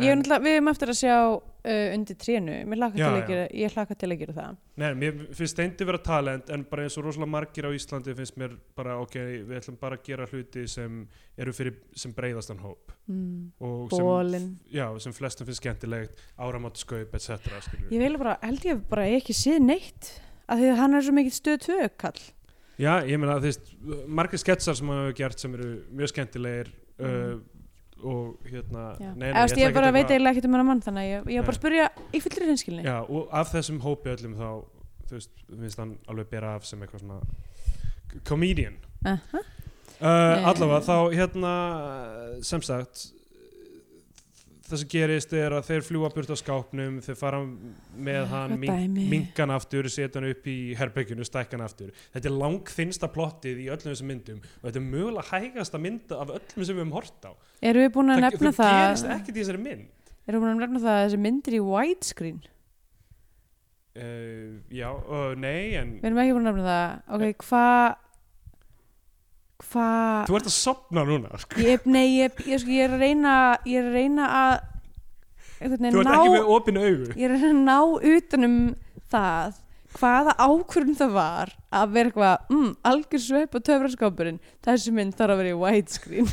Speaker 3: Ég er
Speaker 2: En-
Speaker 3: náttúrulega, við erum eftir að sjá uh, undir trénu, Mér hlakka
Speaker 2: Já,
Speaker 3: til
Speaker 2: já.
Speaker 3: að gera- ég hlakka til að gera það
Speaker 2: Nei, mér finnst Steindi vera talent en bara eins og rosalega margir á Íslandi finnst mér bara, ok, við ætlum bara að gera hluti sem eru fyrir, sem breyðastan hóp
Speaker 3: mm.
Speaker 2: og sem,
Speaker 3: Bólin
Speaker 2: já, sem flestum finnst skemmtilegt áramátskaup, etc. skilurðu.
Speaker 3: Ég vil bara, held ég bara ekki séð neitt af því að hann er svo mikið stöð tvö kall
Speaker 2: Já, ég meina, þú veist, margir sketsar sem hann hefur gert sem eru mjög skemmtilegir uh, og hérna, nei, nei,
Speaker 3: Mhm. Eða, veist, ég,
Speaker 2: ætla
Speaker 3: bara
Speaker 2: ekkert
Speaker 3: veit eiginlega ekkert um hennar mann þannig að ég, ég var bara
Speaker 2: Nei.
Speaker 3: að spurja í fullri reynskilni
Speaker 2: Já, og af þessum hópi öllum þá, þú veist, finnst hann alveg bera af sem eitthvað svona c- comedian
Speaker 3: Aha.
Speaker 2: Uh,
Speaker 3: Nei.
Speaker 2: allavega þá hérna sem sagt það sem gerist er að þeir fljúa burt á skápnum þeir fara með hann
Speaker 3: Hvað
Speaker 2: mink,
Speaker 3: dæmi?
Speaker 2: minkan aftur, setja hann upp í herbyggjunu, stækkan aftur þetta er langþinnsta plottið í öllum þessum myndum og þetta er mögulega hægasta mynd af öllum sem við höfum hort á
Speaker 3: Erum við búin að nefna það
Speaker 2: gerist ekkert í þessari mynd
Speaker 3: Erum við búin að nefna það að þessi myndir í widescreen
Speaker 2: uh, já, uh, nei en
Speaker 3: Við erum ekki búin að nefna það Ok, hvað Hvað
Speaker 2: þú ert að sopna núna sko.
Speaker 3: Ég, nei, ég, ég, sko, ég er að reyna Ég er að reyna að einhvern
Speaker 2: þú
Speaker 3: veginn
Speaker 2: ert
Speaker 3: ná
Speaker 2: ekki með opin augu
Speaker 3: Ég er að reyna að ná utanum það hvaða ákvörðum það var að vera eitthvað, mm, algjör sveip og töfraskápurinn, þessi mynd þarf að vera í widescreen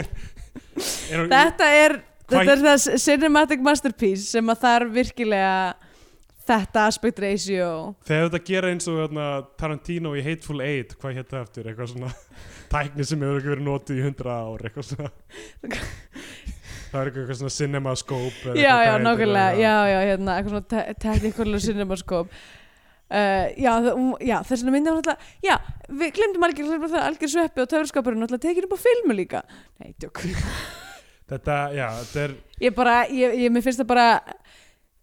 Speaker 2: Er hún-
Speaker 3: þetta er
Speaker 2: Hvað-
Speaker 3: þetta er það cinematic masterpiece sem að þar virkilega þetta aspect ratio
Speaker 2: Þegar þetta gera eins og þarna, Tarantino í Hateful Eight, hvað hétt það eftir, eitthvað svona <laughs> tækni sem hefur ekki verið notið í hundra ár, eitthvað svona það er eitthvað svona cinemascope eða
Speaker 3: já,
Speaker 2: eitthvað hvað
Speaker 3: já,
Speaker 2: heitir
Speaker 3: nákvæmlega,
Speaker 2: það.
Speaker 3: já, já, hérna eitthvað svona te- technical cinemascope Uh, já, þa- um, já, þess vegna myndi hún alltaf já, við glemdum algjör, glemdum það algjör sveppi og töfurskapurinn alltaf tekið upp á filmu líka nei, djók
Speaker 2: Þetta, já, þetta er
Speaker 3: ég bara, ég, ég, mér finnst það bara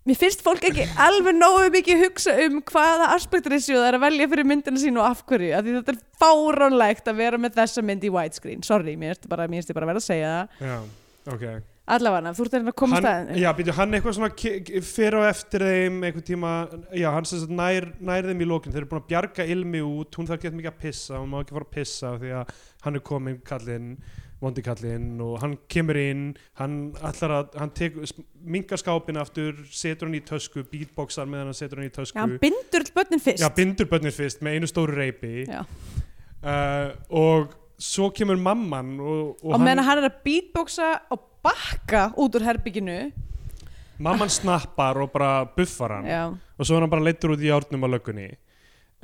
Speaker 3: mér finnst fólk ekki alveg nógu mikið hugsa um hvaða aspektrisju það er að velja fyrir myndina sín og af hverju af því þetta er fáránlegt að vera með þessa mynd í widescreen, sorry, mér finnst bara, mér finnst ég bara að vera að segja það,
Speaker 2: já, ok
Speaker 3: allavega þú ert að reyna að komast
Speaker 2: hann,
Speaker 3: að
Speaker 2: já, býtu, hann eitthvað svona ki- ki- fer á eftir þeim einhvern tíma, já, hann sem sagt nær, nær þeim í lókin, þeir eru búin að bjarga ilmi út hún þarf ekki mikið að pissa, hún má ekki fara að pissa af því að hann er kominn kallinn vondi kallinn og hann kemur inn hann allar að, hann tek mingar skápin aftur, setur hann í tösku beatboxar meðan hann setur hann í tösku
Speaker 3: já, hann bindur all börnin fyrst
Speaker 2: Já, bindur börnir fyrst með einu stóru reypi
Speaker 3: Já.
Speaker 2: uh, og svo kemur mamman og, og
Speaker 3: og meðan hann er að beatboxa og bakka út úr herbygginu
Speaker 2: mamman snappar og bara buffar hann
Speaker 3: já,
Speaker 2: og svo er hann bara leittur út í árnum á löggunni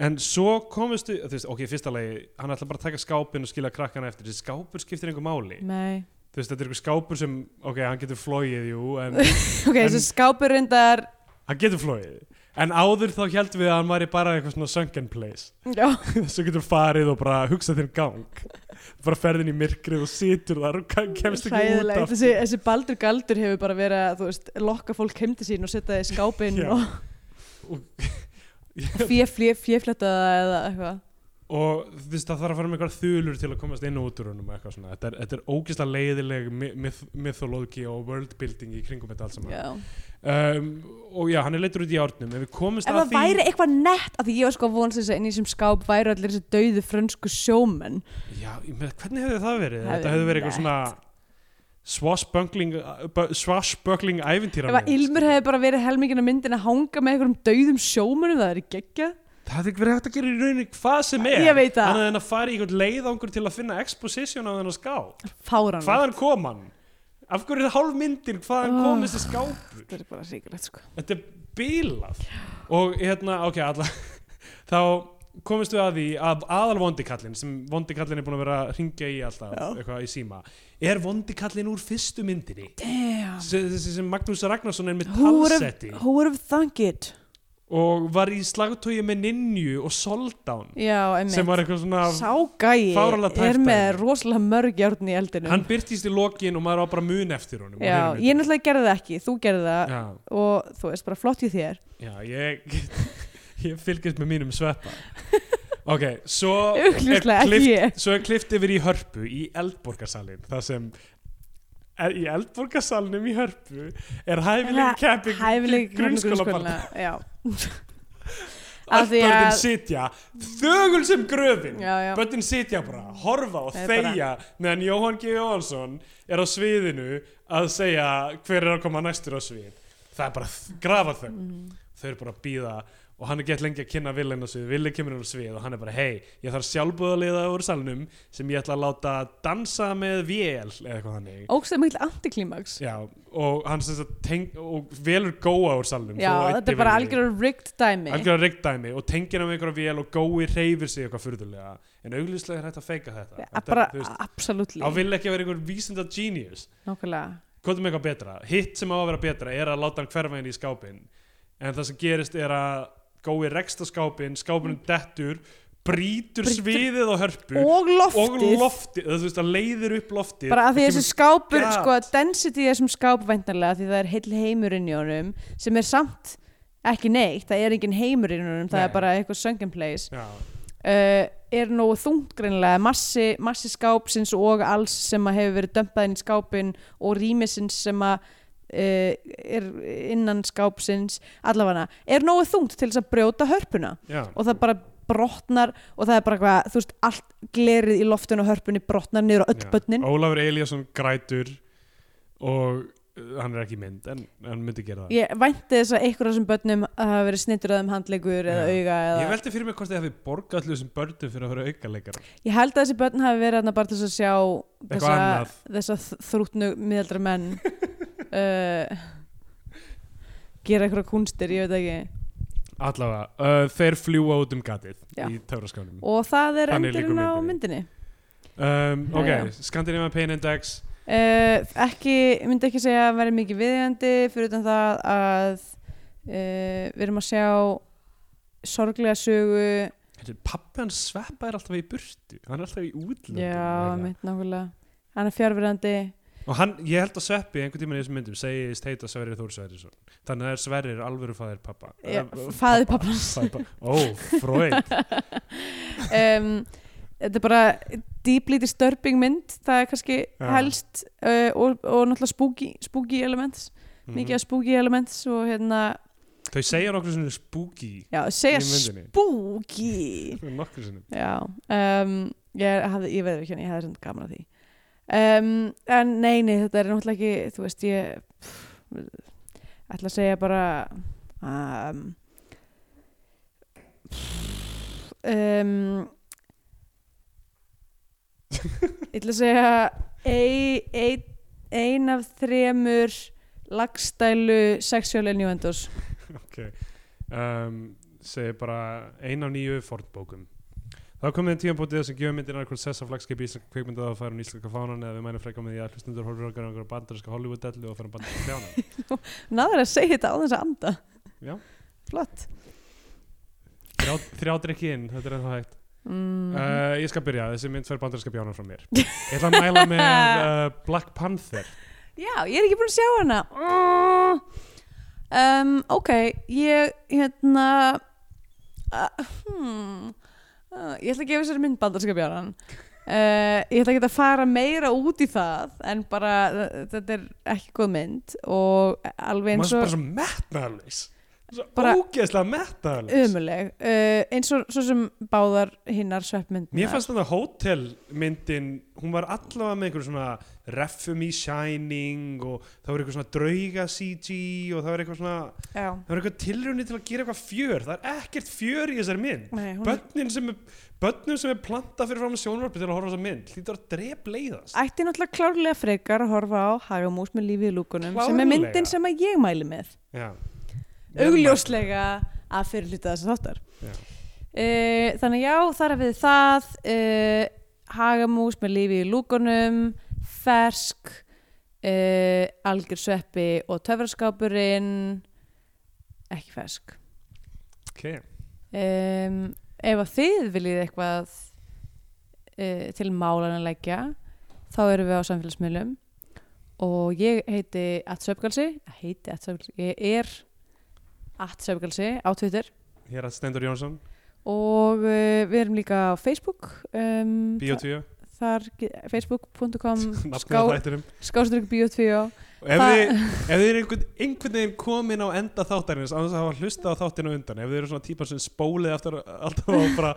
Speaker 2: en svo komist við, þú veist, ok, í fyrsta lagi hann ætla bara að taka skápin og skila krakkana eftir þessi skápur skiptir einhver máli
Speaker 3: nei
Speaker 2: þú veist, þetta er einhver skápur sem, ok, hann getur flóið jú, en <laughs> En-
Speaker 3: ok, þessi skápur reyndar
Speaker 2: hann getur flóið en áður þá heldum við að hann væri bara eitthvað svona sunken place <laughs>
Speaker 3: já,
Speaker 2: svo getur farið og bara hugsað þér gang bara ferðin í myrkrið og situr þar og kann- kemst ekki út
Speaker 3: Hræðilegt,
Speaker 2: af
Speaker 3: þessi, þessi baldur galdur hefur bara verið að, þú veist, lokka fólk heim til sín og setja það í skápinn
Speaker 2: Já.
Speaker 3: og <laughs>
Speaker 2: og
Speaker 3: fjöfletta það eða eitthvað.
Speaker 2: þú veist það þarf að fara með eitthvað þulur til að komast inn og út úr honum og eitthvað svona. þetta er, þetta er ógislega leiðileg myth- mythologi og worldbuilding í kringum þetta allt saman
Speaker 3: Já.
Speaker 2: um, og já, hann er leittur út í árnum ef við komumst
Speaker 3: Ef
Speaker 2: að
Speaker 3: það
Speaker 2: því
Speaker 3: væri eitthvað nett, af því ég var sko að vonast þess að inn í þessum skáp væri allir þessi dauðu frönsku sjómenn.
Speaker 2: já, ég meina, hvernig hefði það verið?
Speaker 3: Hefði
Speaker 2: þetta hefði verið
Speaker 3: nett.
Speaker 2: eitthvað svona swashbuckling bu- swashbuckling ævintýra
Speaker 3: Ef að Ilmur hefði bara verið helmingin á myndin að hanga með einhverjum dauðum sjómennum, það er í geggja.
Speaker 2: Það hefði ekki verið hægt að gera í rauninni hvað sem er
Speaker 3: Ég veit það.
Speaker 2: Þannig að hann að fara í einhvern leiðangur til að finna exposition á þennan skáp
Speaker 3: Fáran.
Speaker 2: Hvaðan kom hann? Af hverju er hálf myndin? Hvaðan
Speaker 3: Oh.
Speaker 2: kom þessi skápur?
Speaker 3: Þetta er bara ríkulegt, sko.
Speaker 2: Þetta er bílað Og hérna, ok, alla <laughs> Þá komist við að því að aðal vondikallin sem vondikallin er búin að vera að ringja í alltaf
Speaker 3: Já.
Speaker 2: eitthvað í síma er vondikallin úr fyrstu myndinni
Speaker 3: Damn.
Speaker 2: sem, sem Magnús Ragnarsson er með
Speaker 3: Who would have-
Speaker 2: talsetti
Speaker 3: who would have thunk it?
Speaker 2: og var í slagtói með Ninju og Soldown
Speaker 3: Já, einmitt.
Speaker 2: sem var eitthvað svona
Speaker 3: Ságæi
Speaker 2: fáránlega tæpt
Speaker 3: er með
Speaker 2: dæmi.
Speaker 3: rosalega mörg járn í eldinum.
Speaker 2: hann byrtist í lokin og maður á bara mun eftir honum og
Speaker 3: Já,
Speaker 2: hinum
Speaker 3: ég
Speaker 2: myndum.
Speaker 3: náttúrulega gerði það ekki, þú gerði það
Speaker 2: já,
Speaker 3: og þú veist, bara flott í þér.
Speaker 2: já, ég <laughs> ég fylgist með mínum
Speaker 3: <laughs>
Speaker 2: sveppa ok, svo er
Speaker 3: Augljóslega ekki
Speaker 2: klippt-
Speaker 3: ég.
Speaker 2: svo er klift yfir í hörpu í eldborgarsalinn það sem er, í eldborgarsalinum í hörpu er hæfileg kepping
Speaker 3: Hæfileg
Speaker 2: grunnskólabarn <laughs>
Speaker 3: Já, Af
Speaker 2: öll
Speaker 3: því að-
Speaker 2: börnin sitja þögul sem gröfin
Speaker 3: já, já.
Speaker 2: Böttin sitja bara, horfa og
Speaker 3: Það er bara-
Speaker 2: þegja meðan Jóhann G. Jóhansson er á sviðinu að segja hver er að koma næstur á svið. Það er bara grafa þau.
Speaker 3: Mhm.
Speaker 2: Þau eru bara að býða og hann er gett lengi að kynna Villin á svið. Villin kemur inn á svið og hann er bara, hei, ég þarf sjálfbúðarliða úr salnum sem ég ætla að láta dansa með vél eða eitthvað þannig.
Speaker 3: Ógst það mikil antiklimaks.
Speaker 2: Já, og hann sem sagt teng- og velur góa úr salnum.
Speaker 3: Já, þetta er bara algjörður rigged dæmi.
Speaker 2: Algjörlega reykdæmi og tengir hann með einhverja vél og gói reyfir sig eitthvað furðulega en auglýslega er hægt að feika þetta,
Speaker 3: Ja,
Speaker 2: þetta
Speaker 3: Bara
Speaker 2: þú veist,
Speaker 3: absolutt
Speaker 2: Á vil ekki vera einhver vísinda genius
Speaker 3: Nákvæmlega.
Speaker 2: Hvað er með eitthvað betra? Hitt sem á að vera betra er að láta hann hverfa inn í skápin En það sem gerist er að gói reksta skápin, skápinum dettur brýtur
Speaker 3: Mm. Brýtur-
Speaker 2: sviðið á hörpu og
Speaker 3: og loftið
Speaker 2: loftið, þú veist, það leiðir upp loftið
Speaker 3: bara að því
Speaker 2: það
Speaker 3: þessi skápur,
Speaker 2: gat.
Speaker 3: sko, density í þessum skáp væntanlega, því það er heil heimur inn í honum sem er samt ekki neitt, það er engin heimur inn í honum það
Speaker 2: Nei.
Speaker 3: er bara eitthvað sunken place
Speaker 2: kemur- Já.
Speaker 3: uh, er nógu þungt greinilega massi, massi skápsins og alls sem að hefur verið dömpað inn í skápin og rýmisins sem að uh, er innan skápsins allafana, er nógu þungt til þess að brjóta hörpuna
Speaker 2: Já.
Speaker 3: og það bara brotnar og það er bara hvað, þú veist, allt glerið í loftinu og hörpunni brotnar niður á öll
Speaker 2: Já.
Speaker 3: börnin
Speaker 2: Ólafur Eliasson grætur og uh, hann er ekki í mynd en en hann myndi gera það
Speaker 3: ég vænti þess að einhverjum af þessum börnum hafa verið snittur að þeim handlegur eða
Speaker 2: Já.
Speaker 3: auga
Speaker 2: Ég
Speaker 3: eða...
Speaker 2: velti fyrir mig hvort þið hefði borgað allir þessum börnum fyrir að vera aukaleikar
Speaker 3: ég held að þessi börn hafi verið þarna bara til þess að sjá
Speaker 2: Eitthvað
Speaker 3: þessa,
Speaker 2: annað.
Speaker 3: þessa þ- þrútnu miðaldra menn
Speaker 2: <laughs>
Speaker 3: uh, gera eitthvað kúnstir, ég veit ekki
Speaker 2: Allavega, uh, þeir fljúa út um gatið
Speaker 3: Já.
Speaker 2: í töfraskánum
Speaker 3: og það er
Speaker 2: Þannig
Speaker 3: endurinn
Speaker 2: liggur
Speaker 3: á
Speaker 2: myndinni.
Speaker 3: myndinni
Speaker 2: um, Ok,
Speaker 3: Já, já.
Speaker 2: Scandinavian Pain Index
Speaker 3: uh, ekki, ég myndi ekki segja að vera mikið viðjandi fyrir utan það að uh, við erum að sjá sorglega sögu
Speaker 2: Pappi hans sveppa er alltaf í burtu Hann er alltaf í útlöndum
Speaker 3: já,
Speaker 2: eiginlega.
Speaker 3: mitt nákvæmlega hann er fjárverandi
Speaker 2: Og hann, ég held að sveppi einhvern tímann í þessum myndum segist heita Sverrir Þór Sverrisson Þannig að það er Sverrir alvöru fæðir pappa
Speaker 3: Já,
Speaker 2: Eh,
Speaker 3: faðir
Speaker 2: pabba.
Speaker 3: pabbans.
Speaker 2: Faðir pabba. Ó, Freud
Speaker 3: <laughs> um, þetta er bara deeply disturbing mynd það er kannski
Speaker 2: Já.
Speaker 3: helst uh, og, og náttúrulega spooky, spooky elements <laughs>
Speaker 2: Mhm.
Speaker 3: mikið af spooky elements og hérna,
Speaker 2: Þau segja nokkur svona spooky
Speaker 3: já, segja
Speaker 2: Í myndinni.
Speaker 3: spooky
Speaker 2: Nokkur svona
Speaker 3: já um, ég, hafði, ég veður ekki hérna, ég hefði svona gaman að því um, en nei, nei, þetta er náttúrulega ekki þú veist, ég pff, ætla að segja bara um, um, ég ætla að segja ein, ein, ein af þremur lagstælu sexual innuendos
Speaker 2: um, segir bara ein af nýju fornbókum þá komið tíðanbótið sem gefur myndin annarkvöld sess af flagskip í íslenska kveikmynda að færa hún íslenska fánan eða við mænum frekar með því að hlustundur horfur okkar á einhverja bandarinska Hollywood-dellu og færa bandarinska
Speaker 3: <laughs>
Speaker 2: kljána
Speaker 3: náður að segja þetta á þess að anda
Speaker 2: Já.
Speaker 3: flott
Speaker 2: þrjá, þrjá drikki inn, þetta er ennþá hægt
Speaker 3: mm.
Speaker 2: uh, ég skal byrja, þessi mynd fær bandarinska bjánan frá mér ég ætla að mæla með uh, Black Panther
Speaker 3: Já, ég er ekki búin að sjá hana Mm. um, Ok, ég hérna uh, hmm, uh, Ég ætla að gefa sér mynd bandarskapjáran uh, Ég ætla ekki að fara meira út í það en bara uh, þetta er ekki góð mynd og alveg
Speaker 2: maður
Speaker 3: eins
Speaker 2: er
Speaker 3: og
Speaker 2: bara svo metnaðarlegs svo
Speaker 3: Bara- Um,
Speaker 2: ógeðslega metnaðarlegs
Speaker 3: umuleg uh, eins og svo sem báðar hinnar sveppmyndina
Speaker 2: Mér fannst þetta hótelmyndin, hún var allavega með einhverjum svona reffum í Shining og það var eitthvað svona drauga CG og það var eitthvað svona,
Speaker 3: Já,
Speaker 2: það var eitthvað tilraunni til að gera eitthvað fjör, það er ekkert fjör í þessari mynd.
Speaker 3: nei, hún
Speaker 2: Bönnum sem, er, börnum sem er plantað fyrir fram sjónvarpi til að horfa á þessa mynd, hlýtur að drep leiðast.
Speaker 3: ætti náttúrulega klárlega frekar að horfa á Hagamús með lífið í lúkunum sem er
Speaker 2: Klárlega.
Speaker 3: myndin sem að ég mæli með
Speaker 2: Já.
Speaker 3: augljóslega að fyrir hluta þess að þáttar
Speaker 2: Já.
Speaker 3: uh, þannig já, þar er við það uh, hagamús með lífi í lúkunum fersk uh, algjör sveppi og töfraskápurinn ekki fersk
Speaker 2: Ok,
Speaker 3: um, ef að þið viljið eitthvað uh, til málan að leggja þá erum við á samfélagsmiðlum og ég heiti Atsöpgalsi, heiti Atsöpgalsi ég er Atsöpgalsi á Twitter
Speaker 2: hér að Stendur Jónsson,
Speaker 3: og uh, við erum líka á Facebook um,
Speaker 2: Bíotvíu,
Speaker 3: þa- þar ge- facebook.com
Speaker 2: <laughs> nafnið á
Speaker 3: ská-
Speaker 2: þættinum.
Speaker 3: skástrík bio2
Speaker 2: Og Ef
Speaker 3: Það-
Speaker 2: þið, ef þið eru einhvern, einhvern veginn komin á enda þáttarins á þess að hafa hlustað á þáttinu undan ef þið eru svona típar sem spólið aftur alltaf á bara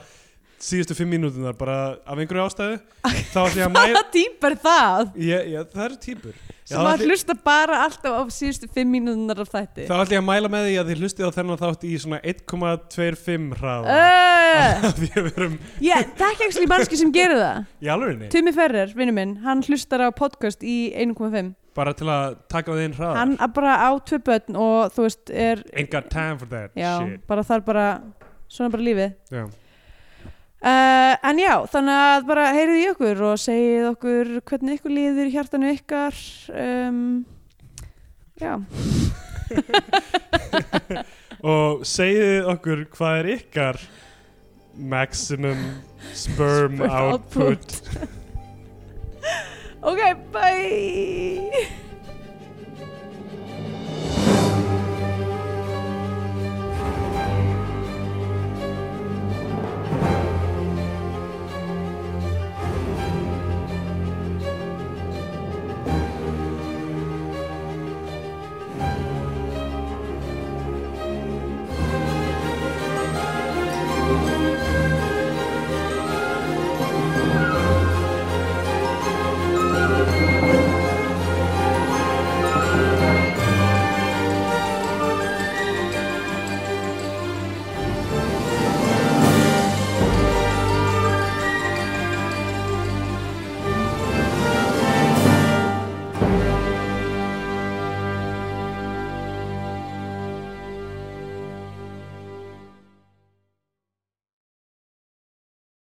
Speaker 2: síðustu fimm mínútunar bara af einhverju ástæðu þá ætlum ég að
Speaker 3: <laughs>
Speaker 2: mæla
Speaker 3: það dýpar það
Speaker 2: ég, ég, það eru típur Já,
Speaker 3: sem að
Speaker 2: ætli-
Speaker 3: hlusta bara alltaf á síðustu fimm mínúðunar af þætti
Speaker 2: þá ætlum ég að mæla með því að þið hlustið á þennan þátt í svona 1,25 hraða
Speaker 3: Uh,
Speaker 2: af því að við erum
Speaker 3: ég þekki ekki slík mannski sem gerir það
Speaker 2: í alvegurinni
Speaker 3: Tumi Ferrer, vinnu minn, hann hlustar á podcast í 1.5
Speaker 2: bara til að taka það inn hraða
Speaker 3: hann að bara á tvö börn og þú veist er
Speaker 2: Ah. enga time for that
Speaker 3: já,
Speaker 2: shit
Speaker 3: bara þar bara svona bara lífið
Speaker 2: Já.
Speaker 3: Uh, en já, þannig að bara heyrið í okkur og segið okkur hvernig ykkur líður í hjartanu ykkar um, Já,
Speaker 2: og segið okkur hvað er ykkar maximum sperm
Speaker 3: Sperm
Speaker 2: output
Speaker 3: output. Ok, bye